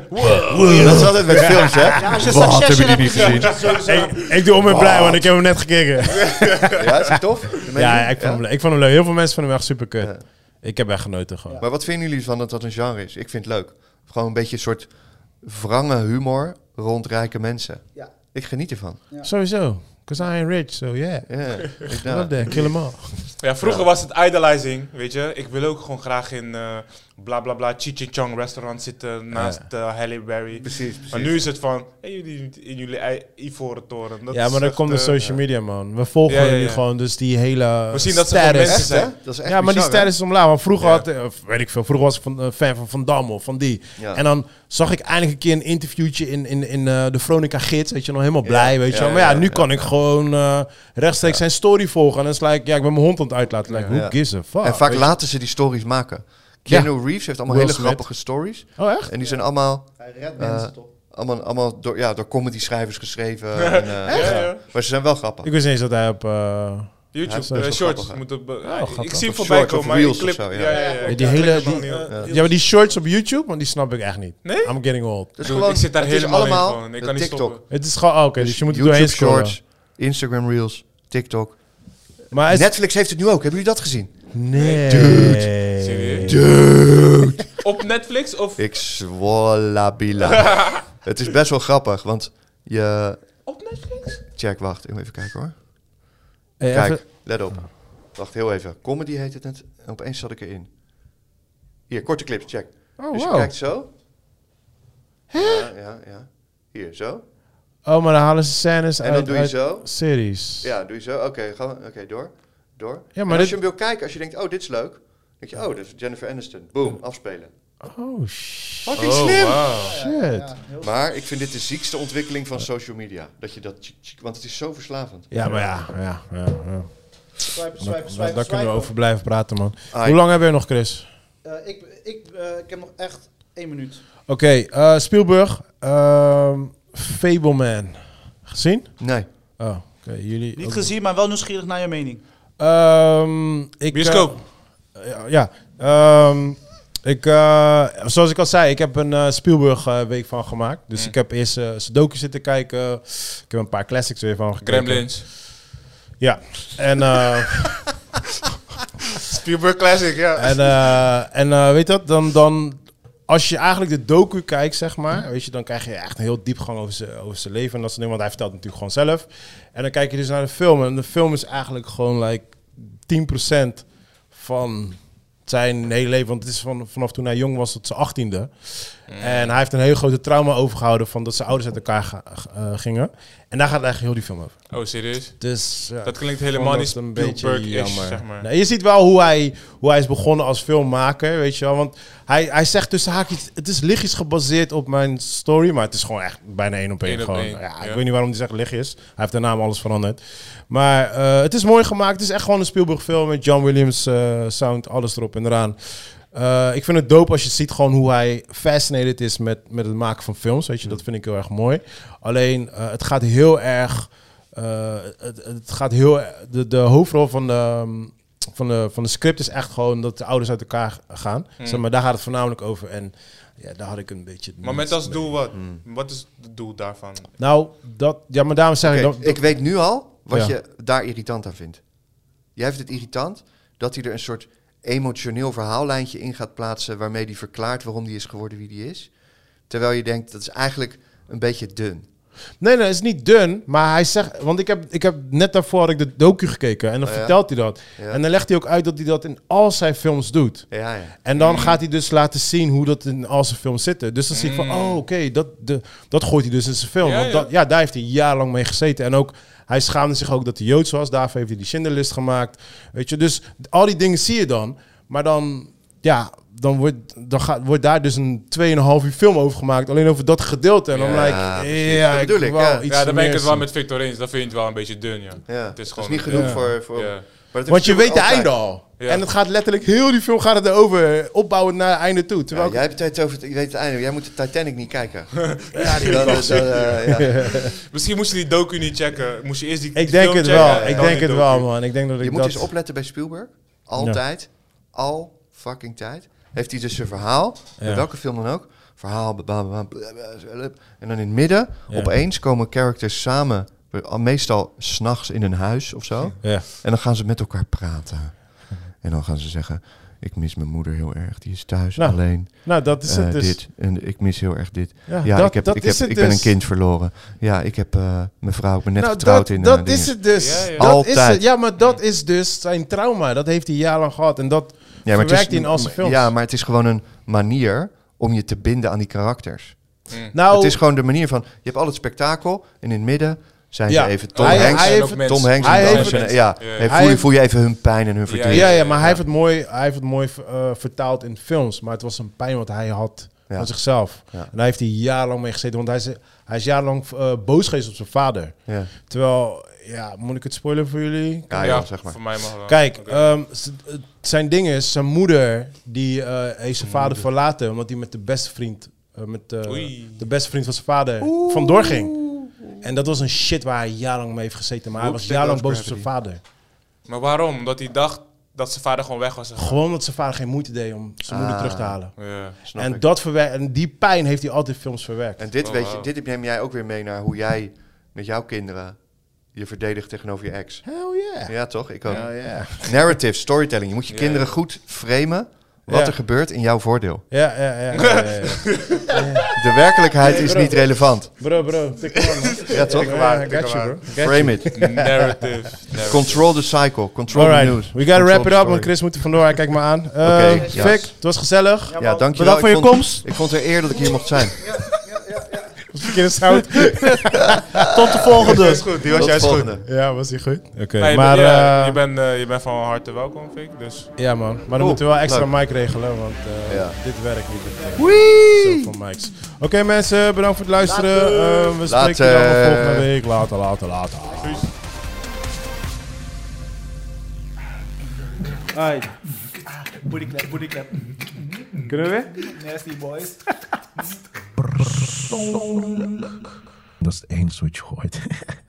is altijd met films, hè?
Ja, als je
Wat,
Succession
hebben
hebt
die niet
gezien, dat is sowieso-
Ik, ik doe om en blij, want ik heb hem net gekeken.
Ja, is het tof? De menu?
Ja, ik vond, Hem, le- ik vond hem leuk. Heel veel mensen vonden hem echt super kut.
Ja.
Ik heb echt genoten gewoon.
Maar wat vinden jullie van dat dat een genre is? Ik vind het leuk. Gewoon een beetje een soort wrange humor rond rijke mensen.
Ja.
Ik geniet ervan.
Ja.
Sowieso. Because I ain't rich, so yeah. [laughs]
Ja, ik
Ja.
nou.
Love that. Kill them all.
Ja, vroeger was het idolizing, weet je. Ik wil ook gewoon graag in eh bla bla bla Chong restaurant zitten naast eh, Halle Berry.
Precies,
Maar nu is het van, hey, jullie in jullie ei- ivoren toren. Dat
ja,
is
maar dan
echt,
komt de
eh,
social media, man. We volgen
Ja, ja,
nu
ja.
gewoon dus die hele
We zien dat ze gewoon
status.
mensen
Echt, hè?
zijn.
Dat is echt
eh, Ja, maar die
bizar, hè?
status is omlaag. Want vroeger
Ja.
had, eh, of weet ik veel, vroeger was ik van, eh, fan van Van Damme of van die.
Ja.
En dan zag ik eindelijk een keer een interviewtje in, in, in eh, de Veronica Gids. Weet je, nog helemaal blij, weet je
Ja,
wel. Maar ja,
ja,
nu
ja.
kan ik gewoon eh, rechtstreeks zijn story volgen. En dan is like, ja, ik ben mijn hond aan het uitlaten. Like, who
Ja.
gives a fuck?
en vaak
Oh, weet je?
laten ze die stories maken. Keanu Reeves heeft allemaal
Will
hele
Smith.
grappige stories.
Oh, echt?
En die zijn allemaal,
Hij redt
Eh,
mensen toch.
allemaal, allemaal door, ja, door comedy schrijvers
[laughs]
geschreven. en, eh,
Ja,
ja.
ja.
Maar ze zijn wel grappig.
Ik wist niet eens dat hij op... eh,
Ja, dat is
YouTube,
wel
eh, shorts.
grappig, hè?
moeten be-
Oh, grappig.
ik zie
Of
hem voorbij
shorts of
komen, maar ik
reels of
clip...
zo, ja.
ik
die
klik
hele-
er
die-
nog niet op.
ja. maar die shorts op YouTube, want die snap ik echt niet.
Nee?
I'm getting old.
Dat is
Dude,
gewoon,
ik zit daar
het is
helemaal in
allemaal
gewoon. Ik
de
kan niet
TikTok.
stoppen.
Het is gewoon... oh, Oké, dus je moet er
YouTube
doorheen scrollen.
Shorts, Instagram Reels, TikTok.
Maar het-
Netflix heeft het nu ook. Hebben jullie dat gezien?
Nee.
Serieus? Op Netflix of
Ik zwolla bila.
[laughs]
het is best wel grappig, want je...
op Netflix?
Check, wacht. ik moet Even kijken hoor.
Hey, even-
Kijk, let op. Wacht, heel even. Comedy heet het net. En opeens zat ik erin. Hier, korte clips, check.
Oh,
dus je
wow.
kijkt zo. Ja, ja, ja. Hier, zo.
Oh, maar dan halen ze scènes
En
uit,
dan doe je
uit
zo.
series.
Ja, doe je zo. Oké, gaan we- oké, door. Door.
maar
en als
dit-
je hem wil kijken, als je denkt, oh, dit is leuk. Dan denk je, oh, dat is Jennifer Aniston. Boom, afspelen.
Oh, shit.
Fucking slim!
Ja,
Maar ik vind dit de ziekste ontwikkeling van social media. Dat je dat... tjik, tjik, Want het is zo verslavend.
maar ja. ja, ja, ja.
Swipen,
Daar,
swipen, swipen,
daar kunnen we
swipen.
over blijven praten, man.
Ai.
Hoe lang hebben we nog, Chris?
Eh, ik, ik, eh, ik heb nog echt één minuut.
Oké, eh, Spielberg. ehm Fableman. Gezien?
Nee.
Oh, oké. jullie... oh,
Niet
ook-
gezien, maar wel nieuwsgierig naar je mening.
Ehm, ik,
Bioscoop.
eh, ja. ja. Ehm, ik, eh, zoals ik al zei, ik heb een eh, Spielberg eh, week van gemaakt. Dus ik heb eerst eh Sudoku zitten kijken. Ik heb een paar classics weer van gekeken.
Gremlins.
Ja. En... eh,
Spielberg Classic, ja.
En, eh, en eh, weet dat, dan, dan als je eigenlijk de docu kijkt, zeg maar, weet je, dan krijg je echt een heel diepgang over zijn over zijn leven en dat soort dingen. Want hij vertelt het natuurlijk gewoon zelf. En dan kijk je dus naar de film en de film is eigenlijk gewoon like 10% van zijn hele leven. Want het is van, vanaf toen hij jong was tot zijn achttiende. En hij heeft een hele grote trauma overgehouden van dat zijn ouders uit elkaar ga- eh, gingen. En daar gaat eigenlijk heel die film over.
Oh, serieus?
Dus, ja,
Dat
ik
klinkt
vond
helemaal niet
dat een beetje
Spielberg-ish,
jammer.
zeg maar.
Nee, je ziet wel hoe hij, hoe hij is begonnen als filmmaker, weet je wel. Want hij, hij zegt tussen haakjes, het is lichtjes gebaseerd op mijn story, maar het is gewoon echt bijna één op één.
Eén op
gewoon.
één,
ja, Ik
ja.
weet niet waarom hij zegt lichtjes. Hij heeft de naam alles veranderd. Maar eh, het is mooi gemaakt. Het is echt gewoon een Spielberg film met John Williams eh, sound, alles erop en eraan. Eh, ik vind het dope als je ziet gewoon hoe hij fascinated is met, met het maken van films. Weet je, dat vind ik heel erg mooi. Alleen, eh, het gaat heel erg... eh, het, het gaat heel... er- De, de hoofdrol van de, ehm, van, de, van de script is echt gewoon dat de ouders uit elkaar gaan.
Hmm.
Zeg maar daar gaat het voornamelijk over. En ja, daar had ik een beetje...
Maar met als doel wat? Mm. Wat is het doel daarvan?
Nou, dat... Ja, maar daarom zeg
Oké,
ik... dat-
ik weet nu al wat
Ja.
je daar irritant aan vindt. Jij vindt het irritant dat hij er een soort emotioneel verhaallijntje in gaat plaatsen... waarmee hij verklaart waarom hij is geworden wie hij is. Terwijl je denkt, dat is eigenlijk een beetje dun.
Nee, nee, het is niet dun. Maar hij zegt... Want ik heb, ik heb net daarvoor had ik de docu gekeken. En dan
Oh ja.
vertelt hij dat.
Ja.
En dan legt hij ook uit dat hij dat in al zijn films doet.
Ja, ja.
En dan gaat hij dus laten zien hoe dat in al zijn films zit. Dus dan zie ik van, oh oké, dat, de- dat gooit hij dus in zijn film.
Ja,
Want
ja.
dat, ja, daar heeft hij jarenlang mee gezeten. En ook, hij schaamde zich ook dat hij Joods was. Daarvoor heeft hij die Schindlerlist gemaakt. Weet je, dus al die dingen zie je dan. Maar dan, ja, dan wordt, dan gaat, wordt daar dus een 2,5 uur film over gemaakt. Alleen over dat gedeelte. En dan
Ja,
lijkt,
precies.
ja,
Dat
ik
bedoel ik,
wou
ja.
iets
ja, daar ben ik
meer
het wel
zien.
met Victor eens. Dat vind je het wel een beetje dun, ja.
ja.
Het is
dat is
gewoon...
niet genoeg
ja.
voor... voor
Ja.
maar dat
Want je
heb
weet de
altijd.
einde al.
Ja.
En het gaat letterlijk heel die film gaat het erover. Opbouwen naar het einde toe. Terwijl
Ja,
ik-
jij hebt het over het, je weet het einde. Jij moet de Titanic niet
[laughs]
kijken. ja, die dan, dan, eh,
[laughs]
ja.
Misschien moest je die docu niet checken. Moest je eerst die
Ik
die
denk
film
het
checken
wel.
en
Ik
dan
denk
die
het
docu.
wel, man. Ik denk dat ik
Je moet
dat...
eens opletten bij Spielberg. Altijd, al fucking tijd, heeft hij dus zijn verhaal,
Ja.
bij welke film dan ook, verhaal, bla, bla, bla, bla, bla, bla. en dan in het midden,
Ja.
opeens komen characters samen, eh, meestal s'nachts in een huis of
[laughs]
zo.
Ja.
En dan gaan ze met elkaar praten. En dan gaan ze zeggen: Ik mis mijn moeder heel erg, die is thuis
Nou,
alleen.
Nou, dat is
Eh,
het dus.
Dit. En ik mis heel erg dit.
Ja,
Ja,
dat-
ik, heb,
dat
ik, heb,
is het
ik ben
dus.
een kind verloren. Ja, ik heb eh, mijn vrouw, ik ben net
nou,
getrouwd
dat,
in. eh,
dat
dingen.
is het dus.
Ja, ja.
Dat Is
Altijd.
het. Ja, maar dat is dus zijn trauma. Dat heeft hij jarenlang gehad. En dat
Ja, maar
verwerkt hij in al zijn films.
Ja, maar het is gewoon een manier om je te binden aan die karakters.
nou,
Het is gewoon de manier van: je hebt al het spektakel en in het midden zijn
Ja.
ze even Tom
Hij-
Hanks.
hij
en
heeft-
ook Tom Hanks
hij
en
heeft-
Dansen.
mensen.
Ja,
Ja,
en
ja.
voel,
Hij-
je, voel je even hun pijn en hun verdriet.
ja, ja, maar hij heeft het mooi, hij heeft het mooi eh, vertaald in films. Maar het was een pijn wat hij had
Ja.
van zichzelf.
Ja.
En daar heeft hij jarenlang mee gezeten. Want hij is, hij is jarenlang eh, boos geweest op zijn vader.
Ja.
Terwijl, ja, moet ik het spoilen voor jullie?
Ja, ja, zeg maar.
Voor mij mag wel.
Kijk,
Oké.
ehm, z- het zijn ding is, zijn moeder die eh, heeft zijn vader verlaten omdat hij met de beste vriend, eh, met eh,
Oei.
de beste vriend van zijn vader vandoor ging. En dat was een shit waar hij jarenlang mee heeft gezeten, maar hij
Hoe
was
sick
jarenlang
was
boos op zijn vader.
Maar waarom? Omdat hij dacht dat zijn vader gewoon weg was. gegaan.
Gewoon omdat zijn vader geen moeite deed om zijn moeder terug te halen.
Ja.
Snap
En,
ik.
dat verwer- en die pijn heeft hij altijd in films verwerkt.
En dit,
Oh,
weet je,
wauw.
dit neem jij ook weer mee naar hoe jij met jouw kinderen je verdedigt tegenover je ex.
Hell yeah.
Ja, toch? Ik ook.
Hell yeah.
Narrative, storytelling. Je moet je
Ja,
kinderen
ja.
goed framen wat
Ja.
er gebeurt in jouw voordeel.
Ja, ja, ja. [laughs] ja, ja, ja.
De werkelijkheid
Nee,
is
bro.
niet relevant.
Bro, bro, tik hem aan, man.
Ja, toch?
Ja, I got you, bro. I got you.
Frame it.
Narrative. narrative.
Control the cycle. Control
Alright,
the news.
we gotta
Control
wrap
the
it up,
story.
want Chris moet er vandoor. Hij kijkt me aan. Eh
Oké,
Vic,
ja.
het was gezellig.
Ja,
Ja,
man.
dankjewel.
Bedankt voor
Ik
je
vond-
komst.
Ik vond het eer dat ik hier mocht zijn.
Verkeerde [laughs] sound.
Tot de volgende.
goed. Die was juist goed.
ja, was die goed? Oké.
Nee,
maar,
maar
eh,
je, bent, eh, je bent van harte welkom, Fik. Dus
ja man, maar dan
Cool,
moeten we wel extra
leuk.
mic regelen, want eh,
Ja.
dit werkt niet. Zo van mics. Oké mensen, bedankt voor het luisteren. Eh, we spreken je allemaal
Later.
volgende week. Later, later, later.
Booty clap, booty clap.
Kunnen we weer?
Nasty boys.
Dat is het enige wat je gooit.